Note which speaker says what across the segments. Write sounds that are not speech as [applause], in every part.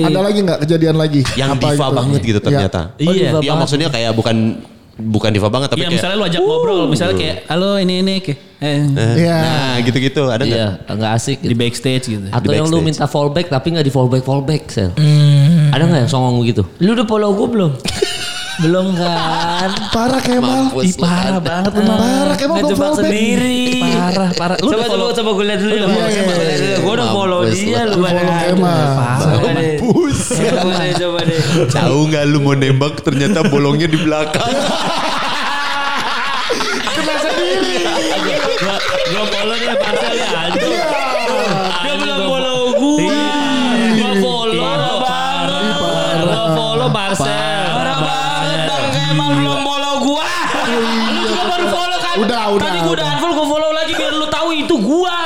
Speaker 1: Ada lagi nggak kejadian lagi?
Speaker 2: yang
Speaker 1: Apa
Speaker 2: diva
Speaker 1: gitu?
Speaker 2: banget gitu
Speaker 1: Ya.
Speaker 2: ternyata.
Speaker 3: Oh,
Speaker 4: Iya.
Speaker 3: diva
Speaker 2: Iya maksudnya kayak bukan bukan diva banget tapi
Speaker 4: Iya
Speaker 2: kayak
Speaker 4: misalnya lu ajak ngobrol, misalnya kayak halo ini ini kayak eh,
Speaker 1: Iya.
Speaker 2: nah gitu-gitu ada nggak?
Speaker 3: Iya, nggak asik.
Speaker 4: di
Speaker 3: Gitu.
Speaker 4: backstage gitu.
Speaker 3: Atau
Speaker 2: di
Speaker 3: yang lu
Speaker 2: backstage.
Speaker 3: minta fallback tapi nggak di fallback fallback sel.
Speaker 4: Hmm.
Speaker 3: Ada nggak yang songong gitu? Lu udah follow gue [laughs] belum? belum kan?
Speaker 1: Nah, Parah Kemal.
Speaker 2: Mampus
Speaker 4: Ih
Speaker 2: lu.
Speaker 4: parah banget lu.
Speaker 1: Parah Kemal
Speaker 4: Ngejebak
Speaker 1: gue fallback.
Speaker 4: sendiri.
Speaker 3: Parah, parah. Lu
Speaker 4: coba,
Speaker 3: udah
Speaker 4: coba,
Speaker 3: follow-
Speaker 4: coba gue lihat dulu. ya.
Speaker 3: udah
Speaker 1: follow Kemal?
Speaker 4: Gue udah follow
Speaker 2: Mampus lu.
Speaker 4: dia lu.
Speaker 1: Lu
Speaker 4: pada-
Speaker 1: follow
Speaker 4: Aduh,
Speaker 1: Kemal.
Speaker 4: Parah deh. Coba deh, coba deh.
Speaker 2: Eh, Tahu nggak lu mau nembak ternyata bolongnya di belakang.
Speaker 4: Gue follow dia pasal ya anjing.
Speaker 1: Iya.
Speaker 4: Dia belum follow gue. Gue follow Bang. Gue follow Marcel. Iya.
Speaker 3: Parah banget, Bang Kemal belum follow gua.
Speaker 4: Lu juga baru follow kan?
Speaker 1: Udah, udah,
Speaker 4: Tadi gua udah
Speaker 1: udah.
Speaker 4: unfollow, gua follow lagi biar lu tahu itu gua.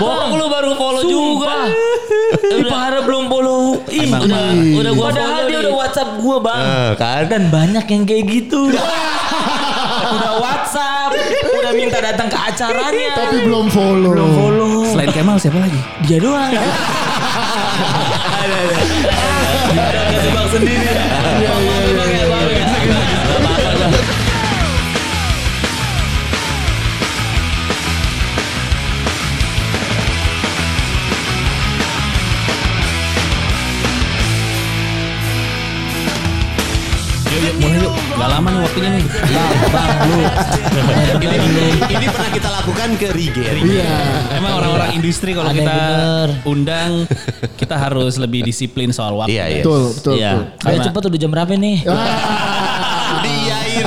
Speaker 3: Bohong lu baru follow juga.
Speaker 4: Sumpah.
Speaker 3: Ih, parah belum follow. Ih,
Speaker 4: Emang
Speaker 3: udah,
Speaker 1: parah.
Speaker 3: udah gua
Speaker 4: Padahal
Speaker 3: follow
Speaker 4: dia
Speaker 3: nih.
Speaker 4: udah WhatsApp gua, Bang.
Speaker 2: Eh, kan?
Speaker 4: Dan banyak yang kayak
Speaker 1: [laughs]
Speaker 4: gitu.
Speaker 3: udah WhatsApp, udah minta datang ke acaranya.
Speaker 1: Tapi belum follow. Belum follow.
Speaker 4: Selain Kemal siapa lagi?
Speaker 3: dia doang.
Speaker 4: Jebak sendiri. Gak lama nih waktunya nih.
Speaker 2: ini, ini pernah kita lakukan ke Riger.
Speaker 1: Iya.
Speaker 4: Emang orang-orang industri kalau
Speaker 3: Ada yang
Speaker 4: kita
Speaker 3: bener.
Speaker 4: undang kita harus lebih disiplin soal waktu.
Speaker 2: Iya, iya.
Speaker 1: Betul, betul,
Speaker 4: Iya.
Speaker 1: betul. Ah,
Speaker 3: Ayo
Speaker 4: Karena-
Speaker 3: cepet udah jam berapa nih?
Speaker 2: Diain.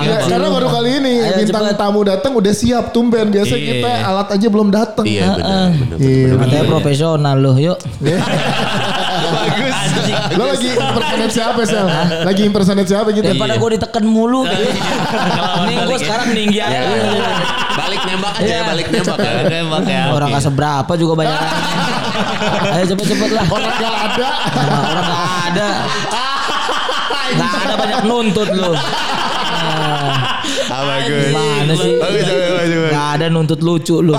Speaker 1: Ya, karena baru kali ini
Speaker 3: Ayo,
Speaker 1: bintang
Speaker 3: cepet.
Speaker 1: tamu datang udah siap tumben. Biasa
Speaker 4: Iya.
Speaker 1: kita alat aja belum datang.
Speaker 2: Iya
Speaker 1: [laughs]
Speaker 2: benar benar.
Speaker 1: Iya.
Speaker 3: Katanya profesional loh, yuk.
Speaker 2: Bagus. Iya.
Speaker 1: Lo lagi impersonate siapa sel? Lagi impersonate siapa gitu?
Speaker 3: Daripada
Speaker 4: Iya.
Speaker 3: gue ditekan mulu.
Speaker 4: Ngelawan
Speaker 3: Nih gue
Speaker 4: balik ya.
Speaker 3: sekarang tinggi aja.
Speaker 1: Iya.
Speaker 2: Ya, balik nembak aja
Speaker 3: Iya.
Speaker 2: balik nembak kan.
Speaker 4: Tembak ya.
Speaker 3: Orang gak seberapa juga
Speaker 1: [laughs]
Speaker 3: banyak. Ayo cepet-cepet lah.
Speaker 1: Orang gak ada.
Speaker 2: [laughs]
Speaker 3: Nah, orang gak ada. Gak ada banyak nuntut lu.
Speaker 2: Ah, bagus.
Speaker 3: Mana sih?
Speaker 2: Bagus,
Speaker 3: Iya.
Speaker 2: bagus, bagus, bagus.
Speaker 3: Gak ada nuntut lucu lu. Iya,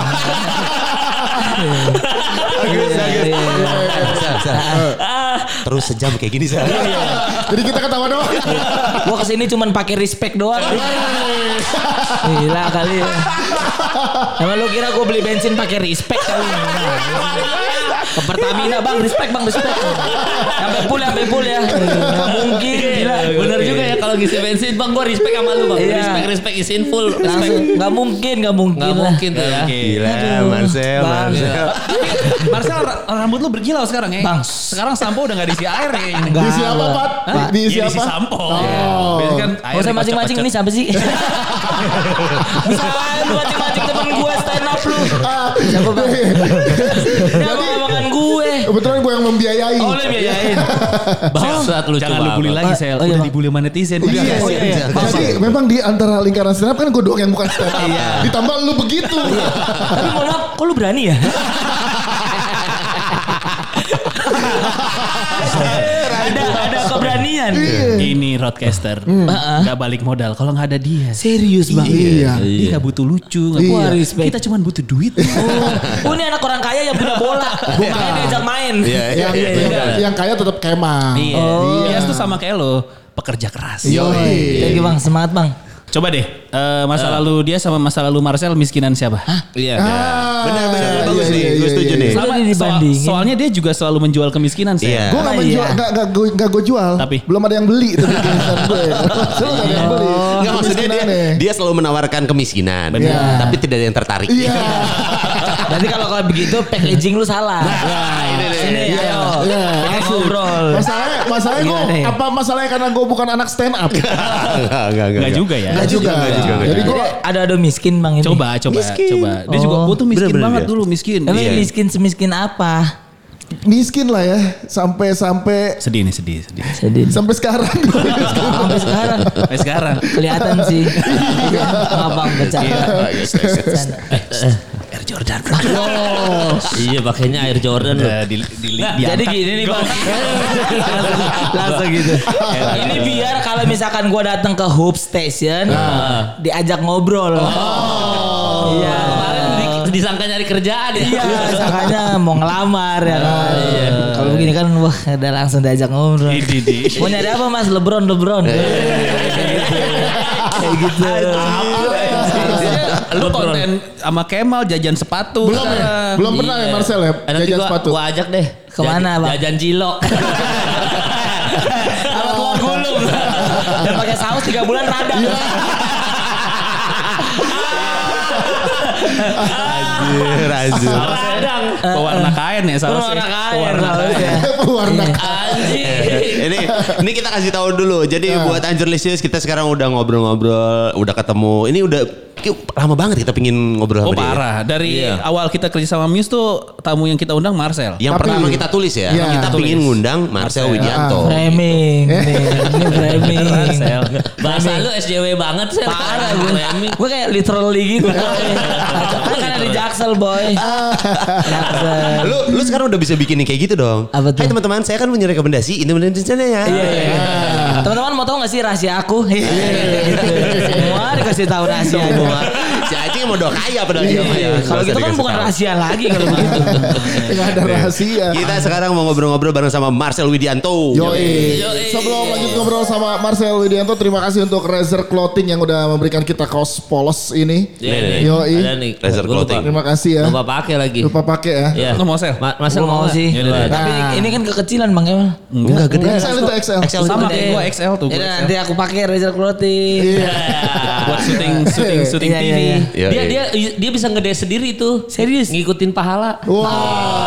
Speaker 2: Bagus, bagus. Sel, sel. Terus sejam kayak gini sel.
Speaker 1: Jadi kita ketawa doang.
Speaker 2: Iya.
Speaker 3: Gue kesini cuman pakai respect doang. Gila kali ya. Emang lu kira gue beli bensin pakai respect kali ya? Ke Pertamina bang respect bang respect. Sampai full ya, sampai full ya. Gak mungkin gila.
Speaker 4: Bener juga ya kalau ngisi bensin bang gue respect sama lu bang.
Speaker 3: Iya.
Speaker 4: Respect respect isin full. Respect.
Speaker 3: Langsung gak mungkin gak mungkin
Speaker 4: Gak
Speaker 3: lah.
Speaker 4: mungkin tuh ya.
Speaker 2: Iya. Gila,
Speaker 3: Aduh,
Speaker 2: Eh, Marcel,
Speaker 3: Bang.
Speaker 2: Marcel.
Speaker 4: Marcel ra- rambut lu berkilau sekarang ya.
Speaker 3: Bang.
Speaker 4: Sekarang sampo udah gak diisi air kayaknya.
Speaker 3: Nggak
Speaker 1: Diisi apa,
Speaker 3: ada.
Speaker 1: Pat?
Speaker 3: Hah?
Speaker 1: Diisi
Speaker 4: Iya,
Speaker 1: apa?
Speaker 4: sampo.
Speaker 1: Oh.
Speaker 4: Biasanya kan air
Speaker 3: Gak usah mancing-mancing ini siapa
Speaker 4: dikocok-kocok. [laughs]
Speaker 3: sih? Bisa lu mancing-mancing temen gue stand up lu.
Speaker 1: Ah,
Speaker 3: Siapa bang? Dia
Speaker 1: Jadi-
Speaker 3: makan gue.
Speaker 1: iya. kebetulan gue yang membiayai.
Speaker 4: Oh lu
Speaker 3: Iya,
Speaker 4: [laughs] biayain. Bangsat lu
Speaker 3: Jangan
Speaker 4: Jangan lu
Speaker 3: lu
Speaker 4: bully
Speaker 1: Oh,
Speaker 4: lagi Sel.
Speaker 3: Udah
Speaker 4: Udah dibully sama netizen.
Speaker 1: Iya,
Speaker 2: Iya,
Speaker 1: iya,
Speaker 2: iya.
Speaker 1: Jadi memang di antara lingkaran stand up kan gue doang yang bukan stand up. Ditambah lu begitu.
Speaker 3: Tapi mohon maaf, kok lu berani ya? ada ada
Speaker 1: Iya.
Speaker 3: keberanian.
Speaker 4: Ini roadcaster.
Speaker 1: Hmm.
Speaker 4: Gak balik modal kalau gak ada dia.
Speaker 3: Serius bang.
Speaker 1: Iya.
Speaker 4: Dia gak butuh lucu. Gak
Speaker 1: Iya.
Speaker 4: butuh
Speaker 3: Respect.
Speaker 4: Kita cuma butuh duit.
Speaker 3: Oh ini anak orang kaya yang punya bola.
Speaker 1: Iya.
Speaker 3: Makanya diajak main.
Speaker 2: Iya, iya,
Speaker 1: yang,
Speaker 2: iya.
Speaker 1: yang, yang kaya tetap kemah.
Speaker 4: Iya.
Speaker 3: Oh.
Speaker 4: Bias tuh sama kayak lo. Pekerja keras.
Speaker 1: Iya.
Speaker 3: Thank you bang, semangat bang.
Speaker 4: Coba deh. eh, masa lalu dia sama masa lalu Marcel miskinan siapa?
Speaker 2: Iya.
Speaker 1: Ah,
Speaker 2: Benar, benar.
Speaker 1: iya,
Speaker 2: Bagus
Speaker 1: iya,
Speaker 2: nih.
Speaker 1: iya,
Speaker 2: Gue setuju
Speaker 1: iya.
Speaker 2: nih.
Speaker 3: Sudah
Speaker 4: Sama,
Speaker 3: dibandingin.
Speaker 4: soal- soalnya dia juga selalu menjual kemiskinan sih.
Speaker 2: Iya.
Speaker 1: Gue gak
Speaker 3: Ah,
Speaker 1: menjual,
Speaker 3: iya.
Speaker 1: gak, gak, gue, gak gue jual.
Speaker 4: Tapi?
Speaker 1: Belum ada yang beli itu bikin stand gue. Belum ada yang beli.
Speaker 2: Enggak Oh. maksudnya dia,
Speaker 1: Miskinannya.
Speaker 2: dia selalu menawarkan kemiskinan. Iya.
Speaker 1: Benar.
Speaker 2: Tapi tidak ada yang tertarik.
Speaker 1: Iya.
Speaker 3: Berarti kalau kalau begitu packaging lu salah.
Speaker 2: ini deh.
Speaker 3: Sini
Speaker 1: Iya,
Speaker 3: ayo.
Speaker 1: iya,
Speaker 3: Kita
Speaker 1: asik.
Speaker 3: ngobrol.
Speaker 1: Masalahnya, masalahnya gue,
Speaker 3: Gimana ya?
Speaker 1: apa masalahnya karena gue bukan anak stand up.
Speaker 2: Enggak, enggak, enggak.
Speaker 4: Enggak juga ya.
Speaker 1: Gak juga.
Speaker 2: nggak juga, nggak
Speaker 1: Jadi
Speaker 3: Jadi
Speaker 1: gue,
Speaker 3: ada ada miskin bang ini.
Speaker 4: Coba, coba, coba. Dia juga
Speaker 3: Oh.
Speaker 4: gua tuh miskin
Speaker 2: Bener-bener
Speaker 4: banget
Speaker 2: dia.
Speaker 4: dulu miskin.
Speaker 3: Emang
Speaker 2: Iya.
Speaker 3: miskin semiskin apa?
Speaker 1: miskin lah ya. Sampai-sampai
Speaker 4: Sedih nih, sedih, sedih.
Speaker 3: Sedih.
Speaker 1: sampai [laughs] sekarang.
Speaker 3: Sampai sekarang
Speaker 4: Sampai sekarang. Iya,
Speaker 3: kelihatan sih. Abang bercanda.
Speaker 2: Bagus, bagus.
Speaker 3: Bercanda.
Speaker 4: Air Jordan.
Speaker 3: Oh.
Speaker 4: iya, pakainya Air Jordan. di, di,
Speaker 3: Nah,
Speaker 4: diangkat.
Speaker 3: jadi gini nih bang. langsung, [laughs] langsung gitu.
Speaker 4: iya,
Speaker 3: Ini biar kalau misalkan gua datang ke Hope Station
Speaker 4: Nah.
Speaker 3: diajak ngobrol. Oh. Iya.
Speaker 4: Kemarin di- disangka nyari kerjaan ya. Ah,
Speaker 3: Iya, misalkannya mau ngelamar ya kan. ini kan wah udah langsung diajak ngobrol.
Speaker 4: Idi, di.
Speaker 3: Mau nyari apa mas? Lebron, Lebron.
Speaker 4: Eh, gitu.
Speaker 3: Kayak gitu.
Speaker 4: Lu konten sama Kemal jajan sepatu.
Speaker 1: Belum ya?
Speaker 4: sekarang.
Speaker 1: Belum pernah
Speaker 3: Iya.
Speaker 1: ya Marcel ya?
Speaker 2: Eh, nanti
Speaker 1: Jajan
Speaker 2: gua,
Speaker 1: sepatu. [laughs]
Speaker 2: gua ajak deh.
Speaker 3: Kemana,
Speaker 2: Jajan-
Speaker 3: Bang?
Speaker 2: Jajan
Speaker 3: [laughs]
Speaker 2: cilok.
Speaker 3: Alat
Speaker 1: Oh.
Speaker 3: lo gulung.
Speaker 1: [laughs]
Speaker 3: Dan pakai saus 3 bulan radang.
Speaker 1: Iya.
Speaker 2: [laughs] Anjir, anjir.
Speaker 4: Radang.
Speaker 3: Eh,
Speaker 4: Pewarna kain ya sausnya.
Speaker 3: Pewarna kain,
Speaker 4: Pewarna
Speaker 3: sausnya.
Speaker 4: kain.
Speaker 1: Warna
Speaker 3: Iya. Anjing.
Speaker 2: [laughs] ini ini kita kasih tahu dulu. Jadi buat Anjur Lisius kita sekarang udah ngobrol-ngobrol, udah ketemu. Ini udah kayak lama banget kita pingin ngobrol sama
Speaker 4: Oh
Speaker 2: dia. ya.
Speaker 4: parah. Dari
Speaker 2: Iya.
Speaker 4: awal kita kerja sama Muse tuh tamu yang kita undang Marcel.
Speaker 3: Iya.
Speaker 2: Yang
Speaker 1: Tapi-
Speaker 2: pertama kita tulis ya.
Speaker 1: Iya.
Speaker 2: Kita
Speaker 4: Tulis.
Speaker 2: pingin ngundang Marcel
Speaker 3: Ah,
Speaker 2: Widianto.
Speaker 3: Framing.
Speaker 1: Eh.
Speaker 3: nih. Ini
Speaker 1: [laughs]
Speaker 3: framing.
Speaker 5: Bahasa lu SJW banget sih.
Speaker 3: Parah gue. Gue kayak literally
Speaker 2: [laughs]
Speaker 3: gitu. Kan karena di Jaksel boy.
Speaker 1: Ah.
Speaker 3: Jaksel.
Speaker 2: lu lu sekarang udah bisa bikin yang kayak gitu dong.
Speaker 3: Eh, Apa tuh?
Speaker 2: Hai teman-teman, saya kan punya rekomendasi ini benar sana ya.
Speaker 3: Iya, iya, iya. Teman-teman mau tahu gak sih rahasia aku?
Speaker 4: Iya,
Speaker 3: Gitu. Semua dikasih tahu rahasia. Iya.
Speaker 2: si Acing mau doa kaya padahal dia mah ya.
Speaker 3: Kalau gitu kan bukan rahasia lagi kalau gitu.
Speaker 4: Iya,
Speaker 3: begitu.
Speaker 1: Gak ada rahasia.
Speaker 2: Kita sekarang mau ngobrol-ngobrol bareng sama Marcel Widianto.
Speaker 1: Yoi. Sebelum lanjut ngobrol sama Marcel Widianto, terima kasih untuk Razer Clothing yang udah memberikan kita kaos polos ini.
Speaker 5: Iya,
Speaker 2: nih.
Speaker 1: Yoi.
Speaker 5: Ada nih.
Speaker 2: Laser
Speaker 5: Gua lupa-
Speaker 2: clothing.
Speaker 1: Terima kasih ya.
Speaker 5: Lupa pakai lagi.
Speaker 1: Lupa pakai ya.
Speaker 5: Iya.
Speaker 4: Lu mau sel?
Speaker 5: Ma- Masa
Speaker 3: Gua
Speaker 5: lu
Speaker 3: mau sih.
Speaker 5: Iya,
Speaker 4: Yaudah, yaudah.
Speaker 3: Tapi
Speaker 1: Nah.
Speaker 3: ini kan kekecilan Bang Emang.
Speaker 2: Enggak gede.
Speaker 1: XL itu XL.
Speaker 2: XL
Speaker 4: Hmm. Sama
Speaker 3: Gede.
Speaker 4: kayak gua XL tuh, gua
Speaker 3: Yaudah,
Speaker 4: XL.
Speaker 3: Ya, nanti aku pakai Razer Clothing.
Speaker 1: Iya.
Speaker 5: [laughs]
Speaker 4: Buat syuting syuting syuting
Speaker 3: Iya, iya,
Speaker 4: TV.
Speaker 3: iya.
Speaker 2: Iya,
Speaker 5: Dia
Speaker 2: iya.
Speaker 5: dia dia bisa ngede sendiri tuh.
Speaker 3: Serius?
Speaker 5: Ngikutin pahala. Iya,
Speaker 1: Wah.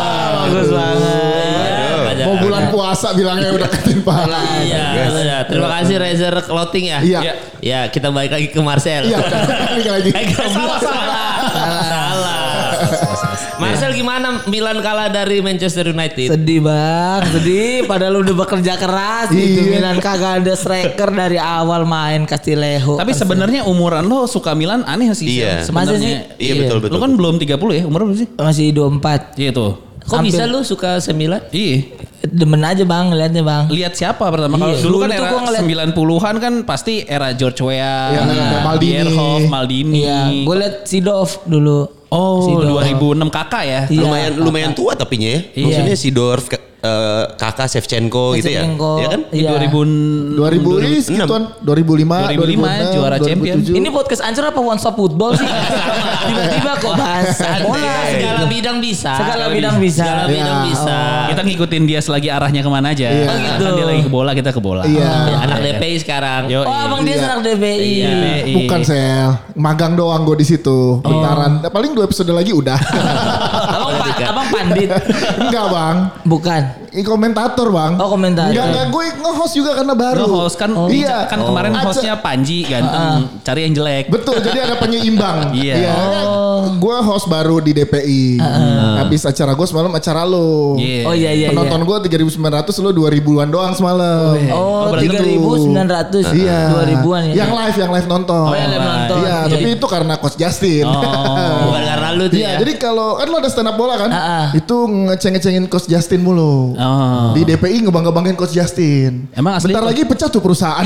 Speaker 3: [laughs] Bagus banget.
Speaker 5: Ada-
Speaker 1: Mau bulan puasa bilangnya udah ketimpa.
Speaker 5: Iya, udah. Terima kasih Razer Clothing ya.
Speaker 1: Iya.
Speaker 5: Ya, kita balik lagi ke Marcel. [laughs]
Speaker 1: Iya. balik lagi.
Speaker 5: Eh, salah, salah. Salah. Marcel gimana Milan kalah dari Manchester United?
Speaker 3: Sedih bang, sedih. Padahal udah bekerja keras gitu.
Speaker 1: Iya.
Speaker 3: Milan kagak ada striker dari awal main Castileho.
Speaker 4: Tapi sebenarnya umuran lo suka Milan aneh sih. Sel,
Speaker 2: Iya.
Speaker 3: Masa sih?
Speaker 4: Sebenarnya.
Speaker 2: Iya betul betul.
Speaker 4: Lu kan belum 30 ya umur berapa sih?
Speaker 3: masih 24.
Speaker 4: Iya tuh.
Speaker 5: Kok
Speaker 3: Hampir.
Speaker 5: bisa lu suka semilan?
Speaker 4: Iya.
Speaker 3: Demen aja bang, liatnya bang.
Speaker 4: Lihat siapa pertama kalau
Speaker 3: Iya. Dulu
Speaker 4: dulu kan
Speaker 3: tuh
Speaker 4: era
Speaker 3: gua ngeliat-
Speaker 4: 90-an kan pasti era George Weah,
Speaker 1: Iya,
Speaker 4: nah,
Speaker 1: Maldini.
Speaker 4: Bierhoff, Maldini.
Speaker 3: Iya, gue liat Sidov dulu.
Speaker 4: Oh,
Speaker 3: Sidorf.
Speaker 4: 2006 kakak ya.
Speaker 3: Iya.
Speaker 2: lumayan lumayan tua tapinya ya.
Speaker 3: Iya.
Speaker 2: Maksudnya si Dorf ke- eh, kakak Shevchenko gitu ya.
Speaker 3: Shevchenko.
Speaker 2: Iya kan?
Speaker 4: Di
Speaker 3: Iya.
Speaker 4: 2000
Speaker 1: 2000 ini segituan 2005,
Speaker 4: 2005, juara champion.
Speaker 3: Ini podcast ancur apa one stop football sih? Tiba-tiba kok bahas bola.
Speaker 5: Segala bidang bisa.
Speaker 3: Segala bidang bisa.
Speaker 5: Segala
Speaker 1: Iya.
Speaker 5: bidang bisa.
Speaker 4: kita ngikutin dia selagi arahnya kemana aja.
Speaker 1: Iya.
Speaker 4: Kan dia lagi ke bola, kita ke bola.
Speaker 1: Iya.
Speaker 5: Ya,
Speaker 3: Ah,
Speaker 5: Anak DPI sekarang.
Speaker 4: Yo, Iya,
Speaker 3: Oh abang dia
Speaker 1: Iya.
Speaker 3: anak DBI. Iya.
Speaker 1: Bukan sel, magang doang gue di situ. Bentaran,
Speaker 3: Oh.
Speaker 1: paling dua episode lagi
Speaker 3: [laughs]
Speaker 1: udah.
Speaker 3: Abang, pa- abang pandit.
Speaker 1: Enggak bang,
Speaker 3: Bukan.
Speaker 1: ini komentator bang.
Speaker 3: Oh, komentator. Oh,
Speaker 1: Enggak enggak gue nge-host juga karena baru.
Speaker 4: host kan,
Speaker 1: iya.
Speaker 4: kan kemarin
Speaker 1: Aja-
Speaker 4: hostnya Panji ganteng, cari yang jelek.
Speaker 1: Betul, jadi ada penyeimbang.
Speaker 3: [laughs]
Speaker 4: Iya.
Speaker 3: Oh.
Speaker 1: Gue host baru di DPI. Habis acara gue semalam acara lo.
Speaker 4: Iya.
Speaker 3: Oh iya iya.
Speaker 1: Penonton
Speaker 3: iya.
Speaker 1: gue 3.900, lo 2.000-an doang semalam. Gitu.
Speaker 3: Oh,
Speaker 4: berarti
Speaker 3: tiga ribu sembilan ratus,
Speaker 1: Iya.
Speaker 3: dua ribuan ya.
Speaker 1: Yang live, yang live nonton.
Speaker 3: Oh, yang live nonton. Oh.
Speaker 1: Iya,
Speaker 3: Iya.
Speaker 1: tapi itu karena Coach Justin.
Speaker 5: Oh. Bukan karena lu tuh
Speaker 1: Iya,
Speaker 5: ya.
Speaker 1: jadi kalau kan lo ada stand up bola kan,
Speaker 3: Ah, ah.
Speaker 1: itu ngeceng-ngecengin Coach Justin mulu.
Speaker 4: Oh.
Speaker 1: Di DPI ngebangga-banggain Coach Justin.
Speaker 4: Emang asli
Speaker 1: Bentar
Speaker 4: Coach-
Speaker 1: lagi pecah tuh perusahaan.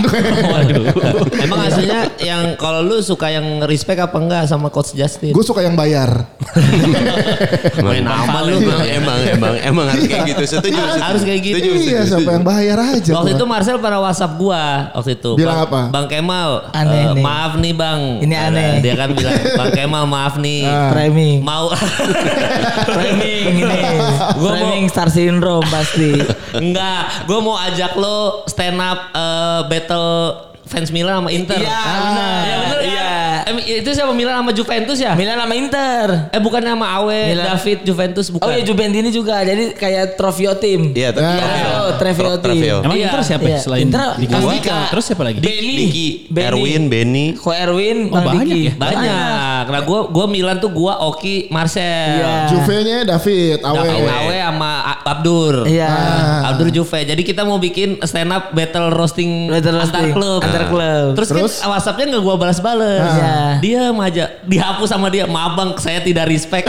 Speaker 5: Emang aslinya yang kalau lu suka yang respect apa enggak sama coach Justin?
Speaker 1: gue suka yang bayar.
Speaker 2: Main aman lu emang, emang emang emang harus kayak gitu. Setuju.
Speaker 5: Harus kayak gitu.
Speaker 2: Setuju, setuju,
Speaker 1: iya,
Speaker 2: setuju.
Speaker 1: siapa yang bayar aja.
Speaker 5: Waktu
Speaker 1: gua.
Speaker 5: itu Marcel pernah WhatsApp gua waktu itu.
Speaker 1: Bilang
Speaker 5: Bang,
Speaker 1: apa?
Speaker 5: Bang Kemal.
Speaker 3: Aneh
Speaker 5: eh,
Speaker 3: nih.
Speaker 5: maaf nih Bang.
Speaker 3: Ini aneh.
Speaker 5: Dia kan
Speaker 1: [laughs]
Speaker 5: bilang, "Bang Kemal, maaf nih.
Speaker 1: Ah.
Speaker 3: Framing.
Speaker 5: Mau [laughs]
Speaker 3: Framing ini.
Speaker 5: Gua mau-
Speaker 3: Framing star syndrome pasti.
Speaker 5: Enggak, gue mau ajak lo stand up eh, battle fans Milan sama Inter.
Speaker 3: Iya,
Speaker 5: Ah,
Speaker 3: benar.
Speaker 5: Iya, benar.
Speaker 3: Iya.
Speaker 5: kan? Eh, itu siapa Milan sama Juventus ya?
Speaker 3: Milan sama Inter.
Speaker 5: Eh bukan sama Awe,
Speaker 3: Milan.
Speaker 5: David, Juventus bukan.
Speaker 3: Oh iya Juventus ini juga. Jadi kayak trofeo tim.
Speaker 2: Iya,
Speaker 1: Nah.
Speaker 3: Trofeo, trofeo
Speaker 2: Tro-
Speaker 3: tim.
Speaker 2: trofeo.
Speaker 4: Emang
Speaker 5: Iya,
Speaker 4: Inter siapa ya
Speaker 3: iya.
Speaker 4: selain
Speaker 3: Inter,
Speaker 4: Diki?
Speaker 3: Andika.
Speaker 4: Terus siapa lagi?
Speaker 2: Diki,
Speaker 3: Benny.
Speaker 2: Erwin, Benny.
Speaker 3: Ko Erwin,
Speaker 4: Oh,
Speaker 3: Bang
Speaker 4: banyak
Speaker 3: Diki.
Speaker 4: ya?
Speaker 5: Banyak. Nah, gue gua Milan tuh gua Oki, Marcel.
Speaker 3: Iya.
Speaker 1: Juve-nya David, Awe.
Speaker 5: David Awe sama A- Abdur.
Speaker 3: Iya.
Speaker 1: Ah.
Speaker 5: Abdur Juve. Jadi kita mau bikin stand up battle roasting
Speaker 3: Battle
Speaker 5: antar
Speaker 3: roasting.
Speaker 5: klub. Nah.
Speaker 3: Antar klub.
Speaker 5: Terus,
Speaker 1: Terus?
Speaker 5: kan WhatsApp-nya nggak gua balas-balas.
Speaker 3: Ah. Iya.
Speaker 5: Dia aja dihapus sama dia. Maaf Bang, saya tidak respect.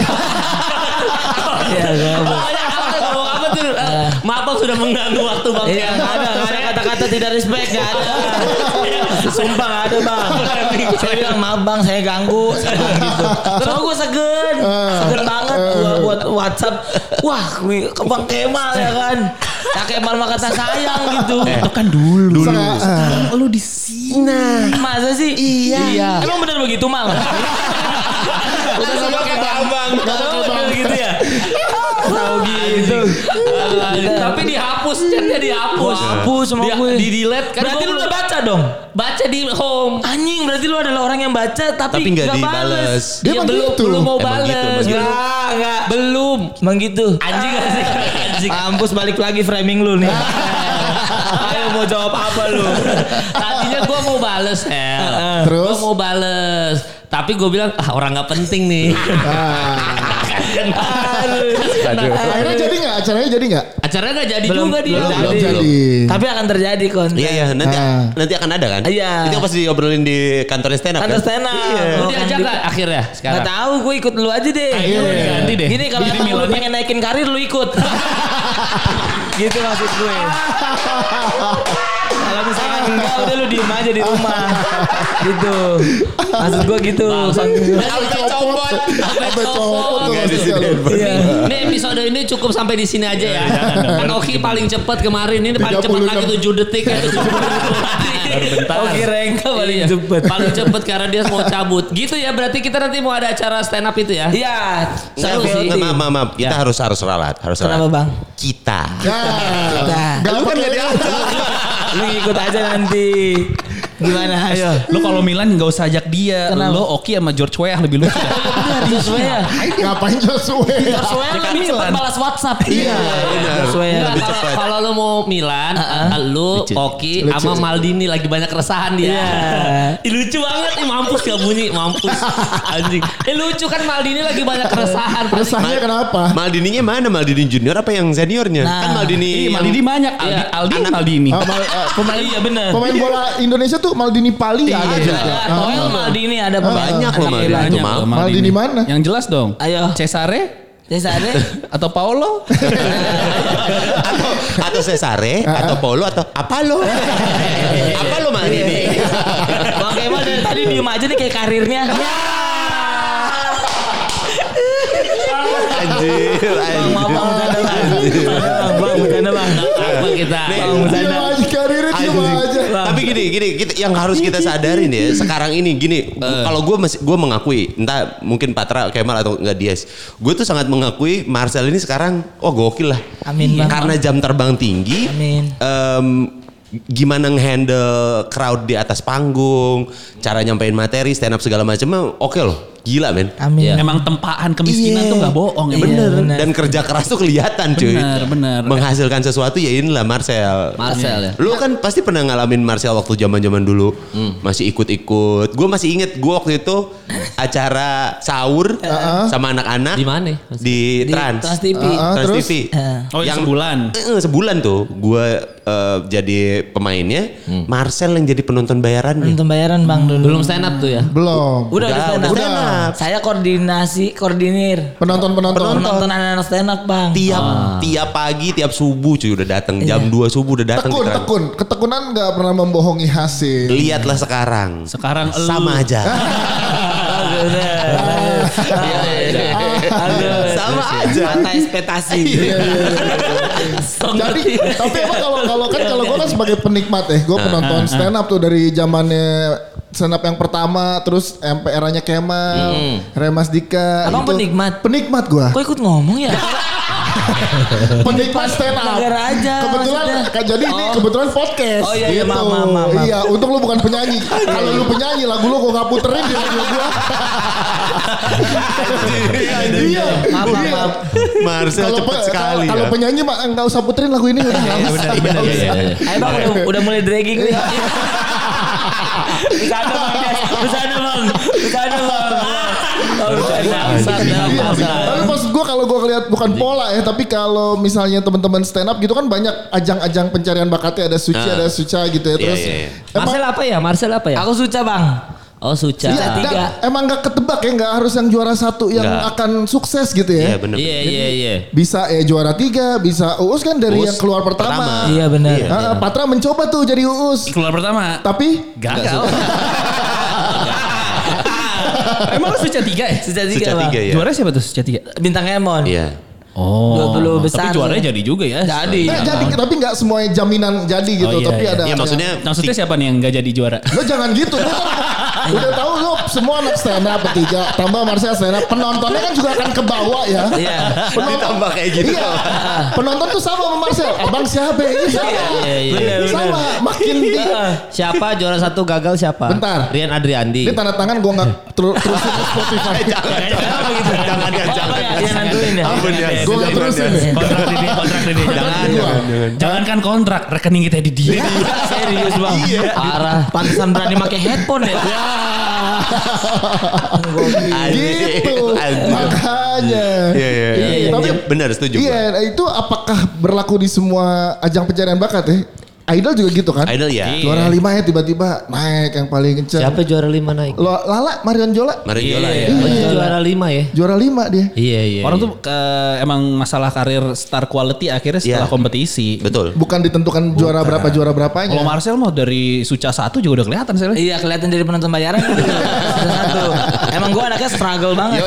Speaker 3: Iya,
Speaker 5: [laughs]
Speaker 3: gua apa.
Speaker 5: Pokoknya apa, ngomong apa tuh? Maaf Bang sudah mengganggu waktu Bang.
Speaker 3: Iya, nggak ada, nggak ada kata-kata tidak respect, nggak ada. Sumpah nggak ada bang. saya bilang maaf bang, saya ganggu. Saya bilang gitu. Soalnya gue Ah. segen, segen banget. Gue buat WhatsApp, wah gue ke bang Kemal ya kan. Kakek malah kata sayang gitu.
Speaker 2: Eh.
Speaker 3: kan dulu.
Speaker 2: Dulu.
Speaker 1: Ah.
Speaker 3: Sekarang lu di sini. Masa sih? Nah. Iya. Emang bener begitu mal?
Speaker 1: Udah sama
Speaker 5: Pakai
Speaker 1: kayak
Speaker 5: tambang.
Speaker 3: Iya.
Speaker 1: Bang.
Speaker 4: gitu ya.
Speaker 3: Tahu gitu. Iya.
Speaker 5: Tapi dihapus, chatnya dihapus.
Speaker 3: Aku sama
Speaker 5: Dia-
Speaker 3: gue.
Speaker 5: Di delete kan
Speaker 3: Iya. Berarti
Speaker 5: gua
Speaker 3: lu
Speaker 5: belum-
Speaker 3: gak baca dong?
Speaker 5: baca di home.
Speaker 3: Anjing berarti lu adalah orang yang baca tapi,
Speaker 2: Tapi nggak
Speaker 3: nggak
Speaker 2: dibales.
Speaker 3: bales.
Speaker 1: Dia
Speaker 5: Dia
Speaker 1: emang
Speaker 5: belum
Speaker 1: gitu.
Speaker 5: belum mau
Speaker 2: Emang
Speaker 5: bales.
Speaker 2: gitu, emang
Speaker 5: belum.
Speaker 3: Enggak, enggak.
Speaker 5: Belum.
Speaker 3: Emang gitu.
Speaker 5: Anjing gak sih? Anjing. Ah.
Speaker 3: Kampus balik lagi framing lu nih. Ayo mau jawab apa lu?
Speaker 5: Tadinya gue mau bales, El. Gue
Speaker 1: Terus?
Speaker 5: mau bales. Tapi gue bilang, ah orang gak penting nih.
Speaker 1: Ah.
Speaker 2: Aduh.
Speaker 1: Akhirnya jadi nggak? Acaranya jadi nggak?
Speaker 5: Acaranya gak jadi
Speaker 3: Belum-
Speaker 5: juga dia.
Speaker 3: belum
Speaker 1: Belum
Speaker 3: Jadi. Kan-
Speaker 1: jadi.
Speaker 3: Tapi akan terjadi kon.
Speaker 2: Iya iya nanti
Speaker 1: Ah.
Speaker 2: nanti akan ada kan?
Speaker 3: Iya.
Speaker 2: Itu pas diobrolin di kantornya stand up.
Speaker 3: Kan
Speaker 2: kan?
Speaker 3: stand up.
Speaker 5: Lu
Speaker 3: Iya.
Speaker 5: diajak gak akhirnya
Speaker 3: Gak
Speaker 5: sekarang?
Speaker 3: tahu, gue ikut lu aja deh.
Speaker 4: Ayo
Speaker 1: Iya.
Speaker 4: ganti deh.
Speaker 3: Gini kalau emang lu pengen naikin karir lu ikut. gitu maksud gue. Kalau misalnya enggak udah lu diem aja di rumah. gitu. Maksud gue gitu.
Speaker 2: Nah,
Speaker 5: Sampai copot. Sampai
Speaker 1: Sampai copot tuh
Speaker 5: copot.
Speaker 2: Nggak di
Speaker 1: maksudnya.
Speaker 2: sini.
Speaker 3: Iya.
Speaker 5: Ini episode ini cukup sampai di sini aja ya. Kan Oki paling cepat kemarin ini paling
Speaker 1: 30
Speaker 5: cepat lagi 7 detik ya.
Speaker 3: Oke, Rengka paling
Speaker 5: Iya.
Speaker 3: cepet.
Speaker 5: Paling cepet karena dia mau cabut. Gitu ya berarti kita nanti mau ada acara stand up itu ya.
Speaker 3: Iya.
Speaker 2: Nggak,
Speaker 3: Seru sih.
Speaker 2: nggak, Maaf maaf maaf. Kita harus harus ralat harus ralat.
Speaker 3: Iya. Kenapa bang?
Speaker 2: Kita.
Speaker 1: Ya. Nah, nggak
Speaker 2: Lu kan
Speaker 1: pakai-
Speaker 2: nggak diajak.
Speaker 3: Lu ikut aja
Speaker 4: [laughs]
Speaker 3: nanti. Gimana? Ayo.
Speaker 4: Lo kalau Milan gak usah ajak dia.
Speaker 3: Kenapa?
Speaker 4: Lo Oki sama George Weah
Speaker 3: [laughs]
Speaker 4: lebih lucu.
Speaker 3: Sesuai ya.
Speaker 1: Ngapain sesuai?
Speaker 3: Sesuai
Speaker 4: Dia kan
Speaker 3: lebih cepet
Speaker 4: Milan.
Speaker 3: balas WhatsApp. Iya.
Speaker 2: benar.
Speaker 3: Sesuai ya.
Speaker 5: Enggak,
Speaker 2: Lebih
Speaker 5: Iya, kalau-
Speaker 2: cepat.
Speaker 5: Kalau lu mau Milan, ah, lu
Speaker 2: Lucu.
Speaker 5: Oki
Speaker 1: Lucu.
Speaker 5: sama Maldini lagi banyak keresahan dia.
Speaker 3: Iya.
Speaker 5: [laughs] Ih, lucu banget nih mampus gak bunyi, mampus. Anjing. Eh lucu kan Maldini lagi banyak keresahan.
Speaker 1: Resahnya kenapa?
Speaker 2: Maldininya mana? Maldini junior apa yang seniornya?
Speaker 3: Nah.
Speaker 2: Kan Maldini.
Speaker 4: Ih,
Speaker 2: yang-
Speaker 4: Maldini banyak. Aldi, Aldi Maldini.
Speaker 3: Oh,
Speaker 1: Ah, mal- ah, pemain,
Speaker 3: Iya benar.
Speaker 1: pemain bola Indonesia tuh Maldini Pali ada
Speaker 2: Iya.
Speaker 1: juga.
Speaker 3: Ada Toel Maldini ada pemain.
Speaker 2: Banyak loh
Speaker 3: Ada
Speaker 2: Maldini
Speaker 3: Milan.
Speaker 2: itu mal.
Speaker 4: loh,
Speaker 1: Maldini mana?
Speaker 4: Yang jelas dong.
Speaker 3: Ayo.
Speaker 4: Cesare
Speaker 3: Jadi saat ini
Speaker 4: atau Paolo?
Speaker 2: atau atau Cesare atau Paulo atau apa lo?
Speaker 3: Iya.
Speaker 2: apa lo Maldini?
Speaker 3: Bang Kemal dari tadi diem aja nih kayak karirnya.
Speaker 5: Ya.
Speaker 3: Ya.
Speaker 2: Anjir,
Speaker 3: Bang maaf bang
Speaker 2: anjir.
Speaker 3: bercanda bang. Bang bang bercanda bang.
Speaker 5: Apa kita?
Speaker 2: Nih,
Speaker 1: Dia aja Iya, karirnya dia
Speaker 2: Anjing.
Speaker 1: aja.
Speaker 2: Tapi gini, gini, kita, yang harus kita
Speaker 4: iya.
Speaker 2: sadarin ya sekarang ini gini.
Speaker 4: Eh.
Speaker 2: Kalau gue masih gue mengakui, entah mungkin Patra, Kemal atau enggak Dias, gue tuh sangat mengakui Marcel ini sekarang, oh gokil lah.
Speaker 3: Amin, Bang.
Speaker 2: Karena jam terbang tinggi.
Speaker 3: Amin.
Speaker 2: em, gimana ngehandle crowd di atas panggung, cara nyampein materi, stand up segala macamnya, oke loh, gila men.
Speaker 3: Amin.
Speaker 4: Iya. Emang tempaan kemiskinan
Speaker 2: Iya.
Speaker 4: tuh gak bohong. ya.
Speaker 2: Iya,
Speaker 4: emang.
Speaker 2: bener.
Speaker 3: bener.
Speaker 2: Dan kerja keras tuh kelihatan cuy.
Speaker 4: Bener, bener.
Speaker 2: Menghasilkan sesuatu ya inilah Marcel.
Speaker 5: Marcel ya.
Speaker 2: Lu kan pasti pernah ngalamin Marcel waktu zaman-zaman dulu. Masih ikut-ikut. Gue masih inget gue waktu itu acara sahur sama anak-anak.
Speaker 5: Di mana?
Speaker 2: Di,
Speaker 3: Di
Speaker 2: Trans.
Speaker 3: Trans TV.
Speaker 1: Ah, ah,
Speaker 2: Trans
Speaker 1: terus?
Speaker 2: TV.
Speaker 3: Eh.
Speaker 4: Oh, yang sebulan.
Speaker 2: Eh, eh, sebulan tuh gue jadi pemainnya. Marcel yang jadi penonton bayarannya.
Speaker 3: Untuk bayaran bang dulu.
Speaker 5: Belum stand up tuh ya.
Speaker 1: Belum.
Speaker 3: Udah udah stand up.
Speaker 2: udah.
Speaker 3: Saya koordinasi koordinir.
Speaker 1: Penonton-penonton.
Speaker 3: Penonton anak-anak stand up bang.
Speaker 2: Tiap tiap pagi, tiap subuh cuy udah datang. Jam 2 subuh udah datang.
Speaker 1: Tekun,
Speaker 2: ke Trans.
Speaker 1: tekun. Ketekunan nggak pernah membohongi hasil.
Speaker 2: Lihatlah sekarang.
Speaker 4: Sekarang elu.
Speaker 2: sama aja.
Speaker 3: Aduh, udah.
Speaker 1: [laughs]
Speaker 3: Aduh.
Speaker 2: Sama aja. Iya.
Speaker 3: Mata ekspektasi.
Speaker 1: Iya, Jadi tapi emang kalau kalau kan kalau gue kan sebagai penikmat ya, gue penonton
Speaker 2: Iya.
Speaker 1: stand up tuh dari zamannya stand up yang pertama, terus MPR-nya Kemal, Remas Dika.
Speaker 3: Abang
Speaker 1: itu.
Speaker 3: penikmat?
Speaker 1: Penikmat gue.
Speaker 3: Kok ikut ngomong ya?
Speaker 1: Penikmat stand up.
Speaker 3: negara aja,
Speaker 1: Kebetulan
Speaker 3: maksudnya.
Speaker 1: kan jadi ini
Speaker 3: Oh.
Speaker 1: kebetulan podcast.
Speaker 3: Oh, iya, iya, maaf, maaf, maaf, maaf.
Speaker 1: Iya, untuk lu bukan penyanyi. kalau lu penyanyi lagu lu gue nggak puterin di radio gue. Iya.
Speaker 3: Maaf, maaf,
Speaker 1: iya.
Speaker 3: maaf.
Speaker 2: Marcel
Speaker 1: Kalau
Speaker 2: cepet
Speaker 1: pe-
Speaker 2: sekali
Speaker 1: kalau
Speaker 2: ya.
Speaker 1: penyanyi mah nggak usah puterin lagu ini udah nggak usah.
Speaker 2: benar,
Speaker 1: Nggak
Speaker 2: iya,
Speaker 1: usah.
Speaker 2: iya.
Speaker 3: Ayo bang udah, udah mulai dragging nih. Bercanda bang, guys. bercanda bang, bercanda bang. Oh, bercanda. bercanda,
Speaker 1: Iya,
Speaker 3: bercanda.
Speaker 1: Tapi maksud gue kalau gue lihat bukan pola ya, tapi kalau misalnya teman-teman stand up gitu kan banyak ajang-ajang pencarian bakatnya ada suci
Speaker 2: Ah.
Speaker 1: ada suca gitu ya
Speaker 2: Iya,
Speaker 1: terus.
Speaker 2: iya, iya.
Speaker 1: Emang,
Speaker 5: Marcel apa ya? Marcel apa ya?
Speaker 3: Aku suca bang.
Speaker 5: Oh Suca.
Speaker 1: iya,
Speaker 3: tiga.
Speaker 1: nggak- emang gak ketebak ya, gak harus yang juara satu yang
Speaker 2: Nggak.
Speaker 1: akan sukses gitu ya.
Speaker 2: Iya benar.
Speaker 5: Iya iya iya.
Speaker 1: Bisa ya juara tiga, bisa Uus kan dari
Speaker 2: Uus
Speaker 1: yang keluar
Speaker 2: pertama.
Speaker 1: pertama.
Speaker 3: Iya benar.
Speaker 1: Ah, Patra mencoba tuh jadi Uus.
Speaker 4: Keluar pertama.
Speaker 1: Tapi
Speaker 4: Gagal. Emang lu Suca 3 ya?
Speaker 3: Suca tiga
Speaker 2: Suca
Speaker 3: bang.
Speaker 2: tiga ya.
Speaker 4: Juara siapa tuh Suca 3?
Speaker 3: Bintang Emon.
Speaker 2: Iya.
Speaker 4: Oh.
Speaker 3: 20 besar.
Speaker 4: Tapi juaranya jadi juga ya.
Speaker 3: Jadi.
Speaker 1: Eh, jadi tapi nggak semuanya jaminan jadi gitu,
Speaker 4: iya,
Speaker 1: tapi
Speaker 4: iya.
Speaker 1: ada.
Speaker 2: Iya maksudnya
Speaker 4: Maksudnya siapa nih yang nggak jadi juara?
Speaker 1: Lo jangan gitu. Lo kan udah tahu lo semua anak stand up bertiga tambah Marcel stand up penontonnya kan juga akan ke bawah ya.
Speaker 3: Iya.
Speaker 2: ditambah kayak gitu.
Speaker 1: Iya. Penonton tuh sama sama Marcel. Abang siapa? Ini sama.
Speaker 3: Iya, iya.
Speaker 1: Ini sama. Makin di
Speaker 5: Iya. Siapa juara satu gagal siapa?
Speaker 1: Ah. Bentar.
Speaker 5: Rian Adriandi.
Speaker 1: ini tanda tangan gue nggak ter- terusin ke Spotify.
Speaker 2: Jangan, jangan, jangan, jangan.
Speaker 3: Dia nantuin ya.
Speaker 2: Ampun ya.
Speaker 1: Gue nggak terusin. ya.
Speaker 4: Kontrak ini, kontrak ini. Jangan.
Speaker 1: Kedua.
Speaker 4: Jangan kan kontrak, rekening kita di dia. Iya.
Speaker 3: Serius bang. Parah. Pantesan berani pakai headphone ya.
Speaker 1: Gitu. Makanya.
Speaker 2: Iya, iya, iya.
Speaker 1: Iya, Tapi
Speaker 2: Benar, setuju.
Speaker 1: Iya, nah itu apakah berlaku di semua ajang pencarian bakat ya? Idol juga gitu kan?
Speaker 2: Idol ya.
Speaker 1: Juara lima ya tiba-tiba naik yang paling kenceng.
Speaker 5: Siapa juara lima naik?
Speaker 1: Lo Lala Marion Jola Iya,
Speaker 2: Mari Jola ya.
Speaker 5: Oh, dia juara lima ya?
Speaker 1: juara lima dia.
Speaker 5: Iya iya.
Speaker 4: Orang tuh ke- emang masalah karir star quality akhirnya setelah
Speaker 2: Iya.
Speaker 4: kompetisi.
Speaker 2: Betul.
Speaker 1: Bukan ditentukan juara berapa juara berapanya.
Speaker 4: Kalau Marcel mah dari Suca satu juga udah kelihatan sih.
Speaker 3: Iya kelihatan dari penonton
Speaker 2: [laughs]
Speaker 3: bayaran. Satu. Emang gue anaknya struggle banget.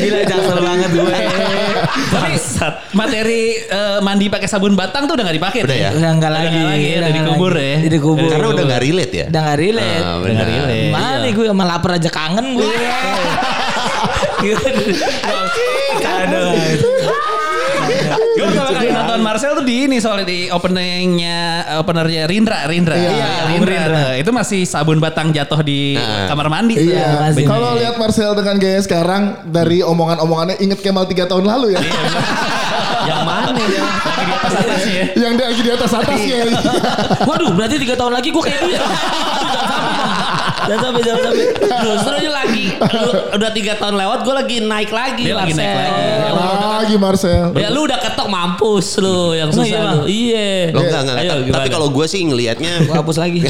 Speaker 3: Gila jaksel banget gue.
Speaker 4: Bangsat. Materi eh, mandi pakai sabun batang tuh udah gak dipakai.
Speaker 2: Udah
Speaker 4: tuh.
Speaker 2: ya?
Speaker 3: Udah nggak lagi.
Speaker 4: nggak lagi ya, udah
Speaker 3: nggak
Speaker 4: dikubur
Speaker 3: lagi.
Speaker 4: ya.
Speaker 3: Udah Dikubur.
Speaker 2: Karena udah nggak relate ya.
Speaker 3: Iya. Udah nggak relate.
Speaker 2: Ah, benar.
Speaker 3: Mana nih gue sama lapar aja kangen gue.
Speaker 4: Aduh. Gue pertama kali nonton Marcel tuh di ini soalnya di openingnya openernya Rindra, Rindra.
Speaker 1: Iya,
Speaker 3: Bung
Speaker 4: Rindra.
Speaker 3: Rindra.
Speaker 4: Nah, Itu masih sabun batang jatuh di
Speaker 2: Nah.
Speaker 4: kamar mandi. tuh.
Speaker 1: Iya.
Speaker 3: Bener.
Speaker 1: Kalau lihat Marcel dengan gaya sekarang dari omongan-omongannya inget Kemal tiga tahun lalu ya.
Speaker 4: Yang mana ya? Lagi di atas atasnya ya.
Speaker 1: [laughs] yang dia lagi di atas atas ya.
Speaker 3: Waduh berarti 3 tahun lagi gue kayak dia. Jangan sampai, jangan sampai.
Speaker 5: Justru ini lagi lu, udah tiga tahun lewat gue lagi naik lagi
Speaker 4: Dia lagi
Speaker 5: Marcel.
Speaker 4: naik lagi.
Speaker 1: Lagi Marcel.
Speaker 5: Ya lu udah ketok mampus lu yang
Speaker 3: Emang
Speaker 5: susah.
Speaker 3: iya,
Speaker 5: Iya.
Speaker 3: Bang?
Speaker 5: Lu. iya.
Speaker 2: Lo enggak enggak.
Speaker 5: Ayo,
Speaker 2: Tapi
Speaker 5: gimana?
Speaker 2: kalau gue sih ngelihatnya
Speaker 3: Gue hapus lagi.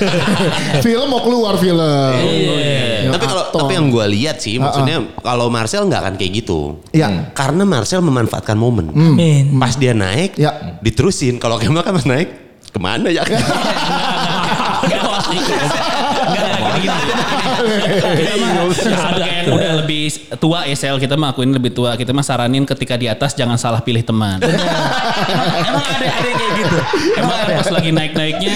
Speaker 1: film mau keluar film. Yang
Speaker 2: tapi kalau
Speaker 1: aktor.
Speaker 2: tapi yang gue lihat sih maksudnya kalau Marcel nggak akan kayak gitu.
Speaker 1: Iya.
Speaker 2: Karena Marcel memanfaatkan momen.
Speaker 3: Amin.
Speaker 2: Pas dia naik,
Speaker 1: Ya.
Speaker 2: diterusin. Kalau Kemal kan pas naik, kemana ya?
Speaker 4: Kita mah sebagai yang udah lebih tua ya Sel, kita mah akuin lebih tua. Kita mah saranin ketika di atas jangan salah pilih teman.
Speaker 3: Emang ada ada yang kayak gitu.
Speaker 4: Emang pas lagi naik-naiknya,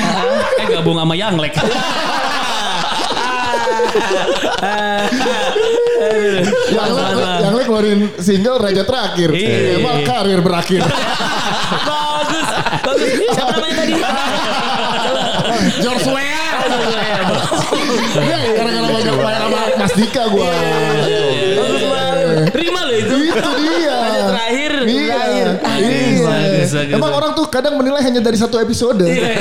Speaker 4: eh gabung sama Yanglek.
Speaker 1: Yang le, yang le keluarin single raja terakhir. Kemal karir berakhir.
Speaker 3: Bagus. Bagus. Siapa namanya tadi?
Speaker 1: George Weah. Iya, gara-gara banyak banyak sama Mas Dika gua. Iya.
Speaker 3: Bagus banget. Terima loh itu.
Speaker 1: Itu dia.
Speaker 3: Ada terakhir,
Speaker 1: Iya.
Speaker 3: terakhir.
Speaker 1: Iya.
Speaker 4: Bagus, bagus,
Speaker 1: Emang orang tuh kadang menilai hanya dari satu episode. Iya.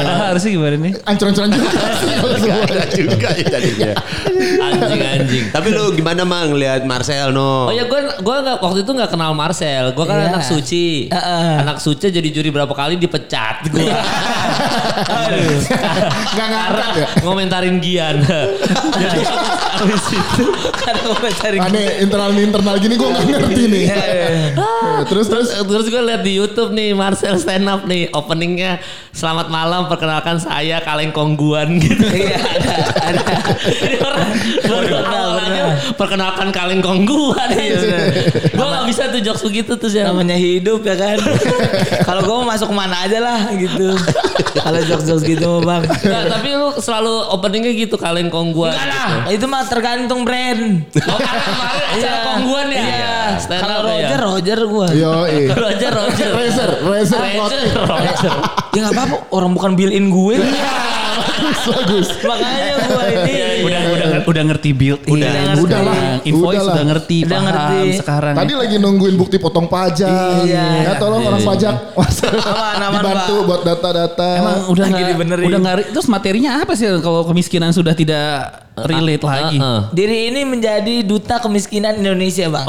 Speaker 4: Padahal harusnya gimana nih?
Speaker 1: Ancur-ancuran juga. sih kalau semuanya.
Speaker 2: Enggak juga ya jadinya.
Speaker 5: Anjing anjing.
Speaker 2: Tapi lu gimana mah ngelihat Marcel no?
Speaker 5: Oh ya gue gua nggak waktu itu nggak kenal Marcel. Gue kan
Speaker 3: Iya.
Speaker 5: anak suci.
Speaker 3: Heeh.
Speaker 5: Anak suci jadi juri berapa kali dipecat gue.
Speaker 1: Iya. Nggak ngangkat ya.
Speaker 5: ngomentarin Gian. [laughs] jadi habis itu
Speaker 3: Karena gue cari.
Speaker 1: Aneh internal internal gini gue nggak ngerti nih. Eh, Terus terus
Speaker 5: terus gue lihat di YouTube nih Marcel stand up nih openingnya selamat malam perkenalkan saya kaleng kongguan [laughs] gitu.
Speaker 3: Iya ada ada.
Speaker 5: Jadi orang baru awal aja perkenalkan kaleng kongguan. Gue gak bisa tuh jokes begitu tuh sih.
Speaker 3: Iya, Namanya hidup ya kan. Kalau gue mau masuk mana aja lah gitu. Kalau jokes-jokes gitu mah bang.
Speaker 5: Nggak, tapi lu selalu openingnya gitu kaleng kongguan.
Speaker 3: Enggak lah. Itu mah tergantung brand.
Speaker 5: Oh, karena kemarin acara kongguan ya?
Speaker 3: Iya.
Speaker 5: Stand
Speaker 3: Kalau
Speaker 5: up ya?
Speaker 3: Roger, Roger gue.
Speaker 1: yo eh.
Speaker 5: Roger, Roger.
Speaker 1: Razer, Razer,
Speaker 5: Roger,
Speaker 1: Roger.
Speaker 5: Roger.
Speaker 3: Ya nggak apa-apa. Orang bukan built in gue. Iya.
Speaker 1: Bagus, bagus.
Speaker 3: Makanya gue ini.
Speaker 4: Udah udah udah ngerti build.
Speaker 3: Udah,
Speaker 1: udah lah, udah
Speaker 4: Invoice udah,
Speaker 1: lah.
Speaker 4: ngerti,
Speaker 3: Udah
Speaker 4: paham
Speaker 3: ngerti.
Speaker 4: sekarang.
Speaker 1: Tadi lagi nungguin bukti potong pajak.
Speaker 3: Iya.
Speaker 1: Ya tolong orang pajak
Speaker 3: Aman, aman,
Speaker 1: dibantu
Speaker 3: Pak.
Speaker 1: buat data-data.
Speaker 4: Emang udah
Speaker 3: lagi
Speaker 4: nggak
Speaker 3: dibenerin.
Speaker 4: udah nggak terus materinya apa sih kalau kemiskinan sudah tidak relate lagi?
Speaker 5: eh.
Speaker 3: Diri ini menjadi duta kemiskinan Indonesia bang.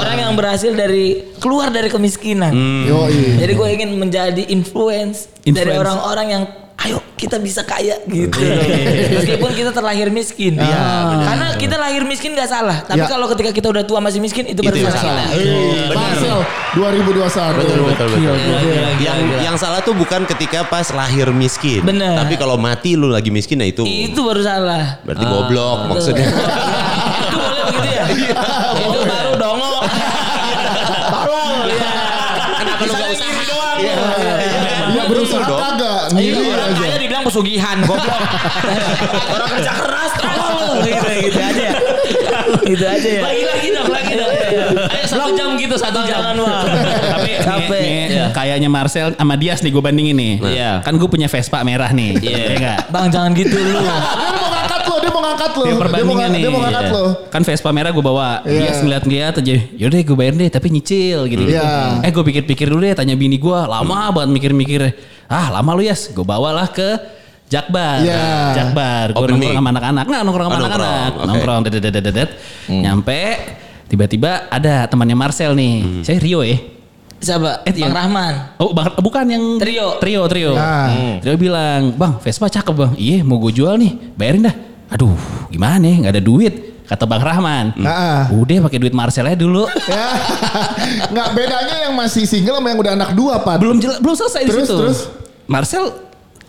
Speaker 3: Orang yang berhasil dari keluar dari kemiskinan.
Speaker 1: Yo
Speaker 3: Jadi gue ingin menjadi influence, dari
Speaker 4: Influence.
Speaker 3: orang-orang yang ayo kita bisa kaya gitu. Meskipun kita terlahir miskin. Karena kita lahir miskin gak salah. Tapi
Speaker 1: Ya.
Speaker 3: kalau ketika kita udah tua masih miskin itu,
Speaker 2: Itu
Speaker 3: baru
Speaker 2: yang
Speaker 3: salah.
Speaker 2: salah.
Speaker 1: Marcel 2021.
Speaker 2: Betul betul betul.
Speaker 5: Gila,
Speaker 2: Yang
Speaker 5: gila.
Speaker 2: yang salah tuh bukan ketika pas lahir miskin.
Speaker 3: Bener.
Speaker 2: Tapi kalau mati lu lagi miskin ya itu.
Speaker 3: Itu baru salah.
Speaker 2: Berarti goblok maksudnya.
Speaker 3: itu boleh begitu ya? itu baru dongok.
Speaker 5: Iya.
Speaker 2: Iya, iya, iya.
Speaker 1: Iya berusaha
Speaker 2: Betul dong.
Speaker 1: kagak
Speaker 3: Iya,
Speaker 1: ngiri
Speaker 3: orang
Speaker 1: aja.
Speaker 3: kaya dibilang pesugihan goblok. orang kerja keras tolol gitu gitu aja. ya. gitu aja ya.
Speaker 5: Lagi lagi dong, lagi dong. Ayo satu jam gitu, satu jam.
Speaker 3: Jangan wah.
Speaker 4: Tapi
Speaker 3: Capek.
Speaker 4: nih, nih, kayaknya Marcel sama Dias nih gue bandingin nih.
Speaker 5: Iya.
Speaker 4: Kan gue punya Vespa merah nih. Iya enggak?
Speaker 3: Bang jangan gitu lu.
Speaker 1: Dia mau ngangkat lo, dia mau ngangkat lo.
Speaker 4: Dia
Speaker 1: Dia mau
Speaker 4: perbandingan
Speaker 1: ngangkat,
Speaker 4: nih.
Speaker 1: dia mau ngangkat
Speaker 4: Iya.
Speaker 1: lo.
Speaker 4: Kan Vespa merah gue bawa.
Speaker 1: Iya.
Speaker 4: Dias ngeliat-ngeliat aja. Yaudah gue bayar deh tapi nyicil gitu.
Speaker 1: Iya.
Speaker 4: Eh gue pikir-pikir dulu deh tanya bini gue. Lama banget mikir-mikir. Ah lama lu Yas. Gue bawalah ke Jakbar,
Speaker 1: Iya.
Speaker 4: Jakbar, gue
Speaker 2: Open mic.
Speaker 4: nongkrong sama anak-anak, nggak nongkrong sama
Speaker 2: Oh, nongkrong.
Speaker 4: anak-anak,
Speaker 2: Oke. Hmm.
Speaker 4: nongkrong, dedet, nyampe, tiba-tiba ada temannya Marcel
Speaker 2: Hmm.
Speaker 4: nih, saya Rio ya,
Speaker 3: Siapa?
Speaker 4: Eh,
Speaker 3: Bang
Speaker 4: iya.
Speaker 3: Rahman.
Speaker 4: Oh, bang, bukan yang
Speaker 3: Trio.
Speaker 4: Trio, trio.
Speaker 1: Nah.
Speaker 4: Hmm. Trio bilang, "Bang, Vespa cakep, Bang. Iya, mau gue jual nih. Bayarin dah." Aduh, gimana ya? Nggak ada duit. Kata Bang Rahman.
Speaker 1: Heeh.
Speaker 4: Udah pakai duit Marcel aja
Speaker 1: [laughs]
Speaker 4: dulu.
Speaker 1: Ya. Nggak bedanya yang masih single sama yang udah anak dua, Pak.
Speaker 4: belum jela- belum selesai di
Speaker 1: Terus,
Speaker 4: situ.
Speaker 1: terus? Ya,
Speaker 4: Marcel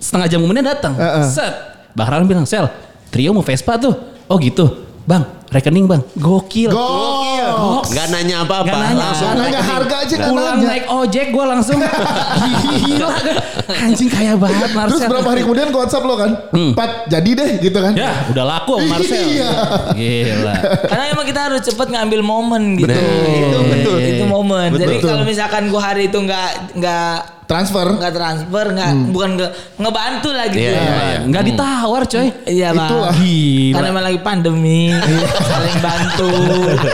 Speaker 4: setengah jam kemudian datang.
Speaker 1: Heeh.
Speaker 4: Set. Bang Rahman bilang, "Sel, Trio mau Vespa tuh." Oh, gitu. Bang, rekening, Bang. Gokil.
Speaker 1: Gokil.
Speaker 4: Goks.
Speaker 2: Nggak nanya apa-apa.
Speaker 4: Nggak nanya.
Speaker 2: Langsung.
Speaker 1: Karena nggak harga aja kan
Speaker 4: Pulang
Speaker 1: aja.
Speaker 4: naik ojek gue
Speaker 1: [laughs]
Speaker 4: langsung gila kan. Anjing kaya banget Marcel.
Speaker 1: Terus berapa hari kemudian ke WhatsApp lo kan? Empat, jadi deh gitu kan?
Speaker 4: Ya, udah laku sama Marcel. Nah,
Speaker 1: Iya.
Speaker 4: Gila.
Speaker 3: Karena emang kita harus cepet ngambil momen gitu.
Speaker 2: Bener.
Speaker 3: Itu
Speaker 2: Betul.
Speaker 3: Itu momen.
Speaker 1: Betul.
Speaker 3: Jadi
Speaker 1: Betul.
Speaker 3: kalau misalkan gua hari itu nggak nggak
Speaker 1: Transfer.
Speaker 3: nggak transfer nggak bukan nggak ngebantu lah gitu.
Speaker 2: Iya, iya, iya.
Speaker 4: Enggak ditawar, coy.
Speaker 3: Iya bang.
Speaker 1: Itulah.
Speaker 4: Gila.
Speaker 3: Karena emang lagi pandemi, saling bantu.
Speaker 4: [laughs]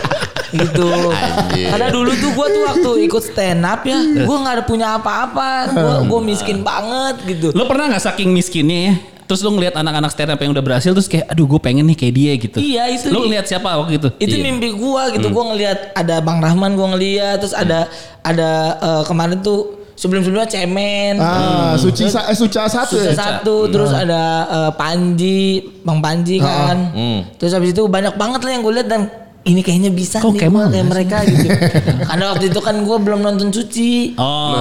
Speaker 3: gitu.
Speaker 2: Anjir.
Speaker 3: Karena dulu tuh gue tuh waktu ikut stand up ya,
Speaker 4: Iya.
Speaker 3: gue nggak ada punya apa-apa, gue
Speaker 4: Hmm.
Speaker 3: gue miskin banget gitu.
Speaker 4: Lo pernah nggak saking miskinnya ya? Terus lo ngeliat anak-anak stand up yang udah berhasil terus kayak aduh gue pengen nih kayak dia gitu.
Speaker 3: Iya, itu-
Speaker 4: Lo ngeliat siapa waktu itu?
Speaker 3: Itu
Speaker 4: Iya.
Speaker 3: mimpi gua gitu, gua ngelihat ada Bang Rahman gua ngelihat, terus ada
Speaker 4: Hmm.
Speaker 3: ada eh, kemarin tuh sebelum-sebelumnya cemen.
Speaker 1: Ah, suci sa- eh, suca satu. ya?
Speaker 3: Susah satu, terus ada eh, Panji, Bang Panji kan. Terus habis itu banyak banget lah yang gue lihat dan ini kayaknya bisa
Speaker 4: Kok
Speaker 3: nih
Speaker 4: kayak
Speaker 3: gua
Speaker 4: mana
Speaker 3: kayak
Speaker 4: sih?
Speaker 3: mereka gitu. Karena waktu itu kan gue belum nonton Suci.
Speaker 4: Oh,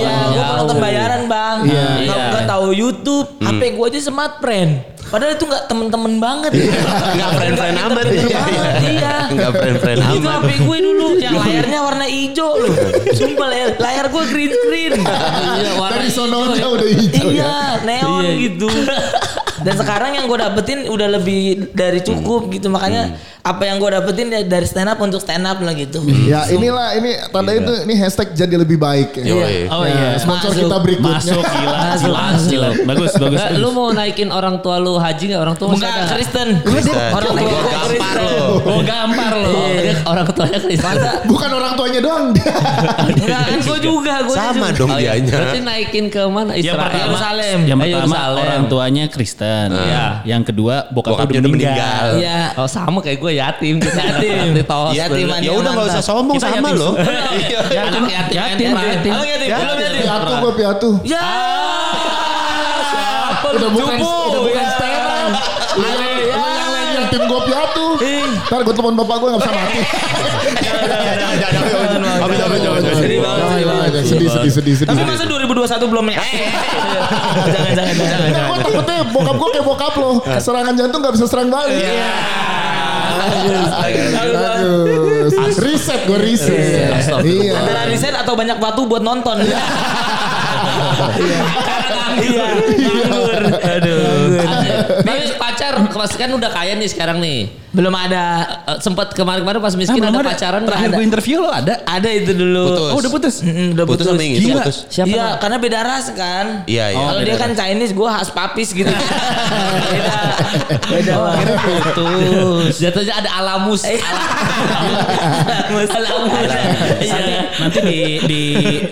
Speaker 3: Iya, gue nonton bayaran bang. Iya. Gak tahu YouTube, HP gue aja smart friend. Padahal itu nggak temen-temen banget.
Speaker 2: Nggak friend-friend
Speaker 3: Nggak
Speaker 2: amat.
Speaker 3: temen-temen banget, Iya.
Speaker 2: Nggak friend-friend
Speaker 3: Itu
Speaker 2: amat.
Speaker 3: HP gue dulu yang layarnya warna hijau loh. Sumpah layar, layar gue green screen. Iya, warna
Speaker 1: Dari sono
Speaker 3: hijau
Speaker 1: aja
Speaker 3: ya.
Speaker 1: udah hijau ya.
Speaker 3: Iya, neon gitu. Dan sekarang yang gue dapetin udah lebih dari cukup gitu. Makanya apa yang gue dapetin ya dari stand up untuk stand up lah gitu.
Speaker 1: Ya inilah ini tanda itu ini hashtag jadi lebih baik. ya.
Speaker 2: Yoi.
Speaker 4: Oh iya.
Speaker 1: Sponsor
Speaker 3: Masuk.
Speaker 1: kita berikutnya.
Speaker 4: Masuk gila,
Speaker 3: Masuk,
Speaker 4: jelas,
Speaker 3: masuk.
Speaker 4: jelas. Bagus, bagus.
Speaker 5: Nggak,
Speaker 4: bagus.
Speaker 5: lu mau naikin orang tua lu haji nggak orang tua masih ada
Speaker 3: Enggak,
Speaker 5: nggak?
Speaker 3: Kristen.
Speaker 2: Orang
Speaker 3: Orang tua
Speaker 2: gue
Speaker 3: gue
Speaker 2: gampar
Speaker 3: Kristen.
Speaker 2: lo.
Speaker 4: Oh, gampar lo.
Speaker 5: Oh, dia orang tuanya Kristen
Speaker 1: Bukan orang tuanya doang. [laughs]
Speaker 3: Enggak, kan gue juga. Gua
Speaker 2: Sama
Speaker 3: juga.
Speaker 2: dong
Speaker 5: Oh, iya. berarti
Speaker 2: dianya.
Speaker 5: naikin ke mana
Speaker 4: Yang
Speaker 5: Israel
Speaker 4: pertama,
Speaker 5: Yerusalem.
Speaker 4: yang
Speaker 5: Eh,
Speaker 4: pertama
Speaker 5: Yerusalem.
Speaker 4: orang tuanya Kristen. Iya. Yang kedua bokapnya
Speaker 2: Bokapnya
Speaker 4: udah
Speaker 2: udah
Speaker 4: meninggal.
Speaker 2: meninggal.
Speaker 3: Iya.
Speaker 5: oh sama kayak gue yatim kita
Speaker 3: Yatim.
Speaker 5: yatim tos
Speaker 2: Iya,
Speaker 5: bener.
Speaker 3: Yatim.
Speaker 2: ya udah nggak usah sombong
Speaker 4: Kita
Speaker 2: sama
Speaker 4: yatim.
Speaker 2: lo. Iya,
Speaker 5: Ya, anak yatim
Speaker 4: Yatim,
Speaker 5: anak
Speaker 4: yatim.
Speaker 3: Abang yatim, belum yatim.
Speaker 1: piatu gue piatu.
Speaker 3: Ya.
Speaker 1: Udah bukan
Speaker 3: Cupu,
Speaker 1: udah
Speaker 5: Oh,
Speaker 1: bukan
Speaker 4: iya,
Speaker 3: ya.
Speaker 1: setelan. Lu yang- lu yang lain yang tim gue piatu.
Speaker 3: Ih.
Speaker 1: Ntar gue telepon bapak gue gak bisa mati.
Speaker 2: Jangan, jangan, jangan. Habis, habis, jangan, jangan.
Speaker 3: Sedih banget,
Speaker 1: Jangan,
Speaker 3: sedih
Speaker 1: jangan,
Speaker 3: banget.
Speaker 1: jangan. Sedih, sedih, sedih, sedih.
Speaker 3: Tapi masa 2021 belum ya? [laughs] Jangan, jangan, jangan.
Speaker 1: Nah, gue takutnya bokap gue kayak bokap lo. Serangan jantung gak bisa serang balik.
Speaker 5: Iya.
Speaker 4: Iya.
Speaker 1: Aduh. Riset gue riset. Iya.
Speaker 3: Antara resign atau banyak waktu buat nonton. Iya.
Speaker 5: Aduh. Tapi pacar pas kan udah kaya nih sekarang nih.
Speaker 3: Belum ada.
Speaker 5: Eh, sempet kemarin-kemarin pas miskin
Speaker 4: Ah,
Speaker 5: ada
Speaker 4: belum
Speaker 5: pacaran nggak
Speaker 4: Terakhir
Speaker 5: ada.
Speaker 4: gue interview lo ada.
Speaker 3: Ada itu dulu.
Speaker 2: Putus.
Speaker 4: Oh, udah putus.
Speaker 3: Mm, udah
Speaker 2: Putus
Speaker 3: putus.
Speaker 2: sama yang itu
Speaker 4: Gila.
Speaker 2: putus.
Speaker 5: Siapa
Speaker 3: iya,
Speaker 5: namanya?
Speaker 3: karena beda ras kan.
Speaker 2: Iya, iya.
Speaker 3: Kalau
Speaker 2: Beda
Speaker 3: dia kan Chinese, gue khas papis gitu. beda. Beda.
Speaker 5: Oh, akhirnya putus. Jatuhnya ada alamus.
Speaker 3: Eh.
Speaker 5: Alamus. Alamus.
Speaker 4: Nanti,
Speaker 5: Iya.
Speaker 4: nanti di di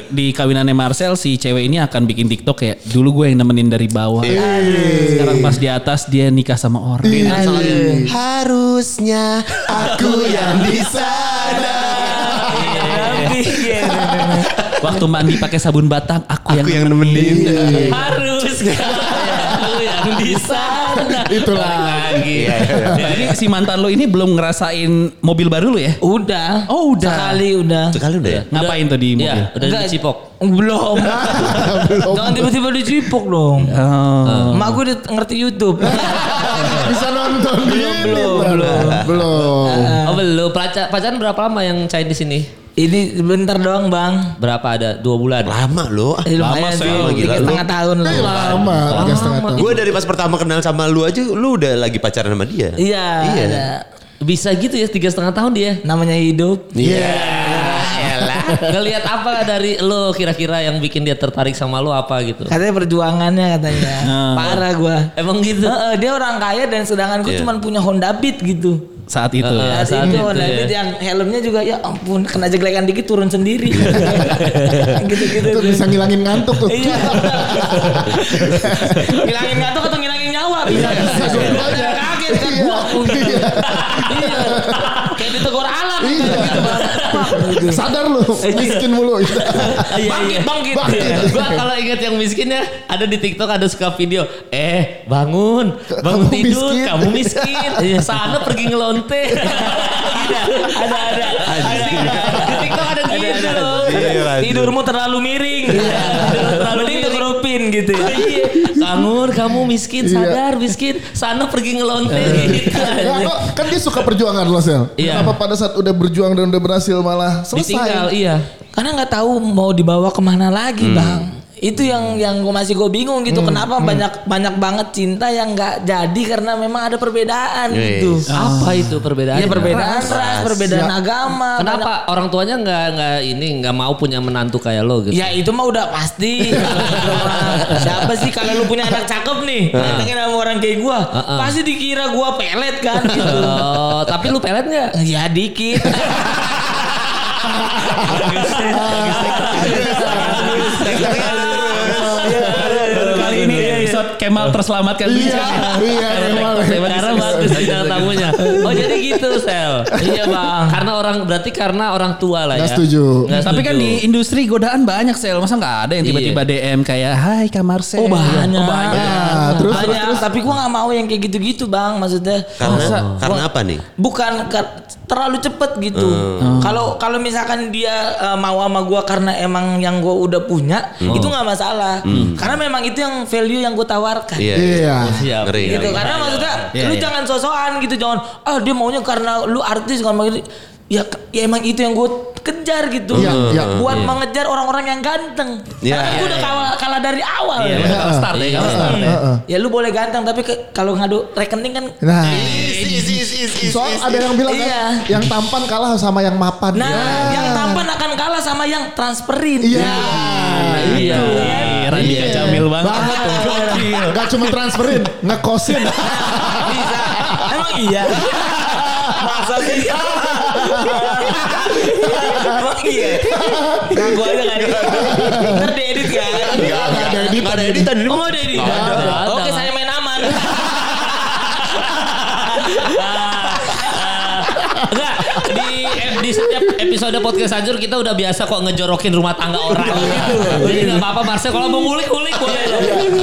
Speaker 4: di kawinannya Marcel si cewek ini akan bikin TikTok kayak dulu gue yang nemenin dari bawah.
Speaker 2: Iya.
Speaker 4: Sekarang pas di atas dia nikah sama orang.
Speaker 2: Harusnya aku yang di sana.
Speaker 3: Nanti. iya, iya, iya.
Speaker 4: Waktu mandi pakai sabun batang aku,
Speaker 2: Aku yang nemenin.
Speaker 3: iya.
Speaker 5: Harus Lu yang di sana.
Speaker 1: Itulah.
Speaker 5: Lagi.
Speaker 2: Iya, iya, iya.
Speaker 4: Jadi si mantan lo Nah, ini belum ngerasain mobil baru lo ya?
Speaker 3: Udah.
Speaker 4: Oh, udah.
Speaker 3: Sekali udah.
Speaker 2: Sekali udah ya?
Speaker 4: Ngapain tuh di mobil?
Speaker 5: Iya, udah
Speaker 3: Enggak.
Speaker 5: dicipok.
Speaker 4: [laughs]
Speaker 3: Belum.
Speaker 1: Belum.
Speaker 3: Jangan tiba-tiba dicipok dong.
Speaker 4: Oh.
Speaker 3: Emak gue udah ngerti YouTube.
Speaker 1: Bisa nonton belum, belum, belum, belum.
Speaker 5: Oh, belum. Paca- Pacaran berapa lama yang Chinese ini?
Speaker 3: Ini bentar doang bang.
Speaker 5: Berapa ada? Dua bulan.
Speaker 2: Lama Ah, loh.
Speaker 3: Eh, lumayan
Speaker 2: Lama,
Speaker 3: sih,
Speaker 2: lama, gila
Speaker 3: tiga
Speaker 2: lu.
Speaker 3: setengah tahun lah.
Speaker 4: Iya,
Speaker 1: Eh, lama, tiga setengah tahun.
Speaker 2: Gue dari pas pertama kenal sama lu aja, lu udah lagi pacaran sama dia.
Speaker 3: Iya.
Speaker 2: Iya.
Speaker 3: ada.
Speaker 5: Bisa gitu ya tiga setengah tahun dia.
Speaker 3: Namanya hidup.
Speaker 2: Iya.
Speaker 5: [laughs] Ngelihat apa dari lo kira-kira yang bikin dia tertarik sama lo apa gitu?
Speaker 3: Katanya perjuangannya katanya. Parah gua.
Speaker 5: Emang
Speaker 3: [laughs]
Speaker 5: gitu.
Speaker 3: Heeh, dia orang kaya dan sedangkan gue
Speaker 2: Iya.
Speaker 3: cuman punya Honda Beat gitu.
Speaker 4: saat itu.
Speaker 5: Heeh.
Speaker 2: Ah.
Speaker 3: Saat
Speaker 5: saat
Speaker 3: itu
Speaker 5: itu
Speaker 3: Honda
Speaker 5: ya.
Speaker 3: Beat yang helmnya juga ya ampun kena jeglekan dikit turun sendiri. Gitu-gitu.
Speaker 1: Itu bisa ngilangin ngantuk tuh.
Speaker 3: Iya. [laughs] ngilangin ngantuk atau ngilangin nyawa bisa.
Speaker 1: Bisa dua-duanya.
Speaker 3: Ada kaget kan
Speaker 1: Iya.
Speaker 3: gua.
Speaker 1: Iya.
Speaker 3: Iya. Kayak ditegur alam
Speaker 1: Iya.
Speaker 3: gitu Bang.
Speaker 1: Sadar lu, miskin mulu.
Speaker 3: Iya, iya.
Speaker 5: Bangkit, bangkit.
Speaker 1: Bangkit.
Speaker 5: Gua kalau ingat yang miskinnya ada di TikTok ada suka video. Eh, bangun, bangun
Speaker 1: Kamu
Speaker 5: tidur,
Speaker 1: miskin.
Speaker 5: kamu miskin. Sana pergi ngelonte. ada, ada, ada. Di TikTok ada gitu.
Speaker 2: Iya, lanjut.
Speaker 3: Tidurmu terlalu miring. Tidur terlalu miring kegerupin gitu. ya.
Speaker 5: Iya. Bangun, kamu miskin, sadar miskin. Sana pergi ngelonte. gitu.
Speaker 1: Nah, kok, kan dia suka perjuangan loh Sel.
Speaker 5: Iya.
Speaker 1: Kenapa pada saat udah berjuang dan udah berhasil malah
Speaker 5: Ditinggal,
Speaker 1: selesai.
Speaker 5: iya.
Speaker 3: Karena nggak tahu mau dibawa kemana lagi bang. Itu yang yang gua masih gue bingung gitu. Kenapa banyak banyak banget cinta yang nggak jadi karena memang ada perbedaan
Speaker 2: Yes.
Speaker 5: iya,
Speaker 3: gitu.
Speaker 5: Apa itu
Speaker 3: Ya
Speaker 5: perbedaannya?
Speaker 3: perbedaan ras,
Speaker 1: Ya.
Speaker 3: perbedaan agama.
Speaker 5: Iya. Kenapa orang tuanya nggak nggak ini nggak mau punya menantu kayak lo gitu?
Speaker 3: Ya itu mah udah
Speaker 5: [laughs]
Speaker 3: pasti. Siapa sih kalau lu punya anak cakep nih, datengin sama orang kayak gua,
Speaker 5: Ah,
Speaker 3: pasti dikira gua pelet kan gitu.
Speaker 5: Oh, tapi lu pelet
Speaker 3: [laughs]
Speaker 5: nggak?
Speaker 3: ya
Speaker 5: [laughs]
Speaker 3: dikit. [laughs]
Speaker 4: Baru kali ini episode Kemal terselamatkan. ya?
Speaker 1: Iya, iya, emang.
Speaker 5: Karena bagus bintang tamunya. Oh jadi gitu Sel. Iya bang. Karena orang berarti karena orang tua lah ya.
Speaker 1: Nggak setuju.
Speaker 5: Nggak
Speaker 4: Tapi kan
Speaker 5: setuju. Iya.
Speaker 4: di industri godaan banyak sel, masa nggak ada yang tiba-tiba DM kayak Hai Kamar Sel.
Speaker 3: Oh banyak.
Speaker 4: Oh, banyak.
Speaker 1: Nah, Iya. terus,
Speaker 3: banyak. Tapi gua nggak mau yang kayak gitu-gitu bang. Maksudnya
Speaker 2: Karena
Speaker 3: Masa-
Speaker 2: karena apa nih?
Speaker 3: bukan ke- terlalu cepet gitu.
Speaker 1: Oh.
Speaker 3: Kalau kalau misalkan dia eh, mau sama gua karena emang yang gua udah punya, itu nggak masalah. Karena memang itu yang value yang gue tawarkan.
Speaker 2: Iya.
Speaker 1: Iya.
Speaker 5: Siap.
Speaker 2: Ngeri.
Speaker 3: gitu
Speaker 2: ngeri.
Speaker 3: karena maksudnya
Speaker 4: Iya,
Speaker 3: lu
Speaker 4: iya.
Speaker 3: jangan sosokan gitu jangan ah dia maunya karena lu artis kan begitu ya ya emang itu yang gue kejar gitu
Speaker 1: Iya, iya.
Speaker 3: buat mengejar orang-orang yang ganteng
Speaker 2: Iya,
Speaker 3: karena gue
Speaker 2: iya,
Speaker 3: udah kalah, kalah dari awal
Speaker 4: Iya,
Speaker 3: ya.
Speaker 4: kalau start ya, kalau start ya.
Speaker 1: Hmm. Heeh.
Speaker 3: ya lu boleh ganteng tapi ke- kalau ngadu rekening kan
Speaker 1: Nah,
Speaker 2: Is, is, is, is,
Speaker 1: soal
Speaker 2: is,
Speaker 1: ada yang bilang kan,
Speaker 3: Iya.
Speaker 1: yang tampan kalah sama yang mapan.
Speaker 3: nah
Speaker 1: Ya.
Speaker 3: yang tampan akan kalah sama yang transferin
Speaker 1: Iya.
Speaker 4: Iya. Iya, Radika
Speaker 1: Iya.
Speaker 4: Jamil banget.
Speaker 1: Banget Iya. tuh.
Speaker 5: Iya.
Speaker 4: Gokil.
Speaker 1: Gak cuma transferin, ngekosin.
Speaker 3: bisa emang iya masa sih [laughs] emang iya gue aja nggak ada kan. ntar diedit
Speaker 1: Gak
Speaker 3: kan
Speaker 1: ada edit.
Speaker 2: Nggak ada editan ini.
Speaker 3: Oh, ada ini.
Speaker 5: ada.
Speaker 3: Oke,
Speaker 5: Ada.
Speaker 3: saya main aman.
Speaker 5: Enggak, di di setiap episode podcast hancur kita udah biasa kok ngejorokin rumah tangga orang. Jadi nggak apa-apa Marcel kalau mau ngulik ngulik boleh.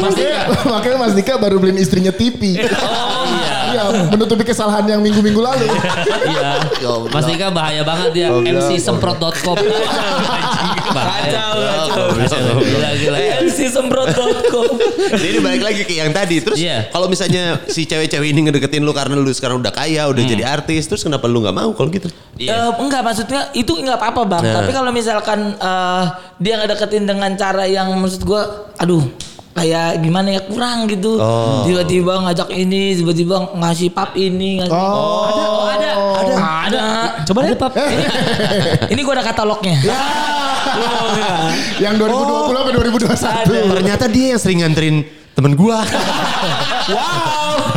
Speaker 5: Pasti
Speaker 1: Makanya, [laughs] makanya Mas Dika baru beliin istrinya TV.
Speaker 5: Oh iya.
Speaker 1: [laughs] Iya, menutupi kesalahan yang minggu-minggu lalu.
Speaker 5: Iya.
Speaker 2: Ya
Speaker 5: Mas Dika bahaya banget ya. MC semprot.com.
Speaker 3: Kacau, kacau.
Speaker 5: Gila Eh, gila.
Speaker 3: MC semprot.com.
Speaker 2: Jadi balik lagi ke yang tadi. Terus
Speaker 5: Iya.
Speaker 2: kalau misalnya si cewek-cewek ini ngedeketin lu karena lu sekarang udah kaya, udah jadi artis, terus kenapa lu nggak mau kalau gitu?
Speaker 3: Eh, enggak maksudnya itu enggak apa-apa bang. Tapi kalau misalkan eh, dia ngedeketin dengan cara yang maksud gua, aduh kayak gimana ya kurang gitu.
Speaker 2: Oh.
Speaker 3: Tiba-tiba ngajak ini, tiba-tiba ngasih pap ini. Ngasih,
Speaker 1: Oh.
Speaker 3: ada, oh, ada, ada, ada. Coba deh pap. Ini, ini gua ada katalognya.
Speaker 1: yang 2020 apa 2021?
Speaker 2: Ternyata dia yang sering nganterin temen gua.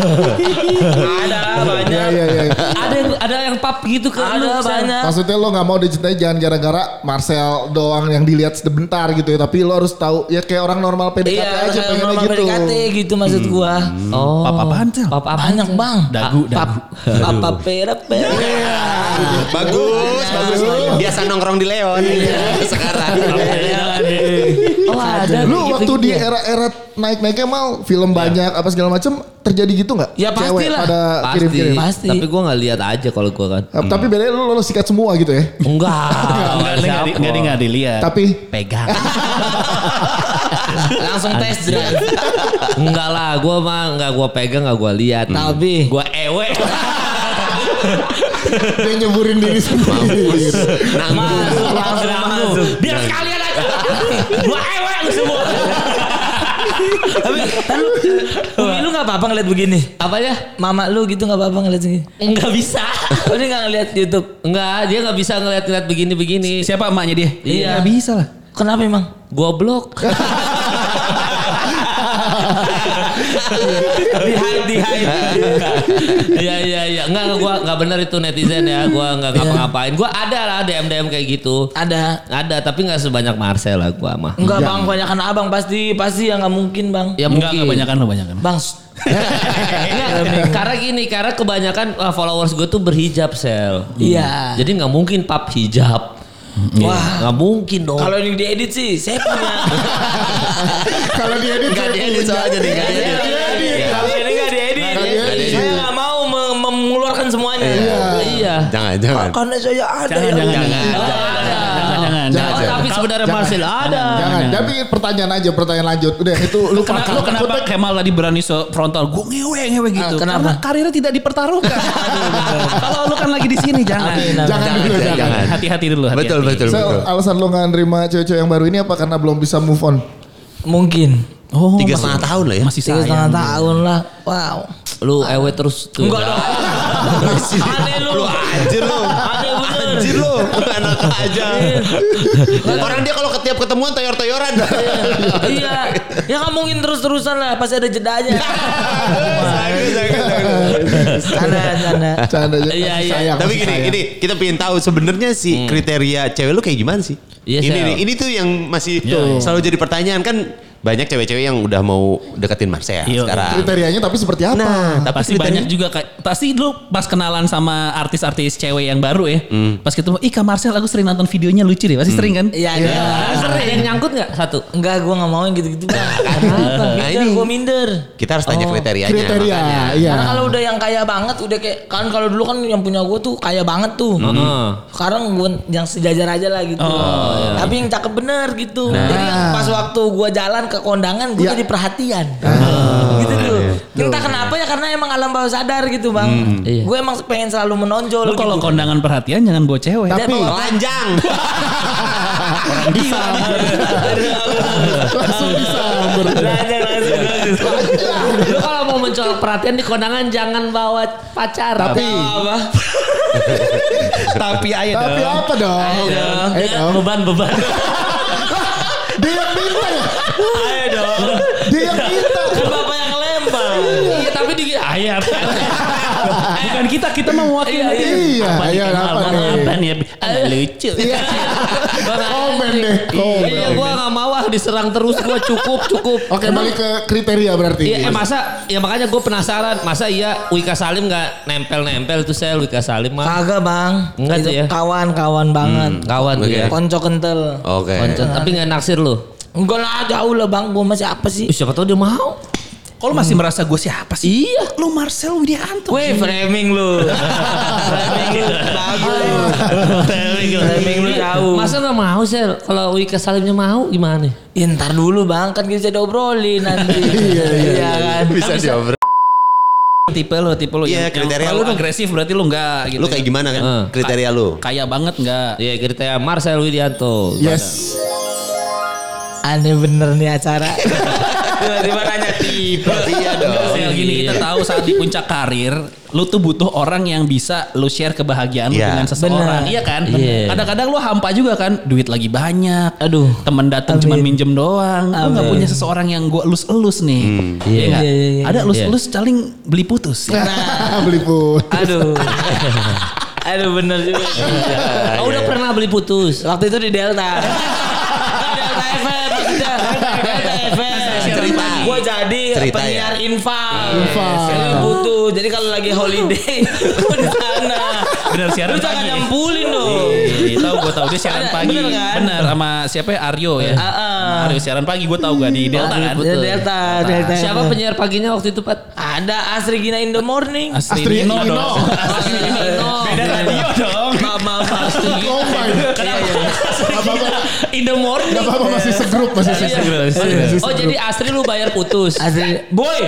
Speaker 3: ada banyak.
Speaker 1: Iya, iya, iya.
Speaker 5: Ada yang ada yang pap gitu ke lu.
Speaker 3: Ada
Speaker 5: Sel.
Speaker 3: banyak.
Speaker 1: Maksudnya lo nggak mau dicintai jangan gara-gara Marcel doang yang dilihat sebentar gitu ya. Tapi lo harus tahu ya kayak orang normal PDKT aja
Speaker 3: Iya,
Speaker 1: pengennya
Speaker 3: normal
Speaker 1: gitu.
Speaker 3: PDKT gitu maksud gua.
Speaker 5: Oh.
Speaker 4: Pap apaan, Sel?
Speaker 5: Pap apaan?
Speaker 3: Banyak bang.
Speaker 4: Dagu,
Speaker 3: Pap,
Speaker 4: dagu.
Speaker 3: apa pera pera.
Speaker 2: [laughs] bagus, bagus. Biasa nongkrong di Leon. Iya. Sekarang.
Speaker 5: Oh ada.
Speaker 3: Iya,
Speaker 1: Lu
Speaker 5: gitu-gitu
Speaker 1: waktu di
Speaker 5: ya?
Speaker 1: era-era naik-naiknya mal film banyak apa segala macem terjadi gitu nggak?
Speaker 3: Ya,
Speaker 1: Cewek
Speaker 3: pastilah.
Speaker 1: pada
Speaker 5: Pasti. Iya.
Speaker 1: kirim-kirim.
Speaker 3: Pasti.
Speaker 5: Tapi gua nggak lihat aja kalau gua kan.
Speaker 1: Eh, Tapi bedanya lu lolos sikat semua gitu ya.
Speaker 5: Enggak.
Speaker 4: Nggak ada- nggak di- nggak di- nggak dilihat.
Speaker 1: Tapi
Speaker 5: pegang.
Speaker 3: Langsung tes drive.
Speaker 5: enggak lah, gua mah enggak gua pegang, enggak gua lihat.
Speaker 3: Tapi-
Speaker 5: gua ewe.
Speaker 1: Dia nyeburin diri sendiri. gitu.
Speaker 5: Nah,
Speaker 2: Nanggung.
Speaker 5: langsung masuk. Biar sekalian
Speaker 4: [laughs]
Speaker 5: aja. Gua ewe lu semua.
Speaker 3: Tapi kan lu, Umi lu gak apa-apa ngeliat begini.
Speaker 5: Apanya?
Speaker 3: Mama lu gitu gak apa-apa ngeliat begini.
Speaker 5: Enggak bisa.
Speaker 3: Oh dia gak ngeliat Youtube.
Speaker 5: Enggak, dia enggak bisa ngeliat-ngeliat begini-begini.
Speaker 4: Siapa emaknya dia?
Speaker 5: Iya.
Speaker 4: Nggak bisa lah.
Speaker 3: Kenapa emang?
Speaker 5: Goblok.
Speaker 3: Di hide, di hide.
Speaker 5: Iya iya iya. Enggak enggak, gua enggak benar itu netizen ya. Gua enggak ngapa-ngapain. Gua ada lah DM DM kayak gitu.
Speaker 3: Ada.
Speaker 5: Ada tapi enggak sebanyak Marcel lah gua mah.
Speaker 3: Enggak bang, kebanyakan abang pasti pasti ya nggak mungkin bang.
Speaker 5: Ya
Speaker 4: Enggak,
Speaker 5: mungkin.
Speaker 4: kebanyakan lo banyakan.
Speaker 3: Bang, s-
Speaker 5: Enggak, karena gini, karena kebanyakan uh, followers gue tuh berhijab sel.
Speaker 3: Iya.
Speaker 5: Jadi nggak mungkin pap hijab. Wah, nggak mungkin dong.
Speaker 3: kalau ini diedit sih, saya punya.
Speaker 1: Kalau dia edit
Speaker 2: Gak diedit soalnya nih, gak diedit. Iya.
Speaker 3: Kalau ini nggak diedit,
Speaker 1: Nggak
Speaker 4: iya,
Speaker 1: diedit.
Speaker 3: saya nggak mau me- mengeluarkan semuanya.
Speaker 5: iya.
Speaker 2: Jangan, jangan.
Speaker 3: Karena saya ada.
Speaker 4: Jangan, jangan,
Speaker 2: Jangan,
Speaker 4: jangan. Jangan, jangan.
Speaker 5: Oh,
Speaker 1: Jangan.
Speaker 5: tapi sebenarnya Marcel ada.
Speaker 1: Jangan. Tapi pertanyaan aja, pertanyaan lanjut. Udah itu lu
Speaker 4: Kenapa, lo kenapa Kemal tadi berani so frontal? Gue ngewe ngewe gitu.
Speaker 3: Ah, kenapa?
Speaker 4: Karena karirnya tidak dipertaruhkan. Kalau lu kan lagi di sini jangan.
Speaker 1: Jangan dulu,
Speaker 2: jangan.
Speaker 1: jangan.
Speaker 4: Hati-hati dulu. hati-hati.
Speaker 2: Betul, betul,
Speaker 1: So,
Speaker 2: betul.
Speaker 1: alasan lu gak nerima cewek-cewek yang baru ini apa karena belum bisa move on?
Speaker 3: Mungkin.
Speaker 4: Oh,
Speaker 2: Tiga
Speaker 4: masih-
Speaker 2: setengah tahun lah ya.
Speaker 4: Masih
Speaker 3: Tiga setengah
Speaker 4: sayang.
Speaker 3: tahun lah. Wow.
Speaker 5: Lu ewe terus tuh.
Speaker 3: Enggak dong. [laughs] Aneh lu.
Speaker 2: Lu anjir lu.
Speaker 3: Aneh bener.
Speaker 2: Anjir lu. Anak aja. Orang dia kalau ketiap ketemuan toyor-toyoran.
Speaker 3: Iya. Ya nggak mungkin terus-terusan lah. Pasti ada jedanya.
Speaker 2: Bagus, bagus, bagus.
Speaker 3: Canda, canda.
Speaker 1: Canda aja.
Speaker 5: Iya,
Speaker 1: masih
Speaker 5: iya.
Speaker 1: sayang,
Speaker 2: Tapi
Speaker 1: masih
Speaker 2: gini,
Speaker 1: sayang.
Speaker 2: gini kita pengen tahu sebenarnya sih kriteria cewek lu kayak gimana sih?
Speaker 5: Iya,
Speaker 2: ini
Speaker 5: Sel.
Speaker 2: nih, ini tuh yang masih selalu jadi pertanyaan kan banyak cewek-cewek yang udah mau deketin Marcel
Speaker 4: Iya.
Speaker 2: sekarang.
Speaker 1: Kriterianya tapi seperti apa?
Speaker 2: Nah, tapi
Speaker 4: Pasti banyak juga kayak pasti lu pas kenalan sama artis-artis cewek yang baru ya. Pas ketemu, "Ih, Kak Marcel aku sering nonton videonya lucu deh." Pasti sering kan?
Speaker 3: Iya, iya.
Speaker 5: Ada yang nyangkut nggak satu?
Speaker 3: Enggak, gue nggak mau yang gitu-gitu. Nah, Kenapa?
Speaker 2: Nah,
Speaker 3: Minder,
Speaker 2: ini.
Speaker 3: gue minder.
Speaker 2: kita harus tanya kriterianya.
Speaker 1: Kriteria,
Speaker 2: makanya.
Speaker 1: iya.
Speaker 3: Karena kalau udah yang kaya banget, udah kayak kan kalau dulu kan yang punya gue tuh kaya banget tuh. Sekarang gue yang sejajar aja lah gitu. Tapi yang cakep bener gitu. Jadi pas waktu gue jalan ke kondangan, gue
Speaker 1: Ya. Ah,
Speaker 3: jadi perhatian. [laughs] gitu tuh. Entah kenapa ya karena emang alam bawah sadar gitu bang.
Speaker 5: Iya.
Speaker 3: Gue emang pengen selalu menonjol.
Speaker 4: Lu kalau
Speaker 3: gitu.
Speaker 4: kondangan perhatian jangan bawa cewek.
Speaker 1: Tapi
Speaker 2: Telanjang.
Speaker 4: bisa.
Speaker 1: langsung disamber.
Speaker 5: Lu kalau mau mencolok perhatian di kondangan jangan bawa pacar.
Speaker 1: Tapi
Speaker 4: Tapi ayo
Speaker 1: tapi
Speaker 4: dong.
Speaker 1: apa dong? Ayo dong.
Speaker 5: beban beban.
Speaker 1: Dia yang minta ya?
Speaker 5: Ayo dong.
Speaker 1: Dia yang minta.
Speaker 3: Kan bapak yang lempar.
Speaker 5: Iya tapi di
Speaker 1: [laughs]
Speaker 5: ayam.
Speaker 4: Bukan kita, kita mau mewakili.
Speaker 5: Iya, iya.
Speaker 1: Iya, iya, apa
Speaker 4: apa nih?
Speaker 1: nih?
Speaker 4: Apa nih? Ada lucu.
Speaker 1: Iya.
Speaker 5: [laughs]
Speaker 1: Komen deh, komen.
Speaker 5: Iya gue nggak mau ah diserang terus gue cukup cukup.
Speaker 1: Oke,
Speaker 5: Emang-
Speaker 1: balik ke kriteria berarti.
Speaker 5: Iya, eh, masa ya makanya gue penasaran masa iya Wika Salim nggak nempel-nempel tuh saya Wika Salim mah
Speaker 3: [laughs] Kagak bang.
Speaker 5: Enggak
Speaker 3: Itu
Speaker 5: tuh ya.
Speaker 3: Kawan-kawan banget.
Speaker 5: kawan tuh
Speaker 2: Oke.
Speaker 5: ya.
Speaker 3: Konco kental.
Speaker 2: Oke.
Speaker 5: Koncon, tapi nggak naksir lu.
Speaker 3: Enggak lah jauh lah bang. Gue masih apa [laughs] sih?
Speaker 5: Ih, siapa tahu dia mau.
Speaker 4: Kalau masih merasa gue siapa sih? Hmm. Iya. Lu Marcel Widianto.
Speaker 3: Weh framing [laughs] lu. framing lu bagus. framing lu jauh. Mas,
Speaker 5: Masa nggak mau sel? Kalau Wika Salimnya mau gimana?
Speaker 3: ya, ntar dulu bang kan kita bisa diobrolin nanti.
Speaker 1: Iya, iya,
Speaker 3: kan.
Speaker 2: Bisa diobrol.
Speaker 4: Tipe lu, tipe lu.
Speaker 2: Iya, kriteria
Speaker 4: Kalau
Speaker 2: lu.
Speaker 4: lu agresif berarti lu enggak gitu.
Speaker 2: Lu kayak gimana kan?
Speaker 5: Eh.
Speaker 2: Kriteria lu.
Speaker 4: Kaya banget enggak.
Speaker 5: Iya ceritanya Marcel Widianto.
Speaker 1: Yes. [laughs]
Speaker 3: Aneh bener nih acara. Tiba-tiba nanya tipe.
Speaker 2: Iya dong.
Speaker 4: Kayak gini kita
Speaker 2: Iya.
Speaker 4: tahu saat di puncak karir, lu tuh butuh orang yang bisa lu share kebahagiaan lu
Speaker 2: Iya.
Speaker 4: dengan
Speaker 3: Benar.
Speaker 4: seseorang, iya kan?
Speaker 5: Iya.
Speaker 4: Kadang-kadang lu hampa juga kan, duit lagi banyak.
Speaker 3: Aduh.
Speaker 4: Temen datang
Speaker 3: Amin.
Speaker 4: cuma minjem doang. Lu nggak
Speaker 3: Amin.
Speaker 4: punya seseorang yang gua elus-elus nih.
Speaker 2: Hmm.
Speaker 4: Iya
Speaker 5: Iya.
Speaker 4: nggak?
Speaker 3: Iya, iya, iya.
Speaker 4: Ada elus-elus saling beli putus. ya.
Speaker 1: Beli pun.
Speaker 3: Aduh. Aduh bener juga.
Speaker 5: Oh, udah pernah beli putus.
Speaker 3: Waktu itu di Delta. [laughs] Delta FM maksudnya. Delta FM.
Speaker 2: Cerita.
Speaker 3: Gue jadi
Speaker 2: Cerita
Speaker 3: penyiar
Speaker 2: ya?
Speaker 3: infal.
Speaker 1: Infal.
Speaker 3: Jadi butuh. Jadi kalau lagi holiday [laughs] gue di sana.
Speaker 4: Bener siaran
Speaker 3: Lu jangan
Speaker 4: pagi.
Speaker 3: nyampulin dong.
Speaker 4: Iya, tahu gue tahu dia siaran
Speaker 3: Ada,
Speaker 4: pagi.
Speaker 3: bener kan?
Speaker 4: Bener sama siapa ya Aryo ya.
Speaker 3: Ah, ah.
Speaker 5: Nah,
Speaker 4: Aryo siaran pagi gue tahu gak di Delta kan.
Speaker 3: Di Delta, Delta.
Speaker 5: Siapa penyiar paginya waktu itu Pat?
Speaker 3: Ada Asri Gina in the morning.
Speaker 1: Astri Nino. [laughs]
Speaker 4: dong.
Speaker 3: Astri Gina in the
Speaker 4: Beda
Speaker 3: morning.
Speaker 4: radio dong.
Speaker 1: Oh
Speaker 3: Maaf, maaf, maaf.
Speaker 1: Combine.
Speaker 3: Iya, iya.
Speaker 5: In the morning.
Speaker 1: Gak apa-apa masih segrup masih segrup.
Speaker 5: Iya. Oh jadi Astri lu bayar putus.
Speaker 3: Asli, boy.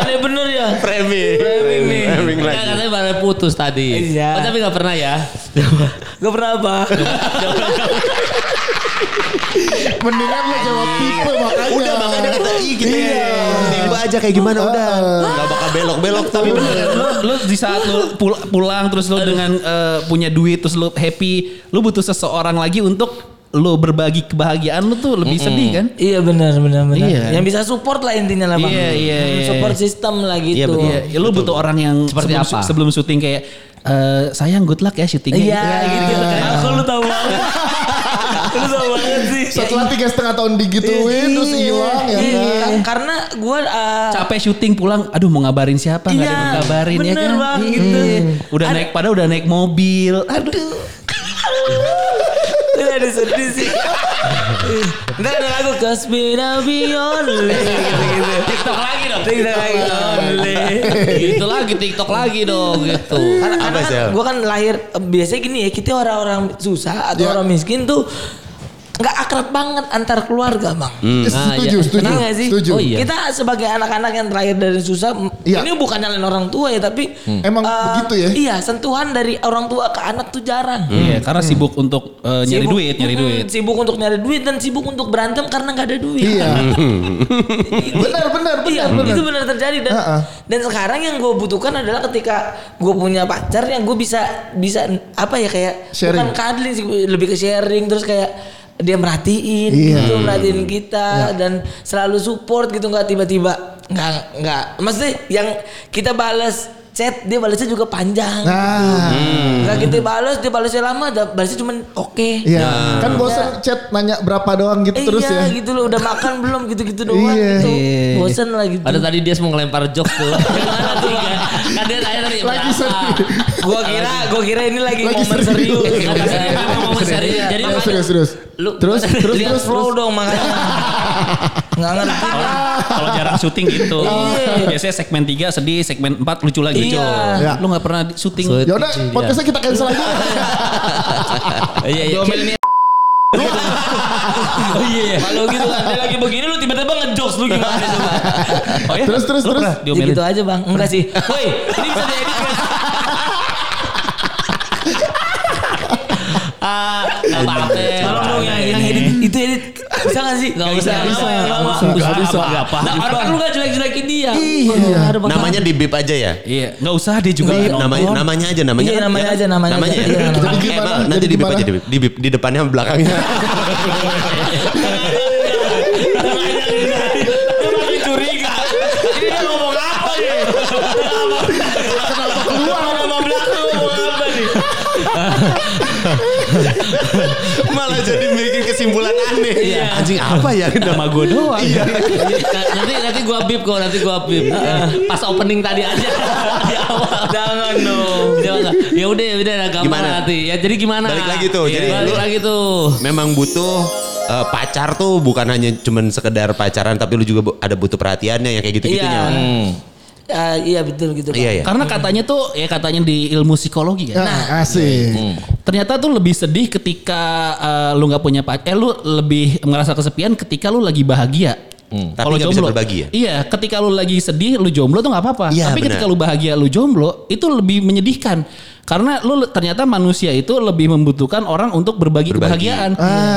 Speaker 3: Aneh bener ya.
Speaker 2: Framing.
Speaker 5: Nih.
Speaker 2: Framing
Speaker 5: Nah,
Speaker 2: lagi.
Speaker 5: katanya bayar putus tadi.
Speaker 3: Iya.
Speaker 5: Oh, tapi gak pernah ya.
Speaker 3: Gak pernah apa.
Speaker 1: Mendingan lo jawab tipe makanya.
Speaker 2: Udah makanya kita i gitu
Speaker 1: Iya.
Speaker 2: ya. Tiba aja kayak gimana udah. Gak bakal belok-belok tapi bener.
Speaker 4: lu, lu di saat lu pul- pulang terus lu dengan eh, punya duit terus lu happy, lu butuh seseorang lagi untuk lu berbagi kebahagiaan lu tuh lebih sedih kan?
Speaker 3: Iya benar benar benar.
Speaker 4: Iya.
Speaker 3: Yang bisa support lah intinya lah bang.
Speaker 4: Iya, iya,
Speaker 3: Hmm,
Speaker 4: iya,
Speaker 3: Support system lah gitu.
Speaker 4: Iya, betul. Iya, lu butuh orang yang
Speaker 5: Seperti
Speaker 4: sebelum,
Speaker 5: apa?
Speaker 4: sebelum syuting kayak eh, sayang good luck ya syutingnya.
Speaker 3: Iya gitu.
Speaker 4: Iya.
Speaker 3: kan. Aku lu tahu banget. [laughs] lu tahu banget sih.
Speaker 1: Setelah tiga setengah tahun digituin terus hilang ya
Speaker 3: Iya.
Speaker 1: kan.
Speaker 3: Karena gue uh,
Speaker 4: Gitu. capek syuting pulang aduh mau ngabarin siapa nggak ada
Speaker 3: Iya,
Speaker 4: yang ngabarin ya
Speaker 3: bener
Speaker 4: kan
Speaker 3: Bang,
Speaker 4: Iya.
Speaker 3: gitu.
Speaker 4: udah naik padahal udah naik mobil aduh
Speaker 3: Itu ada sedih
Speaker 4: [laughs]
Speaker 3: sih. Ntar ada lagu Cause me to be only gitu-gitu.
Speaker 5: TikTok lagi dong.
Speaker 3: Tinggal lagi only.
Speaker 5: Gitu lagi TikTok lagi dong gitu.
Speaker 2: Karena apa sih? Al?
Speaker 3: Gue kan lahir eh, biasanya gini ya kita orang-orang susah atau
Speaker 1: Ya.
Speaker 3: orang miskin tuh nggak akrab banget antar keluarga bang.
Speaker 1: Hmm. Setuju, setuju.
Speaker 3: Benar nggak sih?
Speaker 1: Setuju.
Speaker 3: Oh, iya. Kita sebagai anak-anak yang terakhir dari susah, m-
Speaker 1: Iya.
Speaker 3: ini bukan nyalain orang tua ya, tapi
Speaker 1: Emang
Speaker 3: eh,
Speaker 1: begitu ya?
Speaker 3: Iya, sentuhan dari orang tua ke anak tuh jarang.
Speaker 4: iya karena sibuk untuk eh, nyari
Speaker 3: Hmm. Sibuk-
Speaker 4: duit nyari
Speaker 3: Mm-mm,
Speaker 4: duit
Speaker 3: Sibuk untuk nyari duit dan sibuk untuk berantem karena nggak ada duit. [laughs]
Speaker 1: Iya. Benar, benar,
Speaker 3: Iya,
Speaker 1: benar, benar.
Speaker 3: itu benar terjadi dan
Speaker 1: Ha-ha.
Speaker 3: dan sekarang yang gue butuhkan adalah ketika gue punya pacar yang gue bisa bisa apa ya kayak
Speaker 1: Sharing.
Speaker 3: bukan cuddling sih lebih ke sharing terus kayak dia merhatiin
Speaker 1: Iya.
Speaker 3: gitu merhatiin kita dan selalu support gitu nggak tiba-tiba nggak nggak maksudnya yang kita balas chat dia balasnya juga panjang
Speaker 1: Nah,
Speaker 3: nggak kita balas dia balasnya lama dan balasnya cuman oke
Speaker 1: iya. Kan bosan chat nanya berapa doang gitu
Speaker 3: Eh,
Speaker 1: terus
Speaker 3: Nah. iya,
Speaker 1: ya.
Speaker 3: gitu loh udah
Speaker 1: [laughs]
Speaker 3: makan belum gitu-gitu doang
Speaker 1: Iya.
Speaker 3: gitu bosen lah gitu
Speaker 5: Ada tadi dia mau ngelempar jok tuh. [laughs] Gimana tuh? Bang? Kan dia tanya tadi.
Speaker 1: Lagi
Speaker 5: berapa?
Speaker 1: sedih.
Speaker 3: Gua kira, gua kira ini lagi,
Speaker 1: Lagi
Speaker 3: momen
Speaker 1: serius.
Speaker 3: serius.
Speaker 5: Momen serius. Momen
Speaker 3: Jadi
Speaker 5: serius. Jadi
Speaker 1: Nah, Serius,
Speaker 5: makanya-
Speaker 1: serius, serius.
Speaker 5: Lu-
Speaker 1: Terus, terus,
Speaker 3: lihat
Speaker 1: terus,
Speaker 3: flow dong makanya. Nggak ngerti.
Speaker 4: kalau jarang syuting gitu
Speaker 3: Iya.
Speaker 4: biasanya segmen 3 sedih segmen 4 lucu lagi
Speaker 3: Iya.
Speaker 1: Iya.
Speaker 4: lu nggak pernah di- syuting
Speaker 1: Ya udah, podcastnya kita cancel aja.
Speaker 5: Iya iya. Gomel [laughs] ini.
Speaker 3: Oh iya. Kalau gitu kan dia lagi begini lu tiba-tiba ngejokes lu gimana coba?
Speaker 4: oh, iya?
Speaker 1: Terus, terus,
Speaker 4: Lu
Speaker 1: terus.
Speaker 4: pernah
Speaker 3: Ya
Speaker 4: diomelin
Speaker 3: gitu aja bang, enggak sih. Woi, ini bisa diedit kan?
Speaker 5: Ah, nggak apa-apa.
Speaker 3: Tolong dong yang yang edit itu edit bisa nggak sih? Gak
Speaker 5: usah, Iya, nggak
Speaker 3: bisa.
Speaker 5: usah,
Speaker 3: Nggak
Speaker 1: nggak
Speaker 3: usah.
Speaker 1: bisa.
Speaker 4: Nggak apa
Speaker 5: Nah, orang kan lu gak jelek-jelekin dia.
Speaker 1: Iya.
Speaker 3: Aduh, Bang.
Speaker 2: Namanya di bip aja ya.
Speaker 4: iya nggak usah dia juga
Speaker 2: Iya,
Speaker 4: nggak
Speaker 2: namanya
Speaker 4: nonton.
Speaker 2: namanya aja namanya
Speaker 3: Iya,
Speaker 2: kan,
Speaker 3: namanya
Speaker 2: ya kan?
Speaker 3: aja, namanya
Speaker 2: namanya
Speaker 3: aja. Iya,
Speaker 2: ya.
Speaker 3: namanya.
Speaker 2: Jadi
Speaker 1: Jadi
Speaker 2: emang
Speaker 1: gimana?
Speaker 2: nanti
Speaker 1: Jadi
Speaker 2: di bip aja
Speaker 1: gimana?
Speaker 2: di bip di, bip, di depannya sama belakangnya
Speaker 5: Dia makin curiga. Ini dia ngomong apa nih? Kenapa keluar nama belakang ngomong apa nih?
Speaker 2: [laughs] malah jadi bikin kesimpulan aneh
Speaker 5: Iya.
Speaker 2: anjing apa ya
Speaker 4: sama gue doang
Speaker 5: Nanti nanti gua bip kok, nanti gua bip.
Speaker 3: Iya.
Speaker 5: Eh, Pas opening tadi
Speaker 3: [laughs]
Speaker 5: aja di awal. Jangan dong. Jangan. Ya udah, ya udah gampang
Speaker 2: Gimana?
Speaker 5: nanti. Ya jadi gimana?
Speaker 2: Balik lagi tuh,
Speaker 5: Iya,
Speaker 2: jadi
Speaker 5: balik
Speaker 2: lu-
Speaker 5: lagi tuh.
Speaker 2: memang butuh eh, pacar tuh bukan hanya cuman sekedar pacaran tapi lu juga bu- ada butuh perhatiannya yang kayak gitu-gitunya
Speaker 3: Iya. Eh, iya betul gitu. Bang.
Speaker 2: iya iya
Speaker 4: karena katanya tuh ya katanya di ilmu psikologi kan
Speaker 1: Nah, asik.
Speaker 4: Ternyata tuh lebih sedih ketika eh, lu nggak punya pacar. Eh lu lebih merasa kesepian ketika lu lagi bahagia.
Speaker 2: Hmm, Tapi
Speaker 4: Kalau
Speaker 2: nggak bisa
Speaker 4: jomblo.
Speaker 2: berbagi ya?
Speaker 4: Iya, ketika lu lagi sedih, lu jomblo tuh nggak apa-apa.
Speaker 2: Iya,
Speaker 4: Tapi
Speaker 2: benar.
Speaker 4: ketika lu bahagia, lu jomblo, itu lebih menyedihkan. Karena lu le- ternyata manusia itu lebih membutuhkan orang untuk berbagi,
Speaker 2: Berbagi. Ah,
Speaker 4: kebahagiaan.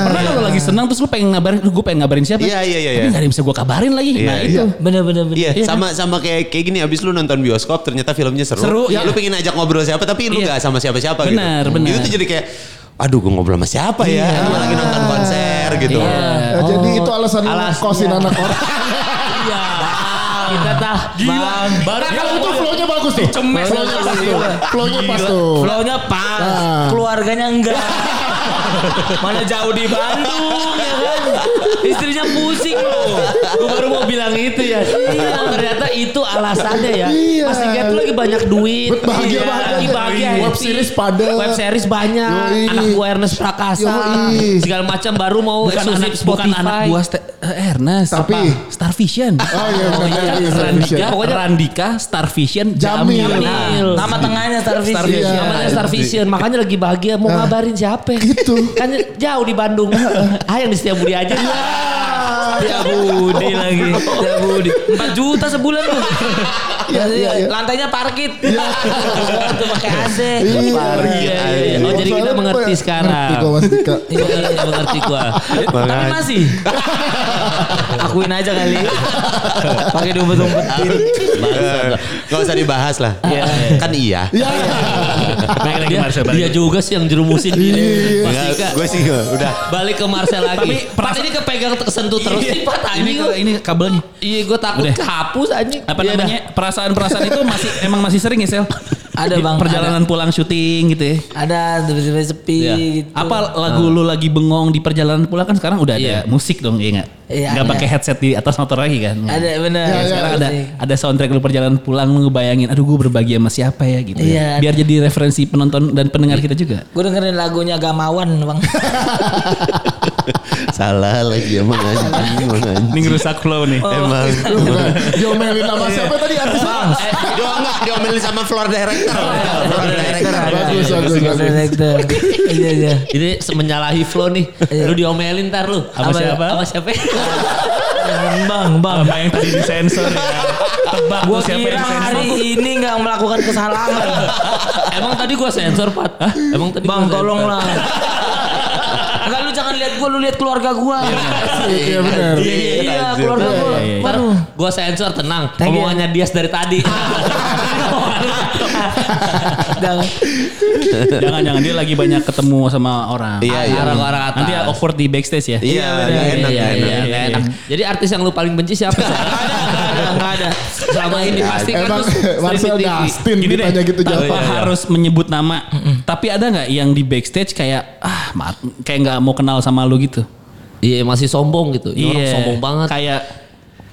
Speaker 4: Pernah nggak lu lagi senang terus lu pengen ngabarin, gue pengen ngabarin siapa?
Speaker 2: Iya, iya, iya,
Speaker 4: Tapi
Speaker 2: iya.
Speaker 4: nggak ada yang bisa gue kabarin lagi.
Speaker 2: Iya,
Speaker 4: nah,
Speaker 2: iya.
Speaker 4: itu.
Speaker 3: Bener bener bener.
Speaker 2: Iya,
Speaker 4: kan?
Speaker 2: sama sama kayak kayak gini abis lu nonton bioskop ternyata filmnya seru.
Speaker 4: Seru,
Speaker 2: ya.
Speaker 4: iya.
Speaker 2: Lu pengen ajak ngobrol siapa tapi lu
Speaker 4: Iya.
Speaker 2: nggak sama siapa-siapa gitu.
Speaker 4: Benar, benar.
Speaker 2: Itu tuh jadi kayak aduh gue ngobrol sama siapa ya? Gue lagi nonton konser gitu.
Speaker 1: Nah, Jadi itu alasan lu kosin anak orang.
Speaker 5: Iya. Kita tah. Bang, baru
Speaker 1: Kalau itu flow-nya bagus tuh.
Speaker 5: Cemes.
Speaker 1: Flow-nya pas tuh. Flow-nya pas tuh.
Speaker 3: Flownya pas,
Speaker 1: Ah.
Speaker 3: keluarganya enggak. Mana jauh di Bandung ya kan?
Speaker 5: Istrinya pusing loh. Gue baru mau bilang itu ya. Iya. Ternyata itu alasannya ya.
Speaker 1: Iya.
Speaker 5: Mas Tiga tuh lagi banyak duit.
Speaker 1: Bet- bahagia,
Speaker 5: Iya,
Speaker 1: bahagia.
Speaker 5: Lagi bahagia.
Speaker 1: Web
Speaker 5: happy.
Speaker 1: series padat.
Speaker 5: Web series banyak.
Speaker 1: Yoi.
Speaker 5: Anak gue Ernest Prakasa.
Speaker 1: Yoi.
Speaker 5: Segala macam baru mau
Speaker 3: bukan
Speaker 5: eksklusif
Speaker 3: anak bukan
Speaker 5: Spotify.
Speaker 3: anak gua Ste- eh, Ernest
Speaker 1: Tapi-
Speaker 3: Apa?
Speaker 4: [laughs]
Speaker 3: Starvision
Speaker 1: Oh iya benar.
Speaker 3: Randika,
Speaker 1: Iya,
Speaker 3: Randika, Randika, Starvision,
Speaker 1: Jamil. Nah,
Speaker 3: Jamil.
Speaker 5: Jamil.
Speaker 3: Nah, nama tengahnya Starvision.
Speaker 1: Starvision. Iya. Nah.
Speaker 5: Namanya Star Vision, makanya lagi bahagia mau ngabarin siapa.
Speaker 1: Gitu.
Speaker 5: Kan jauh di Bandung. [laughs] ah yang di Setiabudi aja.
Speaker 1: Ya,
Speaker 3: Budi lagi. Ya Budi. 4 juta sebulan tuh.
Speaker 1: Iya, iya, iya.
Speaker 3: Lantainya parkit. Itu pakai AC.
Speaker 2: Iya, iya.
Speaker 5: Oh, jadi kita
Speaker 1: Soalnya
Speaker 5: mengerti
Speaker 1: gua-
Speaker 5: sekarang.
Speaker 1: Ngerti gua Mas Dika.
Speaker 3: Iya, iya, mengerti gua. Tapi
Speaker 2: Makanya.
Speaker 3: masih. Akuin aja kali. Pakai diumpet-umpetin.
Speaker 2: Gak usah dibahas lah. Kan iya.
Speaker 1: Iya.
Speaker 4: Balik lagi
Speaker 5: Dia,
Speaker 4: Marcel.
Speaker 5: dia
Speaker 4: Balik. Iya, lagi.
Speaker 5: juga sih yang jerumusin gini. Mas Dika.
Speaker 2: Gue sih udah.
Speaker 5: Balik ke Marcel lagi. Tapi Pat ini kepegang kesentuh terus sih Pat
Speaker 4: Iya, Ini
Speaker 5: anjing.
Speaker 4: ini kabelnya.
Speaker 5: Iya gue takut
Speaker 4: Udah.
Speaker 5: kehapus anjing.
Speaker 4: Apa
Speaker 5: Iya,
Speaker 4: namanya?
Speaker 5: dah.
Speaker 4: Perasaan-perasaan itu masih
Speaker 3: [laughs]
Speaker 4: emang masih sering ya, Sel?
Speaker 3: Ada,
Speaker 4: Di
Speaker 3: Bang,
Speaker 4: Perjalanan pulang syuting gitu ya.
Speaker 3: [laughs] Ada tiba-tiba sepi
Speaker 4: Iya.
Speaker 3: gitu.
Speaker 4: Apa lagu lu lagi bengong di perjalanan pulang kan sekarang udah ada
Speaker 5: Iya.
Speaker 4: musik dong, iya enggak?
Speaker 3: Iya,
Speaker 4: Enggak
Speaker 3: ada.
Speaker 4: pakai headset di atas motor lagi kan?
Speaker 3: Ada benar.
Speaker 1: Ya, ya,
Speaker 4: Sekarang ada ada soundtrack lu perjalanan pulang lu ngebayangin aduh gue berbagi sama siapa ya gitu. ya.
Speaker 3: Iya.
Speaker 4: Biar jadi referensi penonton dan pendengar kita juga.
Speaker 3: Gue dengerin lagunya Gamawan,
Speaker 1: [laughs]
Speaker 3: Bang.
Speaker 2: Salah lagi emang anjing. Emang anjing.
Speaker 4: Ini rusak flow nih.
Speaker 2: Emang.
Speaker 1: Bukan. Diomelin sama siapa tadi
Speaker 3: Iya.
Speaker 1: artis?
Speaker 5: Eh,
Speaker 2: Dia enggak diomelin sama floor director.
Speaker 3: iya,
Speaker 2: Floor director.
Speaker 1: Bagus, bagus, bagus.
Speaker 3: Direktur. Iya, iya.
Speaker 5: Ini se- menyalahi flow nih.
Speaker 3: Iya.
Speaker 5: Lu diomelin ntar lu.
Speaker 4: Sama siapa?
Speaker 5: Sama
Speaker 4: [laughs]
Speaker 5: siapa?
Speaker 3: Bang, bang.
Speaker 4: Sama yang tadi disensor [laughs] ya. Tebak
Speaker 3: Gua
Speaker 4: tuh siapa
Speaker 3: kira
Speaker 4: yang
Speaker 3: hari
Speaker 4: sensor.
Speaker 3: ini nggak melakukan kesalahan.
Speaker 5: Emang tadi gue sensor Pat? Emang tadi
Speaker 3: Bang,
Speaker 5: gua sensor?
Speaker 3: tolonglah. Enggak lu jangan lihat gua, lu lihat keluarga gua.
Speaker 1: Iya benar.
Speaker 3: Iya, keluarga gua.
Speaker 4: Iya, iya, iya.
Speaker 5: Ntar
Speaker 3: Waduh.
Speaker 5: gue sensor tenang.
Speaker 3: Thank you.
Speaker 5: Omongannya Dias dari
Speaker 3: [laughs]
Speaker 5: tadi.
Speaker 3: Jangan.
Speaker 4: Jangan jangan dia lagi banyak ketemu sama orang.
Speaker 2: Iya, iya.
Speaker 5: Orang-orang atas.
Speaker 4: Nanti awkward di backstage
Speaker 2: Iya,
Speaker 4: ya.
Speaker 2: nggak
Speaker 5: Iya,
Speaker 2: enak,
Speaker 5: iya,
Speaker 2: nggak
Speaker 5: iya,
Speaker 2: enak.
Speaker 5: nggak enak. Jadi artis yang lu paling benci siapa?
Speaker 3: Ada, nggak ada.
Speaker 5: Selama ini pasti kan
Speaker 1: Emang
Speaker 5: lu sering
Speaker 1: Marcel
Speaker 5: di TV.
Speaker 1: Dustin
Speaker 4: Gini deh,
Speaker 1: ditanya gitu
Speaker 4: tanpa
Speaker 1: jawab.
Speaker 4: harus menyebut nama. Tapi ada nggak yang di backstage kayak ah maaf, kayak nggak mau kenal sama lu gitu?
Speaker 5: Iya masih sombong gitu. Ini orang
Speaker 4: Iya.
Speaker 5: sombong banget.
Speaker 4: Kayak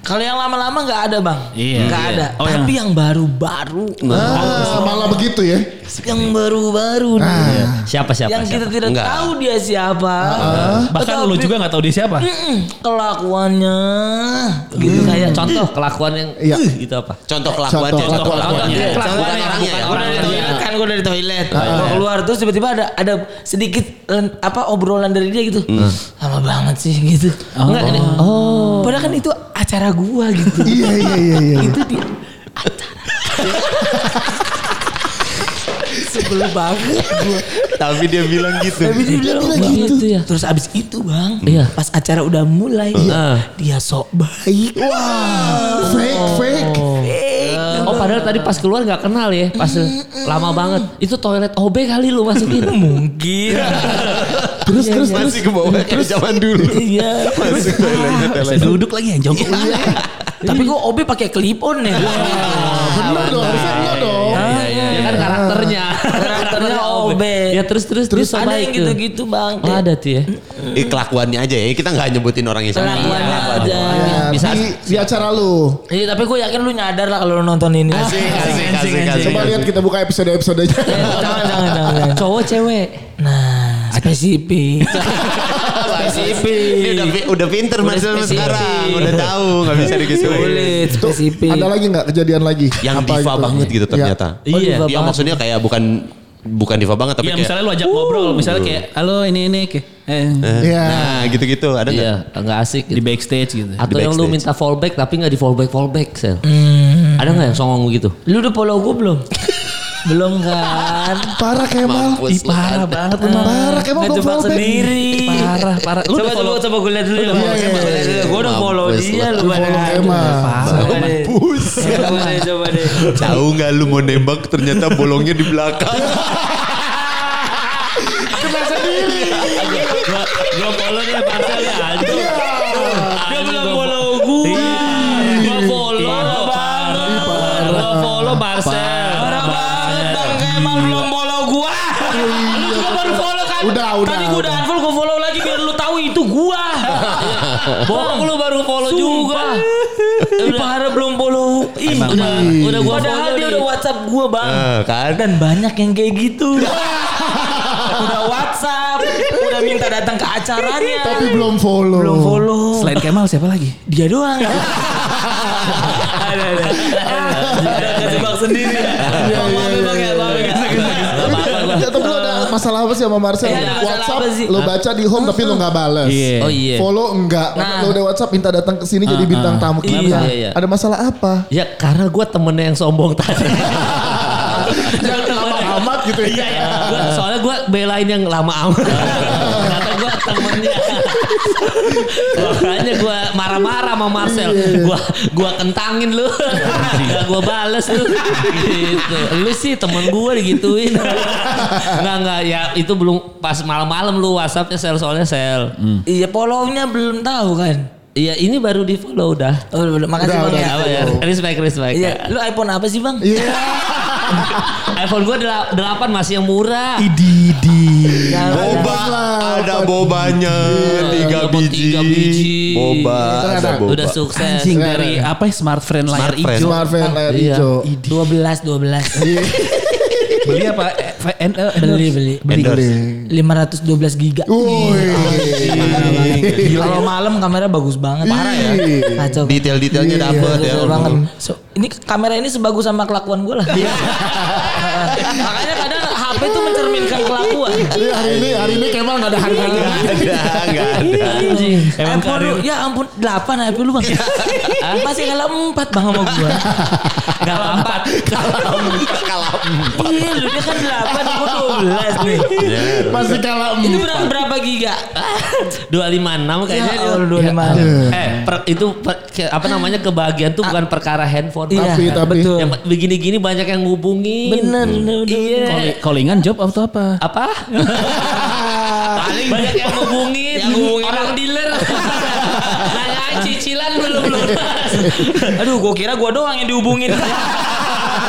Speaker 3: Kalau yang lama-lama nggak ada, Bang.
Speaker 4: Iya.
Speaker 3: Nggak
Speaker 4: Iya.
Speaker 3: ada.
Speaker 4: Oh, yang-
Speaker 3: Tapi yang baru-baru,
Speaker 2: Nah,
Speaker 1: Ah, malah begitu ya. Ah,
Speaker 3: yang baru-baru nih.
Speaker 4: Ah, iya,
Speaker 5: Siapa siapa?
Speaker 3: yang kita
Speaker 5: siapa?
Speaker 3: tidak
Speaker 2: Nggak.
Speaker 3: tahu dia siapa.
Speaker 4: Ah. Ya, bahkan
Speaker 3: Atau
Speaker 4: lu juga nggak tahu dia siapa. Iya,
Speaker 3: Mm-mm, kelakuannya gitu
Speaker 4: Hmm.
Speaker 5: Ya,
Speaker 3: kayak
Speaker 5: contoh kelakuan yang [laughs]
Speaker 1: Iya.
Speaker 5: "Uh," gitu apa?
Speaker 2: Contoh kelakuan. ya,
Speaker 1: Contoh
Speaker 2: Contoh
Speaker 1: kelakuan.
Speaker 2: kelakuan.
Speaker 5: Iya,
Speaker 4: kan
Speaker 2: Contoh
Speaker 5: kelakuannya,
Speaker 2: orangnya.
Speaker 3: Gue dari
Speaker 5: bukan orangnya.
Speaker 3: toilet kan, gue dari toilet.
Speaker 4: Ah.
Speaker 3: Gua keluar terus tiba-tiba ada ada sedikit eh, apa obrolan dari dia gitu. Lama banget sih gitu. Enggak ini. Oh. Padahal kan itu acara gua gitu. [laughs]
Speaker 1: Iya iya iya iya.
Speaker 3: itu dia acara. Sebel banget gua.
Speaker 2: Tapi dia bilang gitu.
Speaker 3: Tapi dia bilang
Speaker 1: bilang
Speaker 3: "Bang,
Speaker 1: gitu."
Speaker 3: itu ya. Terus abis itu bang,
Speaker 5: Iya.
Speaker 3: pas acara udah mulai,
Speaker 5: Iya.
Speaker 3: dia sok baik.
Speaker 1: Wah, fake fake.
Speaker 5: Oh padahal tadi pas keluar nggak kenal ya, pas lama banget. Itu toilet OB kali lu
Speaker 3: [laughs]
Speaker 5: masukin. Iya, Mungkin.
Speaker 1: Terus terus
Speaker 5: iya.
Speaker 1: terus.
Speaker 2: Masih ke bawah kayak zaman dulu.
Speaker 3: Iya.
Speaker 2: Masih toiletnya
Speaker 4: Saya
Speaker 2: toilet.
Speaker 4: duduk lagi yang jongkok.
Speaker 3: Tapi gua OB pakai clip on
Speaker 5: Iya.
Speaker 3: ya.
Speaker 1: Bener dong, harusnya bener dong.
Speaker 3: Iya,
Speaker 5: Ya kan karakternya.
Speaker 3: Karakternya OB.
Speaker 5: Ya terus terus
Speaker 3: Terus
Speaker 5: dia
Speaker 3: ada
Speaker 5: sobaik
Speaker 3: yang
Speaker 5: tuh.
Speaker 3: gitu-gitu bang.
Speaker 5: Oh, ada tuh ya.
Speaker 2: Eh, kelakuannya aja ya. Kita nggak nyebutin orangnya sama.
Speaker 3: Kelakuannya
Speaker 5: Iya,
Speaker 3: aja.
Speaker 1: Nah,
Speaker 5: Bisa.
Speaker 1: di, di acara lu.
Speaker 3: Iya tapi gue yakin lu nyadar lah kalau lu nonton ini.
Speaker 2: Asik, asik, asik,
Speaker 3: Iya,
Speaker 2: asik.
Speaker 1: Coba lihat kita buka episode-episodenya.
Speaker 3: jangan, jangan, jangan, jangan.
Speaker 5: Cowok cewek.
Speaker 3: Nah, spesifik.
Speaker 2: Ini
Speaker 3: spesifik.
Speaker 2: udah, udah pinter Marcel
Speaker 3: spesifik.
Speaker 2: sekarang. Udah tahu nggak bisa digituin.
Speaker 3: Sulit,
Speaker 1: Tuh,
Speaker 3: spesifik.
Speaker 1: ada lagi nggak kejadian lagi?
Speaker 2: Yang
Speaker 1: Apa
Speaker 2: diva
Speaker 1: gitu?
Speaker 2: banget gitu
Speaker 1: Iya.
Speaker 2: ternyata.
Speaker 3: Oh,
Speaker 5: Iya.
Speaker 3: diva
Speaker 2: Iya
Speaker 3: banget.
Speaker 2: maksudnya kayak bukan bukan diva banget tapi
Speaker 4: Iya
Speaker 2: kayak
Speaker 4: misalnya lu ajak ngobrol, misalnya kayak halo ini ini kayak eh,
Speaker 1: Iya.
Speaker 2: nah gitu-gitu ada nggak?
Speaker 5: Iya, nggak asik.
Speaker 4: di backstage gitu.
Speaker 5: Atau
Speaker 2: Di
Speaker 5: yang lu
Speaker 2: backstage.
Speaker 5: minta fallback tapi nggak di fallback fallback sel. Ada nggak yang songong gitu?
Speaker 3: Lu udah follow gue belum? belum kan?
Speaker 1: Parah Kemal.
Speaker 2: Mampus lu.
Speaker 4: parah banget lu Bang.
Speaker 1: Parah Kemal belum
Speaker 3: Ngejebak
Speaker 1: fallback.
Speaker 3: sendiri.
Speaker 4: Parah, parah. Lu
Speaker 3: coba,
Speaker 4: udah
Speaker 3: coba,
Speaker 4: follow-
Speaker 3: coba gue lihat dulu.
Speaker 1: Iya, iya,
Speaker 3: Gue udah follow
Speaker 2: Mampus
Speaker 3: dia
Speaker 2: lu.
Speaker 3: lu
Speaker 1: Lu
Speaker 3: pada.
Speaker 1: follow Kemal.
Speaker 3: Coba deh. Coba deh, coba deh.
Speaker 2: Tahu nggak lu mau nembak ternyata bolongnya di belakang.
Speaker 4: gua gua follow dia Marcel ya anjing.
Speaker 1: Iya.
Speaker 5: Dia belum follow gue. Gue follow. Gue follow Marcel.
Speaker 3: Parah banget bang Kemal belum follow gua. Lu juga baru follow kan?
Speaker 1: Udah, udah,
Speaker 3: Tadi gua udah
Speaker 1: udah.
Speaker 3: unfollow gue follow lagi biar lu tahu itu gua.
Speaker 5: Bohong lu baru follow juga.
Speaker 3: Sumpah. Ipahara belum follow. Ih,
Speaker 5: Emang,
Speaker 3: udah,
Speaker 5: Bang.
Speaker 3: udah gua
Speaker 5: Padahal
Speaker 3: follow
Speaker 5: dia
Speaker 3: dia
Speaker 5: udah
Speaker 3: udah WhatsApp gua, Bang.
Speaker 2: Eh, kan?
Speaker 3: Dan banyak yang kayak gitu. [laughs] udah WhatsApp, udah minta datang ke acaranya.
Speaker 1: Tapi belum follow.
Speaker 3: iya. belum follow.
Speaker 4: Selain Kemal siapa lagi?
Speaker 3: dia doang. ada Iya, ada. Ada [laughs] kejebak sendiri. Maaf ya, Bang, ya, maaf ya. Gak apa-apa, gua.
Speaker 1: Ya, tapi lu ada masalah apa sih sama Marcel?
Speaker 3: Iya, ada masalah
Speaker 1: WhatsApp
Speaker 3: apa sih?
Speaker 1: lu baca di home tapi lu nggak balas.
Speaker 3: Eh,
Speaker 4: Iya.
Speaker 5: Oh iya.
Speaker 1: Follow enggak. Maka
Speaker 3: Nah.
Speaker 1: Lu udah WhatsApp minta datang ke sini jadi bintang tamu.
Speaker 5: Iya,
Speaker 1: Kenapa?
Speaker 5: iya, iya.
Speaker 1: Ada masalah apa?
Speaker 5: Ya karena gue temennya yang sombong
Speaker 3: [laughs]
Speaker 5: tadi.
Speaker 1: Yang lama [laughs] amat gitu
Speaker 5: Iya ya. Gua- soalnya gue belain yang lama amat. Kata gue temennya. Makanya gue marah-marah sama Marcel. Gue gua kentangin lu. Gak gue bales lu. Gitu. Lu sih temen gue digituin. Enggak enggak ya itu belum pas malam-malam lu WhatsAppnya sel soalnya sel.
Speaker 1: Hmm.
Speaker 3: Iya, follow-nya belum tahu kan.
Speaker 5: Iya ini baru di follow dah.
Speaker 3: Oh, belum. Makasih,
Speaker 1: Udah,
Speaker 3: Bang.
Speaker 1: udah.
Speaker 3: ya.
Speaker 5: Apa ya? Respect, respect.
Speaker 3: Iya, lu iPhone apa sih, Bang?
Speaker 1: Iya.
Speaker 5: iPhone gue 8 masih yang murah. Iya,
Speaker 2: Boba ada bobanya tiga
Speaker 5: dapat
Speaker 2: biji.
Speaker 5: tiga biji.
Speaker 2: Boba
Speaker 1: Kan
Speaker 2: ada
Speaker 1: ada.
Speaker 2: boba.
Speaker 5: Udah sukses.
Speaker 4: Anjing dari apa ya, smart friend layar
Speaker 2: Smart
Speaker 4: hijau.
Speaker 2: friend.
Speaker 1: Smartphone
Speaker 3: Ah,
Speaker 1: layar
Speaker 5: Iya.
Speaker 1: hijau.
Speaker 3: iya.
Speaker 1: Iya.
Speaker 3: 12 12.
Speaker 4: Beli apa? Eh, F- N- eh,
Speaker 3: Beli
Speaker 4: endorse.
Speaker 3: beli.
Speaker 2: Endorse.
Speaker 3: 512 giga.
Speaker 1: Woi.
Speaker 3: Gila kalau malam kamera bagus banget.
Speaker 1: Parah ya.
Speaker 3: Kacau.
Speaker 2: Detail-detailnya dapet
Speaker 3: Bagus
Speaker 2: ya.
Speaker 3: iya, banget. So, ini kamera ini sebagus sama kelakuan gue lah.
Speaker 1: Iya.
Speaker 3: [laughs] Makanya kadang HP itu mencerminkan kelakuan.
Speaker 1: Jadi Iya, hari ini hari ini Kemal nggak ada harganya.
Speaker 2: Ada, enggak
Speaker 3: Iya,
Speaker 2: ada.
Speaker 3: Anjing.
Speaker 4: Emang
Speaker 3: iPhone lu, ya ampun 8 iPhone lu bang. Hah? Masih kalah 4 bang sama gue.
Speaker 5: Kalau empat.
Speaker 2: Kalau
Speaker 3: iya lu dia kan 8, gue 12 nih.
Speaker 1: Masih kalah
Speaker 3: Itu berapa, berapa giga?
Speaker 5: dua lima enam kayaknya
Speaker 3: Ya
Speaker 5: dia-
Speaker 3: Allah, 25.
Speaker 5: eh per- itu per- ke- apa namanya kebahagiaan tuh bukan perkara handphone
Speaker 3: Iya,
Speaker 1: Tapi- tapi.
Speaker 3: betul.
Speaker 5: yang begini-gini banyak yang ngubungin
Speaker 3: Bener, bener,
Speaker 5: iya
Speaker 4: Calling- Callingan job atau apa?
Speaker 3: [laughs]
Speaker 5: apa paling banyak yang ngubungin,
Speaker 3: Yang ngubungin.
Speaker 5: orang
Speaker 3: [laughs]
Speaker 5: dealer nanyain cicilan belum lunas
Speaker 3: [laughs] Aduh, gue kira gue doang yang dihubungin.
Speaker 5: [laughs]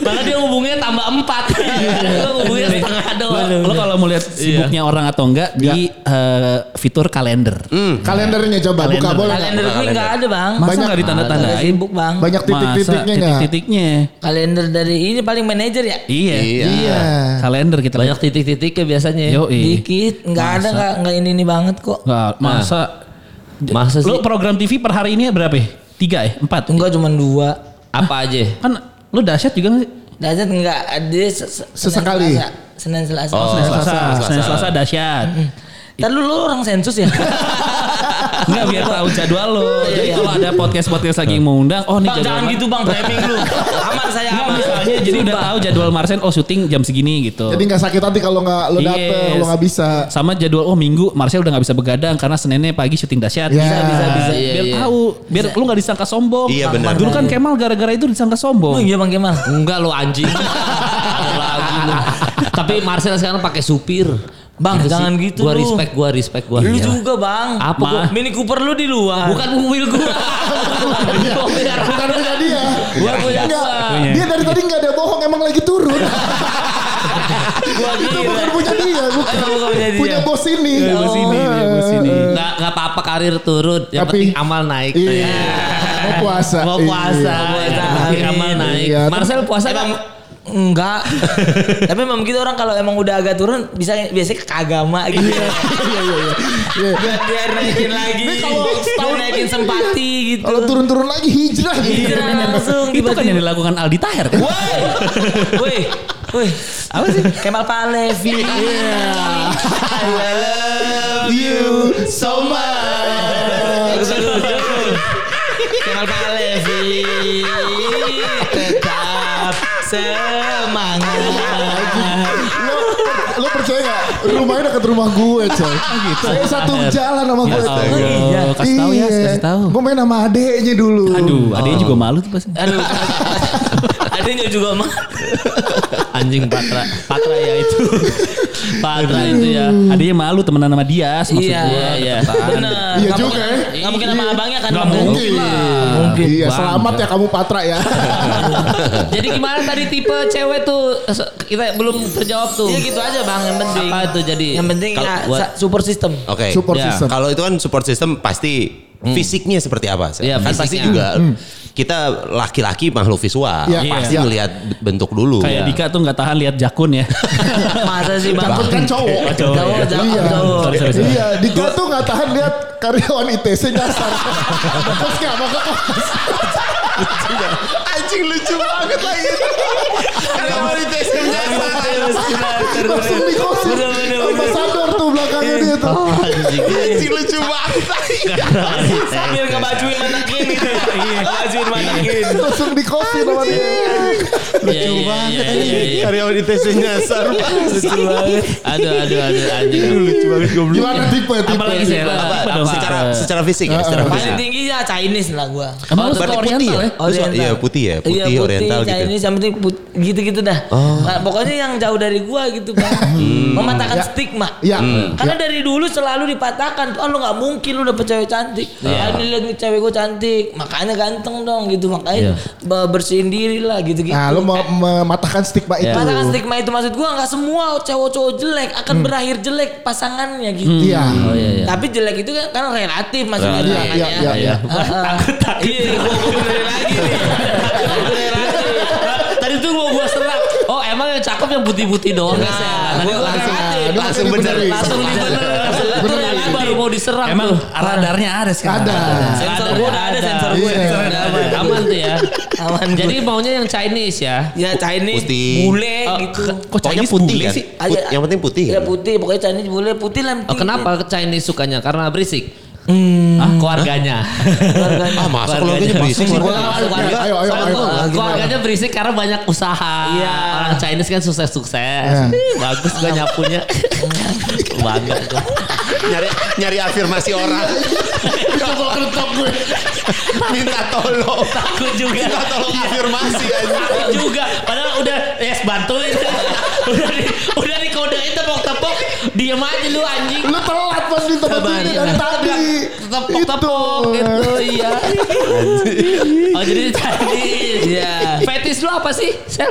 Speaker 5: malah dia ngubunginnya tambah empat
Speaker 3: Iya.
Speaker 5: lu ngubungin setengah doang
Speaker 4: Lo kalau mau lihat sibuknya orang atau enggak di eh, fitur kalender.
Speaker 5: Iya.
Speaker 1: Kalendernya coba buka
Speaker 4: Kalender.
Speaker 1: boleh. nggak?
Speaker 3: Kalender gue nggak ada bang.
Speaker 4: Masa
Speaker 1: Banyak-
Speaker 4: enggak
Speaker 3: Tanda
Speaker 4: ditanda-tandain?
Speaker 3: sibuk bang.
Speaker 1: Banyak titik-titiknya
Speaker 4: Masa
Speaker 1: nggak?
Speaker 4: titik-titiknya.
Speaker 3: Kalender dari ini paling manajer ya.
Speaker 4: Iya.
Speaker 1: Iya.
Speaker 4: Kalender kita
Speaker 5: banyak titik-titiknya biasanya ya.
Speaker 4: Yoi.
Speaker 3: Dikit, nggak ada nggak nggak ini ini banget kok.
Speaker 4: Enggak, masa
Speaker 5: masa sih
Speaker 4: Lo program TV per hari ini berapa ya? Tiga ya? Empat?
Speaker 3: Enggak cuma dua.
Speaker 5: apa aja
Speaker 4: Kan lo dahsyat juga nggak sih?
Speaker 3: Dajat enggak ada se- se- Senin
Speaker 1: Sesekali.
Speaker 3: Selasa. Senin Selasa.
Speaker 2: Oh.
Speaker 4: Senin
Speaker 2: Selasa.
Speaker 4: Selasa. Senin Selasa dahsyat.
Speaker 3: Ntar lu, lu orang sensus ya?
Speaker 4: Enggak biar tahu jadwal lo. Jadi
Speaker 3: iya.
Speaker 4: kalau ada podcast-podcast lagi yang mau undang, oh nih
Speaker 3: [laughs] bang jangan gitu bang timing lu. Aman saya
Speaker 4: Enggak
Speaker 3: aman.
Speaker 4: misalnya jadi udah tahu jadwal Marsen oh syuting jam segini gitu.
Speaker 1: Jadi nggak sakit hati kalau nggak
Speaker 5: Iya.
Speaker 1: lo dateng,
Speaker 4: Yes.
Speaker 1: lo nggak bisa.
Speaker 4: sama jadwal oh minggu Marcel udah nggak bisa begadang karena Seninnya pagi syuting dahsyat
Speaker 1: Ya.
Speaker 4: bisa bisa bisa
Speaker 5: Iya,
Speaker 4: biar
Speaker 5: iya.
Speaker 4: tahu biar lu nggak disangka sombong
Speaker 2: Iya,
Speaker 4: Bang.
Speaker 2: benar.
Speaker 4: dulu kan Kemal gara-gara itu
Speaker 3: Oh
Speaker 4: disangka sombong
Speaker 3: iya bang Kemal.
Speaker 5: Enggak lo
Speaker 3: [laughs]
Speaker 5: anjing. Ada lagi lu. Tapi Marcel sekarang pakai supir.
Speaker 3: Bang, jangan
Speaker 5: sih.
Speaker 3: gitu
Speaker 5: Gua
Speaker 3: lu.
Speaker 5: respect, gua respect, gua.
Speaker 3: Lu
Speaker 5: Iya.
Speaker 3: juga bang.
Speaker 5: Apa,
Speaker 3: Gua-
Speaker 5: Ma?
Speaker 3: Mini Cooper lu di luar. Iya,
Speaker 5: Bukan mobil gua.
Speaker 3: [laughs]
Speaker 1: Bukan punya dia.
Speaker 5: Gua punya
Speaker 1: Enggak.
Speaker 5: gua.
Speaker 1: Dia dari tadi nggak ada bohong, emang lagi turun.
Speaker 3: gua
Speaker 1: Itu
Speaker 3: gila.
Speaker 1: bukan punya dia, bukan.
Speaker 3: Emang bukan punya dia.
Speaker 1: Punya bos ini. Nah,
Speaker 4: Iya, bos ini, iya, bos ini.
Speaker 5: Enggak enggak apa-apa karir turun, yang
Speaker 1: Tapi-
Speaker 5: penting amal naik.
Speaker 1: Iya. Mau puasa.
Speaker 5: Mau
Speaker 1: Iya.
Speaker 5: puasa, yang penting
Speaker 3: Amin.
Speaker 5: amal naik.
Speaker 1: Iya.
Speaker 5: Marcel puasa
Speaker 3: Emang
Speaker 5: kan?
Speaker 3: enggak. Tapi memang gitu orang kalau emang udah agak turun bisa biasanya ke agama gitu. Iya iya iya.
Speaker 5: gitu.
Speaker 3: Biar naikin lagi.
Speaker 1: Ini kalau
Speaker 3: setahun naikin sempati gitu.
Speaker 1: Kalau turun-turun lagi hijrah.
Speaker 3: Hijrah
Speaker 1: [laughs]
Speaker 3: langsung
Speaker 4: itu kan yang
Speaker 3: tiba-tiba.
Speaker 4: dilakukan Aldi Taher kan
Speaker 3: Woi. Woi. Woi. Apa sih? Kemal Palevi.
Speaker 5: Iya.
Speaker 1: Iya.
Speaker 2: Love you so much.
Speaker 3: Kemal Palevi. Tetap semangat.
Speaker 1: Lo, lo percaya gak? Rumahnya dekat rumah gue, coy. Gitu. Saya satu jalan sama gue. coy.
Speaker 4: Allah, kasih tahu ya,
Speaker 1: Iya.
Speaker 4: kasih tahu.
Speaker 1: Gue main sama adeknya dulu.
Speaker 4: aduh adanya juga malu tuh pasti
Speaker 3: Aduh. Adanya juga mah.
Speaker 5: Anjing Patra. Patra ya itu. Patra itu ya.
Speaker 4: adanya malu temenan sama Dias maksud
Speaker 3: Iya,
Speaker 4: gua
Speaker 3: iya.
Speaker 4: Kedepan.
Speaker 3: Benar.
Speaker 1: Iya juga ya.
Speaker 3: Gak mungkin sama abangnya kan.
Speaker 4: Nggak
Speaker 3: Bang?
Speaker 4: mungkin.
Speaker 1: lah.
Speaker 5: mungkin.
Speaker 1: Iya,
Speaker 5: Bang.
Speaker 1: selamat ya kamu Patra ya.
Speaker 5: Jadi gimana tadi tipe cewek tuh Se- kita belum terjawab tuh.
Speaker 3: Iya gitu aja bang yang penting.
Speaker 5: Apa tuh jadi?
Speaker 3: Yang penting
Speaker 2: Kalau
Speaker 3: ya,
Speaker 2: buat-
Speaker 3: sa- support
Speaker 5: [laughs]
Speaker 3: system.
Speaker 2: Oke.
Speaker 1: Support
Speaker 5: Ya.
Speaker 1: system.
Speaker 2: Kalau itu kan support system pasti fisiknya seperti apa?
Speaker 5: Iya,
Speaker 2: kan pasti
Speaker 5: fisiknya.
Speaker 2: juga kita laki-laki makhluk visual,
Speaker 1: Iya.
Speaker 2: pasti
Speaker 1: Iya.
Speaker 2: melihat bentuk dulu. Iya.
Speaker 4: Kayak Dika tuh nggak tahan lihat jakun ya.
Speaker 3: Masa sih bang?
Speaker 1: Takut kan cowok.
Speaker 4: cowok,
Speaker 3: Jauh,
Speaker 4: ya.
Speaker 3: jauh,
Speaker 1: Iya.
Speaker 3: jauh.
Speaker 4: Sorry, sorry, sorry.
Speaker 1: Iya, Dika tuh nggak tahan lihat karyawan ITC nyasar. Terus nggak mau ke kelas.
Speaker 2: Anjing lucu banget lagi. Karena mau ditesin
Speaker 1: Langsung di kosin. Ambasador tuh belakangnya dia tuh.
Speaker 2: Anjing lucu banget lagi.
Speaker 3: Sambil ngebajuin manakin gitu. Ngebajuin manakin.
Speaker 1: Langsung di kosin sama dia.
Speaker 5: Lucu banget
Speaker 2: Karyawan ITC nyasar. Lucu banget.
Speaker 5: Aduh aduh aduh anjing.
Speaker 2: Lucu banget goblok.
Speaker 1: Gimana tipe tipe?
Speaker 5: Apalagi sih?
Speaker 2: Apa,
Speaker 5: Apa?
Speaker 2: apa,
Speaker 5: apa? Iya.
Speaker 2: secara secara fisik ya,
Speaker 1: Iya.
Speaker 2: secara
Speaker 3: Paling
Speaker 2: fisik.
Speaker 3: tingginya Chinese lah gua.
Speaker 4: [laughs] Emang lu suka
Speaker 2: Berarti putih ya?
Speaker 4: oriental
Speaker 3: Oh,
Speaker 4: ya?
Speaker 2: Lu suka- Iya putih ya, putih, oriental gitu. Oh.
Speaker 3: Chinese yang penting put- gitu-gitu dah. Nah, pokoknya yang jauh dari gua gitu bang.
Speaker 2: Hmm.
Speaker 3: Mematahkan stigma.
Speaker 1: Iya.
Speaker 3: Karena dari dulu selalu dipatahkan, oh lu nggak mungkin lu dapet cewek cantik.
Speaker 2: Iya.
Speaker 3: Ah, ini liat nih cewek gue cantik, makanya ganteng dong gitu,
Speaker 2: Iya.
Speaker 3: makanya be- bersihin diri lah gitu-gitu. Iya.
Speaker 1: Nah, lu mau mematahkan stigma itu.
Speaker 3: Patahkan stigma itu maksud gua nggak semua cowok-cowok jelek akan berakhir jelek pasangannya gitu.
Speaker 1: Hmm. Iya.
Speaker 3: Tapi jelek itu kan, kan relatif maksudnya.
Speaker 1: Iya, iya, iya, iya.
Speaker 3: Takut takut. Iya, gua gua benerin lagi nih. Takut relatif.
Speaker 5: Tadi tuh mau gua serang. Oh emang yang cakep yang putih-putih doang guys ya.
Speaker 3: Nah, gua
Speaker 5: Tadi gua
Speaker 3: langsung-
Speaker 5: relatif.
Speaker 1: dia
Speaker 5: Langsung
Speaker 1: makin
Speaker 5: bener.
Speaker 1: dibenerin. Iya.
Speaker 5: Langsung dibenerin. Itu
Speaker 1: Benerin.
Speaker 5: relatif baru mau diserang
Speaker 4: Emang
Speaker 5: tuh.
Speaker 4: radarnya ada sekarang.
Speaker 1: Ada.
Speaker 3: Sensor gua udah ada sensor gua.
Speaker 1: Iya.
Speaker 3: Udah aman.
Speaker 5: Aman tuh ya.
Speaker 3: Aman.
Speaker 5: Jadi maunya yang Chinese ya.
Speaker 3: Ya Chinese
Speaker 2: Putih.
Speaker 3: bule
Speaker 5: Oh,
Speaker 3: gitu.
Speaker 5: ke-
Speaker 4: Kok
Speaker 2: Pokoknya
Speaker 4: Chinese
Speaker 2: putih
Speaker 4: bule
Speaker 2: kan?
Speaker 4: sih?
Speaker 2: Put-
Speaker 3: Agak-
Speaker 2: yang penting putih
Speaker 3: Ya
Speaker 2: kan?
Speaker 3: putih, pokoknya Chinese bule putih lah. yang
Speaker 5: Oh,
Speaker 3: penting.
Speaker 5: kenapa Chinese sukanya? Karena berisik.
Speaker 3: Hmm.
Speaker 5: Ah, keluarganya.
Speaker 2: Ah masa keluarganya berisik sih?
Speaker 1: Ayo, ayo, ayo, ayo, ayo.
Speaker 5: keluarganya berisik karena banyak usaha.
Speaker 3: Iya.
Speaker 5: Orang Chinese kan sukses-sukses.
Speaker 1: Iya.
Speaker 5: Ih, Bagus gua
Speaker 3: [laughs]
Speaker 5: nyapunya. Bangga gua.
Speaker 2: Nyari nyari afirmasi orang.
Speaker 1: Coba keretap gue.
Speaker 2: Minta tolong.
Speaker 5: Takut juga.
Speaker 2: Minta tolong afirmasi aja.
Speaker 5: Takut juga. Padahal udah yes bantuin. [laughs] udah di, udah dikodein tepok-tepok. Diam aja lu anjing.
Speaker 1: Lu telat pas di tempat ini dari tadi.
Speaker 5: Tepok-tepok gitu. Iya. Oh jadi Chinese.
Speaker 3: Iya.
Speaker 5: Fetis lu apa sih? Sel?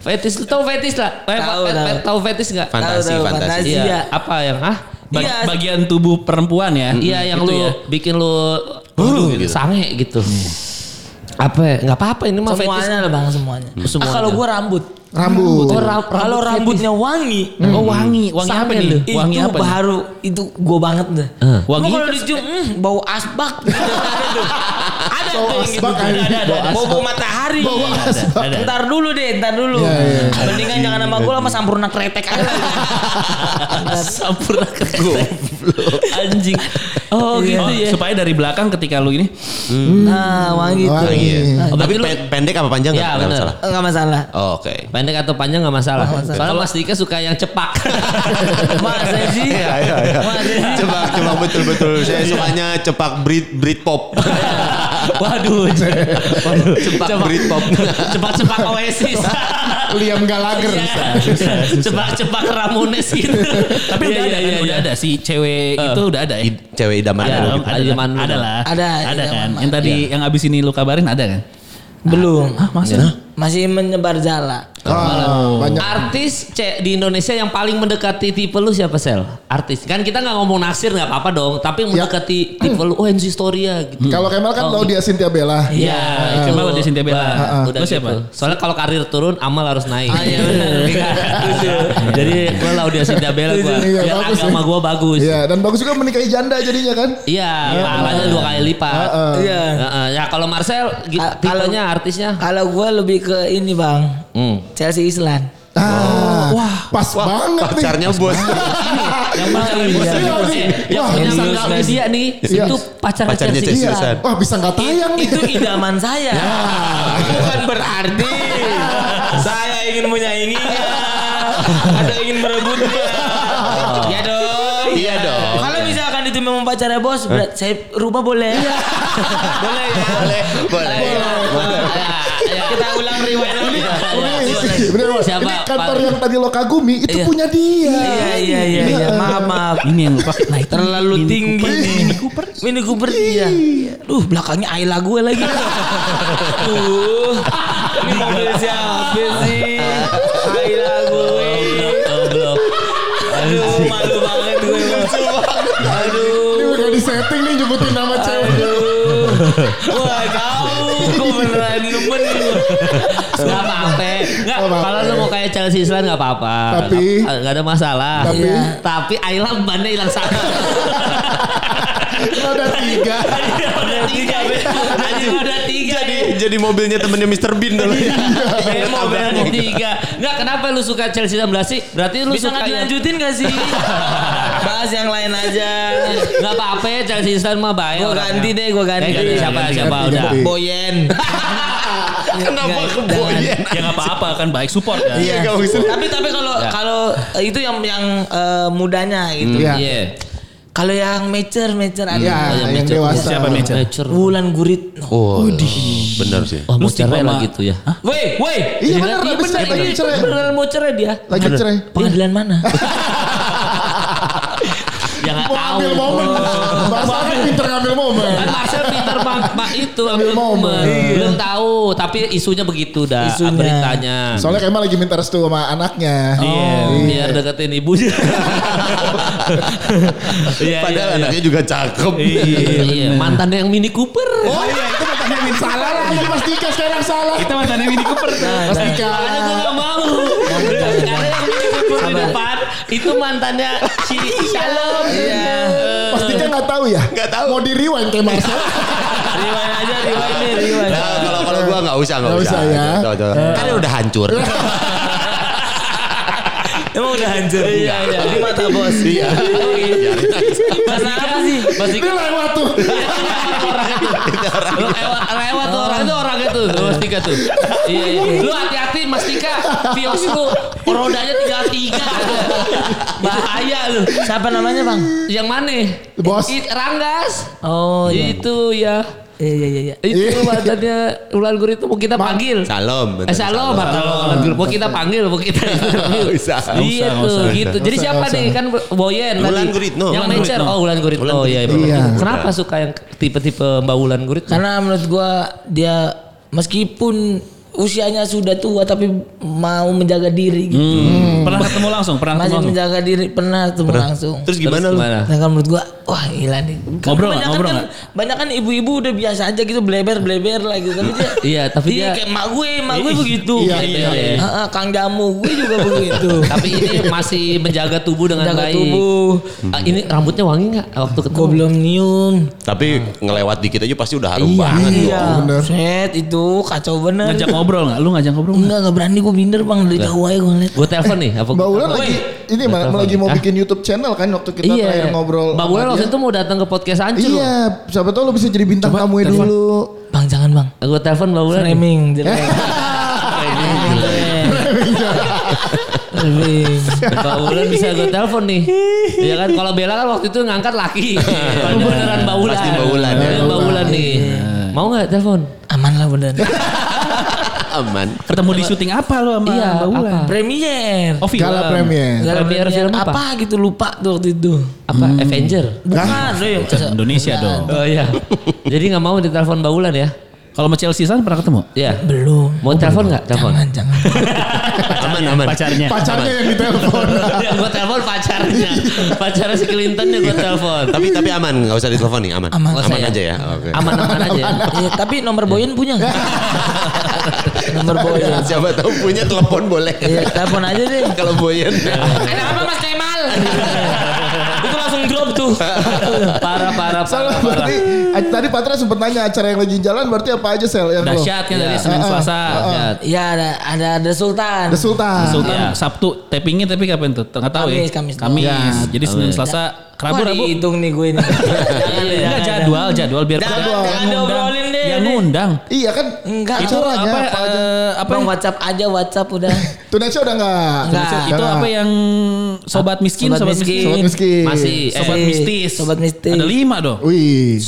Speaker 5: Fetis lu tahu fetis lah. Eh,
Speaker 3: Tahu,
Speaker 5: fe-
Speaker 3: tahu.
Speaker 5: fe- Tahu fetis enggak?
Speaker 2: Fantasi,
Speaker 3: Tahu, tahu,
Speaker 2: fantasi.
Speaker 3: fantasi. Iya.
Speaker 5: Apa yang ah?
Speaker 4: Ba-
Speaker 3: Iya.
Speaker 4: Bagian tubuh perempuan ya.
Speaker 5: Iya yang
Speaker 4: Gitu
Speaker 5: lu
Speaker 4: ya.
Speaker 5: bikin lu
Speaker 2: Huh,
Speaker 5: gitu.
Speaker 2: gitu.
Speaker 5: sange gitu. Apa? ya? Nggak apa-apa ini mah fetis.
Speaker 3: Semuanya lah bang, semuanya.
Speaker 5: Semuanya.
Speaker 3: Ah, kalau gua rambut.
Speaker 1: Rambut.
Speaker 5: Oh, ra-
Speaker 3: Kalau
Speaker 5: fetis.
Speaker 3: rambutnya wangi,
Speaker 4: Oh
Speaker 3: Hmm.
Speaker 4: wangi, wangi apa
Speaker 5: Samen
Speaker 4: nih?
Speaker 5: lu.
Speaker 3: itu
Speaker 4: Wangi apa? nih?
Speaker 3: baru itu gua banget dah.
Speaker 5: Eh.
Speaker 3: Wangi
Speaker 4: Wangi
Speaker 3: kalau dicium mm, bau asbak. ada tuh. Ada
Speaker 1: Bau
Speaker 3: tuh yang
Speaker 1: asbak,
Speaker 3: gitu. Ada,
Speaker 1: anjing.
Speaker 3: ada, ada.
Speaker 1: Bau
Speaker 3: Bau bau matahari.
Speaker 1: Bau asbak.
Speaker 3: Ada. Ntar dulu deh, ntar dulu.
Speaker 1: Iya, iya.
Speaker 3: Mendingan jangan sama gua lah, sama sampurna kretek aja.
Speaker 5: Sampurna keren. Anjing. Oh gitu
Speaker 4: Oh,
Speaker 5: ya.
Speaker 4: supaya dari belakang ketika lu ini
Speaker 3: nah, wangi itu.
Speaker 1: Wangi.
Speaker 2: Iya.
Speaker 5: Oh,
Speaker 2: Tapi
Speaker 5: berarti lu-
Speaker 2: pe- pendek apa panjang
Speaker 5: Iya,
Speaker 2: nggak? Nggak
Speaker 5: bener.
Speaker 2: masalah.
Speaker 3: Enggak masalah.
Speaker 2: Oh, Oke.
Speaker 5: Pendek atau panjang nggak masalah. Soalnya Mas Dika suka yang cepak.
Speaker 3: Masa sih?
Speaker 2: Iya, iya, iya.
Speaker 3: Masa sih?
Speaker 2: Coba, coba betul-betul. Saya sukanya cepak Brit Brit pop.
Speaker 5: Waduh. [laughs] Waduh. Cepak, cepak [laughs]
Speaker 2: Britpop.
Speaker 5: Cepak cepak Oasis.
Speaker 1: Liam Gallagher.
Speaker 5: Iya. cepak cepak Ramones [laughs] gitu. iya,
Speaker 4: Tapi udah ada kan, udah ada si cewek itu udah ada ya.
Speaker 2: I- Cewek idaman
Speaker 5: Ada.
Speaker 2: lu.
Speaker 5: dong,
Speaker 4: ada, kan?
Speaker 5: zaman dulu
Speaker 4: ada
Speaker 5: dong.
Speaker 4: lah.
Speaker 3: Ada,
Speaker 4: ada
Speaker 3: zaman
Speaker 4: kan.
Speaker 3: dulu. Nah,
Speaker 4: Yang tadi yang abis ini lu kabarin ada kan? Iya.
Speaker 3: Belum.
Speaker 4: Hah, masa?
Speaker 3: Masih menyebar jala.
Speaker 1: Ah, banyak.
Speaker 5: Artis ce- di Indonesia yang paling mendekati tipe lu siapa sel? Artis kan kita nggak ngomong naksir nggak apa-apa dong, tapi yang
Speaker 1: Ya.
Speaker 5: mendekati tipe lu, oh Enzo Storia gitu.
Speaker 1: Kalau Kemal kan Laudia Cynthia Bella.
Speaker 5: Iya,
Speaker 4: Ah, coba lo di Cynthia Bella.
Speaker 5: Wah,
Speaker 4: Ah, ah.
Speaker 5: udah
Speaker 4: Lo siapa?
Speaker 5: gitu. Soalnya kalau karir turun, amal harus naik. [laughs] Iya. Jadi gue lah udah Cynthia Bella gue.
Speaker 1: Iya,
Speaker 5: Biar
Speaker 1: bagus
Speaker 5: agama
Speaker 1: ya.
Speaker 5: gue bagus.
Speaker 1: Iya, dan bagus juga menikahi janda jadinya kan.
Speaker 5: Iya, pahalanya dua kali lipat.
Speaker 1: Heeh.
Speaker 3: Iya.
Speaker 5: Heeh. Ya kalau Marcel, gi-
Speaker 3: Ka- kalau-
Speaker 5: tipenya artisnya.
Speaker 3: Kalau gua lebih ke ini, Bang.
Speaker 5: Hmm.
Speaker 3: Chelsea Island.
Speaker 5: Oh,
Speaker 1: Ah, wah, pas banget nih.
Speaker 2: Pacarnya bos.
Speaker 5: Yang pacar
Speaker 1: Iya, iya.
Speaker 3: Oh,
Speaker 5: yang
Speaker 1: Wah,
Speaker 5: punya
Speaker 1: bisa
Speaker 5: Sangga
Speaker 1: nggak-
Speaker 5: Widya nih,
Speaker 1: Iya.
Speaker 5: itu pacarnya
Speaker 2: Pacarnya
Speaker 5: Chelsea.
Speaker 2: Chelsea. Ya,
Speaker 1: Iya.
Speaker 2: Seriusan.
Speaker 1: Wah, bisa nggak tayang nih.
Speaker 3: Itu idaman saya. Bukan berarti saya ingin
Speaker 5: Iya.
Speaker 3: menyainginya atau ingin merebutnya.
Speaker 5: Oh.
Speaker 3: ya dong.
Speaker 2: Iya dong.
Speaker 3: Kalau misalkan itu memang pacarnya bos, berat Iya.
Speaker 5: Iya.
Speaker 3: saya rumah boleh. boleh ya.
Speaker 2: Boleh, boleh.
Speaker 5: Ya, ya,
Speaker 3: kita ulang rewind lagi.
Speaker 1: Ini, bener, Mas.
Speaker 5: Iya, Siapa?
Speaker 1: Ini kantor
Speaker 5: Pak-
Speaker 1: yang tadi lo kagumi itu
Speaker 5: Iya.
Speaker 1: punya dia.
Speaker 5: Iya iya iya iya. Maaf maaf.
Speaker 4: Ini yang lupa. Nah, itu
Speaker 5: Terlalu tinggi nih. Mini Cooper. Mini Cooper iya.
Speaker 3: Duh Uh, belakangnya Ayla gue lagi. Duh. Ini mobil siapa sih? Ayla gue.
Speaker 5: Goblok.
Speaker 3: Aduh malu banget gue.
Speaker 1: Ini udah di setting nih nyebutin nama cewek.
Speaker 3: Wah kau.
Speaker 5: Gue beneran nemen gue. Gak apa-apa. Nggak,
Speaker 1: Nggak apa-apa.
Speaker 5: kalau lu mau kayak Chelsea Island gak apa-apa.
Speaker 1: Tapi-
Speaker 5: Nggak- nggak ada masalah.
Speaker 1: Tapi-
Speaker 5: Iya. Tapi Ayla bannya hilang satu.
Speaker 1: Lo ada tiga.
Speaker 5: Ada tiga. Be. Tadi ada tiga.
Speaker 2: jadi
Speaker 5: nih.
Speaker 2: jadi mobilnya temennya Mr. Bean dulu ya.
Speaker 5: Bemo berarti tiga. Enggak kenapa lu suka Chelsea dan Blasi? Berarti lu
Speaker 3: Bisa nggak
Speaker 5: suka yang-
Speaker 3: dilanjutin gak sih? ya? Bahas yang lain aja.
Speaker 5: Enggak apa-apa ya Chelsea Island mah baik.
Speaker 3: Gua
Speaker 5: orangnya.
Speaker 3: ganti deh, gua ganti.
Speaker 5: Eh, siapa
Speaker 4: Ganti,
Speaker 5: siapa
Speaker 1: ganti,
Speaker 5: udah.
Speaker 2: Iya.
Speaker 1: ganti.
Speaker 3: [laughs] Boyen.
Speaker 2: Kenapa
Speaker 3: Nggak,
Speaker 2: keboyan?
Speaker 4: Ya nggak apa-apa kan baik support kan.
Speaker 2: Iya gak usah.
Speaker 3: tapi tapi kalau kalau eh, itu yang yang eh, mudanya gitu.
Speaker 1: Iya.
Speaker 5: Iya.
Speaker 3: Kalau yang mature mature ada.
Speaker 1: Ya, yang dewasa.
Speaker 4: Siapa Meja?
Speaker 5: Lecur.
Speaker 3: Wulan Gurit.
Speaker 2: Oh, bener sih.
Speaker 5: Eh, Wah, mau
Speaker 4: Lu stigma
Speaker 5: cerai
Speaker 4: ma-
Speaker 5: lagi tuh ya.
Speaker 3: Woi, woi.
Speaker 1: Iya bener, habis
Speaker 3: bener,
Speaker 1: lagi
Speaker 3: iya,
Speaker 1: cerai.
Speaker 3: beneran mau cerai dia.
Speaker 1: ya? Lagi cerai.
Speaker 3: Pengadilan mana?
Speaker 5: Jangan
Speaker 1: Mau
Speaker 5: Ya, tahu.
Speaker 1: ambil momen. Bahasanya pinter ngambil momen.
Speaker 5: Kan Marcel pinter mak, mak itu ambil
Speaker 1: momen. Iya.
Speaker 5: momen. Belum tahu, tapi isunya begitu dah
Speaker 3: Isunya.
Speaker 5: beritanya.
Speaker 1: Soalnya Kemal lagi minta restu sama anaknya.
Speaker 5: Iya, biar deketin ibunya. Iya,
Speaker 2: Padahal
Speaker 5: iya,
Speaker 2: anaknya juga cakep.
Speaker 5: iya. Iya, mantannya yang Mini Cooper.
Speaker 1: Oh iya itu mantannya Mini Salah lah ini Mas Dika sekarang salah.
Speaker 4: Kita mantannya Mini Cooper.
Speaker 1: Mas Dika.
Speaker 5: Makanya gue gak mau. Karena yang Mini Cooper di depan itu mantannya si Shalom. Iya.
Speaker 1: Mas Dika gak tahu ya?
Speaker 2: Nggak tahu.
Speaker 1: Mau di rewind kayak Mas.
Speaker 5: Iya. Eh, Rewind aja, rewind deh, rewind.
Speaker 2: Nah, kalau kalau gua nggak usah nggak
Speaker 1: Nggak
Speaker 2: usah.
Speaker 1: usah ya.
Speaker 2: Coba, coba.
Speaker 5: Iya.
Speaker 2: Kan udah hancur.
Speaker 3: Emang udah hancur.
Speaker 5: Iya, iya.
Speaker 3: Di mata bos.
Speaker 2: Iya.
Speaker 5: Mas Dika apa sih? Mas
Speaker 1: Ini
Speaker 5: Dika
Speaker 1: lewat tuh.
Speaker 5: Lu lewat, lewat tuh orang itu orangnya tuh lu Mas Dika tuh. Iya, iya. Lu hati-hati Mas Dika. Vios lu rodanya 33. Bahaya lu.
Speaker 3: Siapa namanya, Bang?
Speaker 5: Yang mana?
Speaker 1: Bos.
Speaker 5: I- Ranggas.
Speaker 3: Oh, iya.
Speaker 5: Itu ya.
Speaker 3: Iya, iya, iya, iya.
Speaker 5: Itu mantannya Ulan Guru itu mau kita panggil.
Speaker 2: Salam.
Speaker 5: Eh salam, Ulan Mau kita panggil, mau kita interview.
Speaker 2: Nggak usah.
Speaker 4: Nggak usah,
Speaker 5: Iya tuh
Speaker 4: nggak usah.
Speaker 5: gitu. Jadi
Speaker 1: Nggak
Speaker 5: siapa
Speaker 1: usah.
Speaker 5: nih kan Boyen
Speaker 2: Wulan
Speaker 5: tadi.
Speaker 2: Guritno.
Speaker 5: Yang
Speaker 2: Wulan
Speaker 5: mencer.
Speaker 4: Guritno.
Speaker 5: Oh Ulan Guritno.
Speaker 2: Wulan
Speaker 5: Iya
Speaker 2: Guritno.
Speaker 5: bener.
Speaker 1: Iya.
Speaker 5: Kenapa suka yang tipe-tipe Mbak Ulan Guritno?
Speaker 3: Karena menurut gua dia meskipun usianya sudah tua tapi mau menjaga diri gitu.
Speaker 4: Hmm. Pernah ketemu langsung, pernah ketemu
Speaker 3: Masih
Speaker 4: langsung.
Speaker 3: menjaga diri pernah ketemu langsung.
Speaker 2: Terus gimana lu?
Speaker 5: gimana?
Speaker 3: Nah, kan menurut gua wah gila nih. Kan
Speaker 4: Ngobrol
Speaker 3: kebanyakan
Speaker 4: nggak? Ngobrol
Speaker 3: kan, banyak kan ibu-ibu udah biasa aja gitu bleber-bleber lah gitu. Tapi dia
Speaker 5: Iya, tapi
Speaker 3: dia
Speaker 5: dia-
Speaker 3: kayak mak gue, mak gue begitu.
Speaker 1: Iya,
Speaker 3: gitu.
Speaker 5: iya, iya.
Speaker 3: Heeh, Kang Jamu gue juga begitu.
Speaker 5: Tapi ini masih menjaga tubuh dengan
Speaker 3: Menjaga
Speaker 5: baik.
Speaker 3: tubuh.
Speaker 5: Ah, ini rambutnya wangi nggak waktu ketemu?
Speaker 3: Gue
Speaker 5: [laughs]
Speaker 3: belum nyium.
Speaker 2: Tapi ngelewat dikit aja pasti udah harum banget.
Speaker 3: Iya,
Speaker 1: bener.
Speaker 3: set itu kacau bener.
Speaker 4: Ngajak ngobrol nggak? Lu ngajak ngobrol nggak?
Speaker 3: Enggak, enggak berani gue minder bang dari jauh aja gue ngeliat.
Speaker 5: Gue telepon nih. Oh, Apa
Speaker 1: Mbak
Speaker 5: gua-
Speaker 1: Ulan
Speaker 5: Woi.
Speaker 1: lagi ini Mbak
Speaker 5: telepon.
Speaker 1: lagi mau
Speaker 5: Hah?
Speaker 1: bikin YouTube channel kan waktu kita
Speaker 5: Iya.
Speaker 1: terakhir ngobrol.
Speaker 5: Mbak
Speaker 1: sama
Speaker 5: Ulan waktu
Speaker 1: dia.
Speaker 5: itu mau datang ke podcast Ancur.
Speaker 1: Iya, siapa tahu lo bisa jadi bintang tamunya dulu.
Speaker 3: Bang jangan bang.
Speaker 5: Gue Ah, telepon Mbak Ulan. Ah,
Speaker 3: Framing jelek. Framing.
Speaker 5: Mbak Ulan bisa gue telepon nih. Iya kan kalau Bella kan waktu itu ngangkat
Speaker 3: [laughs]
Speaker 5: laki. Kalau ini beneran Mbak Ulan.
Speaker 2: Pasti Mbak Ulan, ya.
Speaker 5: Ini Mbak Ulan nih.
Speaker 3: Iya.
Speaker 5: Mau nggak telepon?
Speaker 3: Aman lah bener.
Speaker 2: Aman.
Speaker 4: Ketemu di syuting apa lu sama
Speaker 5: Iya,
Speaker 4: Mbak Ulan?
Speaker 5: apa?
Speaker 3: [laughs] Premier.
Speaker 4: Oh, film.
Speaker 1: Gala premier.
Speaker 3: Gak ada
Speaker 5: Premier
Speaker 3: premier
Speaker 5: film apa?
Speaker 3: apa? gitu lupa tuh waktu itu.
Speaker 5: Apa?
Speaker 3: Hmm.
Speaker 5: Avenger?
Speaker 3: Bukan, Roy. Masa-
Speaker 4: Indonesia dong.
Speaker 5: Oh iya. Jadi nggak mau ditelepon Mbak Ulan ya?
Speaker 4: Kalau sama Chelsea Island pernah ketemu?
Speaker 5: Iya.
Speaker 3: Belum.
Speaker 5: Mau telepon nggak? Telepon. [laughs]
Speaker 3: Jangan, jangan.
Speaker 2: Aman aman.
Speaker 4: Pacarnya.
Speaker 1: [laughs] Pacarnya yang ditelepon.
Speaker 5: [laughs] Ya, gue telepon pacarnya. Pacarnya si Clinton ya gue telepon.
Speaker 2: Tapi tapi aman nggak usah ditelepon nih aman.
Speaker 3: Aman.
Speaker 5: Nggak usah
Speaker 2: aja ya. Oke. [laughs]
Speaker 5: Aman-aman aja.
Speaker 3: Iya, tapi nomor Boyen punya nggak? nomor Boyen.
Speaker 2: Siapa tahu punya ya. telepon Iya. boleh.
Speaker 3: Iya, telepon aja deh.
Speaker 2: [laughs] Kalau boyan.
Speaker 3: Ada apa Mas Kemal?
Speaker 5: Itu langsung drop tuh. Parah, parah, parah.
Speaker 1: Salah
Speaker 5: parah.
Speaker 1: [laughs] berarti Eh, tadi Patra sempat nanya acara yang lagi jalan berarti apa aja sel yang lo?
Speaker 5: Dahsyat kan dari
Speaker 1: Iya.
Speaker 5: Senin
Speaker 1: Ah, ah,
Speaker 5: Selasa.
Speaker 1: ah, ah.
Speaker 5: Dahsyat.
Speaker 3: Iya, ada ada ada Sultan.
Speaker 1: The Sultan.
Speaker 4: Sultan
Speaker 5: Iya.
Speaker 4: Sabtu tappingnya tapi kapan tuh? Nggak tahu ya.
Speaker 3: Kamis, Kamis doang.
Speaker 4: Kamis.
Speaker 1: Ya.
Speaker 4: Jadi Senin Selasa Rabu
Speaker 3: Wah,
Speaker 4: Rabu. ya,
Speaker 3: dihitung nih gue nih. Jangan deh,
Speaker 4: Enggak
Speaker 3: jangan,
Speaker 4: jadwal, jadwal biar
Speaker 3: Jangan,
Speaker 1: Jadwal.
Speaker 3: jangan
Speaker 4: Yang ngundang.
Speaker 3: diobrolin deh.
Speaker 4: Yang ngundang.
Speaker 1: Iya kan
Speaker 3: Enggak.
Speaker 4: Itu
Speaker 1: acaranya
Speaker 4: apa?
Speaker 3: ya?
Speaker 1: apa, aja.
Speaker 4: eh, apa?
Speaker 3: Bang WhatsApp aja WhatsApp udah.
Speaker 1: Tonight Show udah enggak?
Speaker 3: Enggak.
Speaker 4: Itu apa ya? yang sobat miskin,
Speaker 3: Sobat
Speaker 4: sobat
Speaker 3: miskin.
Speaker 4: miskin.
Speaker 1: Sobat miskin.
Speaker 5: Masih. Eh,
Speaker 4: Sobat
Speaker 3: Eh,
Speaker 4: mistis.
Speaker 3: sobat mistis.
Speaker 1: Oh,
Speaker 4: Ada lima dong.
Speaker 1: Wih.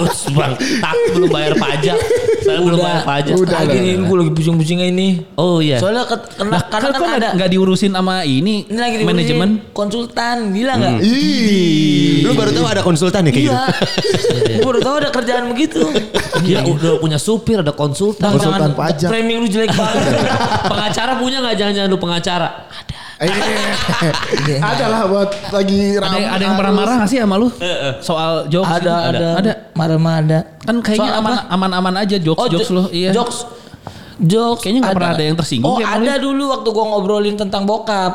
Speaker 5: Us, bang, tak belum bayar pajak. Saya belum bayar pajak.
Speaker 1: Udah,
Speaker 3: Lagi
Speaker 1: udah,
Speaker 3: nih
Speaker 1: udah.
Speaker 3: gue lagi pusing-pusingnya ini.
Speaker 5: Oh
Speaker 4: Ya.
Speaker 5: iya.
Speaker 3: Soalnya ke- kena,
Speaker 6: Lah,
Speaker 3: karena
Speaker 6: kan
Speaker 3: kan ada
Speaker 6: nggak diurusin sama ini,
Speaker 3: ini lagi di
Speaker 6: manajemen.
Speaker 3: konsultan gila
Speaker 1: Hmm.
Speaker 3: nggak?
Speaker 1: Ih.
Speaker 2: Lu baru tahu ada konsultan ya kayak
Speaker 3: Iya.
Speaker 2: gitu.
Speaker 3: [laughs] Gue baru tau ada kerjaan begitu.
Speaker 5: Gila Ya udah punya supir, ada konsultan.
Speaker 1: Konsultan
Speaker 3: jangan-
Speaker 1: pajak.
Speaker 3: Framing lu jelek banget.
Speaker 5: pengacara punya nggak jangan-jangan lu pengacara?
Speaker 1: Eh, ada lah iya. buat lagi
Speaker 6: Ada,
Speaker 1: ramai.
Speaker 6: ada yang pernah marah nggak sih sama lu? Soal jokes?
Speaker 3: ada,
Speaker 6: gitu?
Speaker 3: ada,
Speaker 6: Ada.
Speaker 3: Marah-marah ada.
Speaker 6: Kan kayaknya
Speaker 3: Soal
Speaker 6: aman,
Speaker 3: apa?
Speaker 6: aman-aman aja jokes, jokes
Speaker 3: jo-
Speaker 6: lo. Iya.
Speaker 3: Oh, Jokes. Jokes.
Speaker 6: Kayaknya nggak pernah ada yang tersinggung
Speaker 3: Oh
Speaker 6: kayak
Speaker 3: ada dulu waktu gua ngobrolin tentang bokap.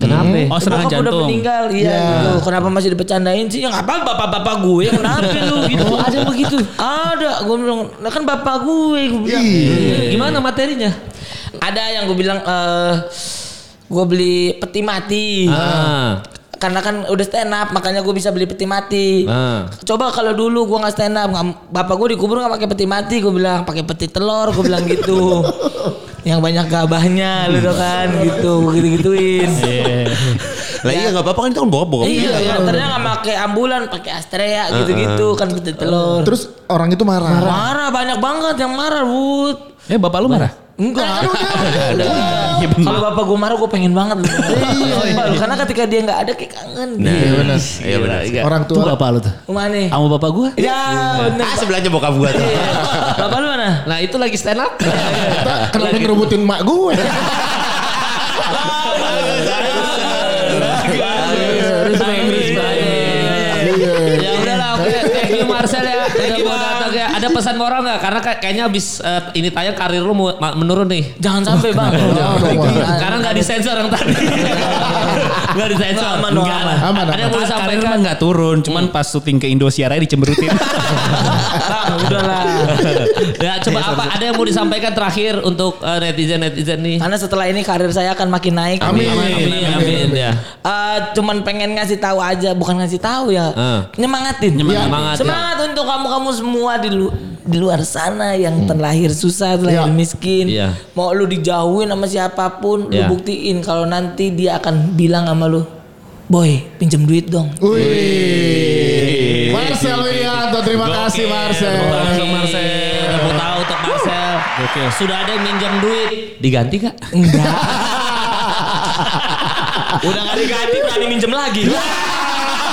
Speaker 5: Kenapa?
Speaker 6: Oh, serangan
Speaker 3: Bokap udah
Speaker 6: jantung.
Speaker 3: meninggal, iya
Speaker 1: Ya.
Speaker 3: gitu. Kenapa masih dipecandain sih? Ya nggak apa bapak-bapak gue, kenapa lu gitu?
Speaker 6: Oh,
Speaker 3: Ada begitu. Ada, gue bilang, "Lah kan bapak gue. Gue bilang,
Speaker 1: Ih.
Speaker 3: Gimana materinya? Ada yang gue bilang, eh gue beli peti mati.
Speaker 5: Ah.
Speaker 3: Karena kan udah stand up, makanya gue bisa beli peti mati.
Speaker 5: Ah.
Speaker 3: Coba kalau dulu gue nggak stand up, nggak- bapak gue dikubur nggak pakai peti mati, gue bilang pakai peti telur, gue bilang [laughs] gitu. yang banyak gabahnya, lu tau kan, gitu, gitu [laughs] gituin.
Speaker 2: Lah iya enggak apa-apa kan itu kan bokap-bokap.
Speaker 3: Iya, iya, ternyata nggak pakai ambulan, pakai Astrea gitu-gitu kan peti telur.
Speaker 1: Terus orang itu marah.
Speaker 3: Marah banyak banget yang marah, Bud.
Speaker 6: Eh bapak lu marah?
Speaker 3: Enggak. Iya, Kalau bapak gue marah gue pengen banget. Lu. Sumpah, lu, Karena ketika dia nggak ada kayak kangen.
Speaker 2: Nah, iya benar. Iya benar.
Speaker 1: Orang
Speaker 6: Tuh
Speaker 1: tua.
Speaker 6: bapak lu tuh.
Speaker 3: Rumah nih.
Speaker 6: Sama bapak gua?
Speaker 3: Ya, bener.
Speaker 2: Ah sebelahnya bokap gua tuh.
Speaker 3: Iya.
Speaker 2: [laughs]
Speaker 3: Bapak lu mana?
Speaker 5: Nah itu lagi stand up.
Speaker 1: [laughs] Kita kenapa ngerebutin mak gue?
Speaker 5: Bagus, bagus, bagus.
Speaker 1: Iya.
Speaker 5: Ya udah lah oke. Thank you Marcel ya. Udah mau datang ya. Ada pesan moral nggak? Karena kayak- kayaknya abis eh, ini tayang karir lu mu- ma- menurun nih.
Speaker 3: Jangan sampai Iya. bang. Oh,
Speaker 1: Wah.
Speaker 5: Karena nggak disensor yang tadi. Nggak disensor.
Speaker 3: Aman,
Speaker 5: Nggak
Speaker 3: aman.
Speaker 5: lah.
Speaker 1: Aman,
Speaker 5: Ada yang mau
Speaker 6: Karir mah
Speaker 5: disampaikan.
Speaker 6: nggak turun, cuman pas syuting ke Indosiar aja dicemberutin.
Speaker 3: Bang, udahlah.
Speaker 5: Ya coba apa? Ada yang mau disampaikan terakhir untuk netizen netizen nih.
Speaker 3: Karena setelah ini karir saya akan makin naik.
Speaker 1: Amin.
Speaker 5: Amin, amin ya.
Speaker 3: Eh, cuman pengen ngasih tahu aja, bukan ngasih tahu ya.
Speaker 5: Eh.
Speaker 3: Nyemangatin. Ya.
Speaker 5: Nyemangatin. Semangat, ya.
Speaker 3: Semangat untuk kamu-kamu semua di lu- di luar sana yang terlahir susah, terlahir
Speaker 1: Ya.
Speaker 3: miskin.
Speaker 5: Iya.
Speaker 3: Mau lu dijauhin sama siapapun,
Speaker 5: Iya.
Speaker 3: lu buktiin kalau nanti dia akan bilang sama lu, "Boy, pinjem duit dong."
Speaker 1: Wih. Marcel Widianto, terima kasih Marcel.
Speaker 5: Tepuk tangan untuk Marcel. Tepuk tangan untuk Marcel. Sudah ada yang minjam duit. Diganti kak?
Speaker 3: Enggak.
Speaker 5: Udah gak diganti berani minjem lagi.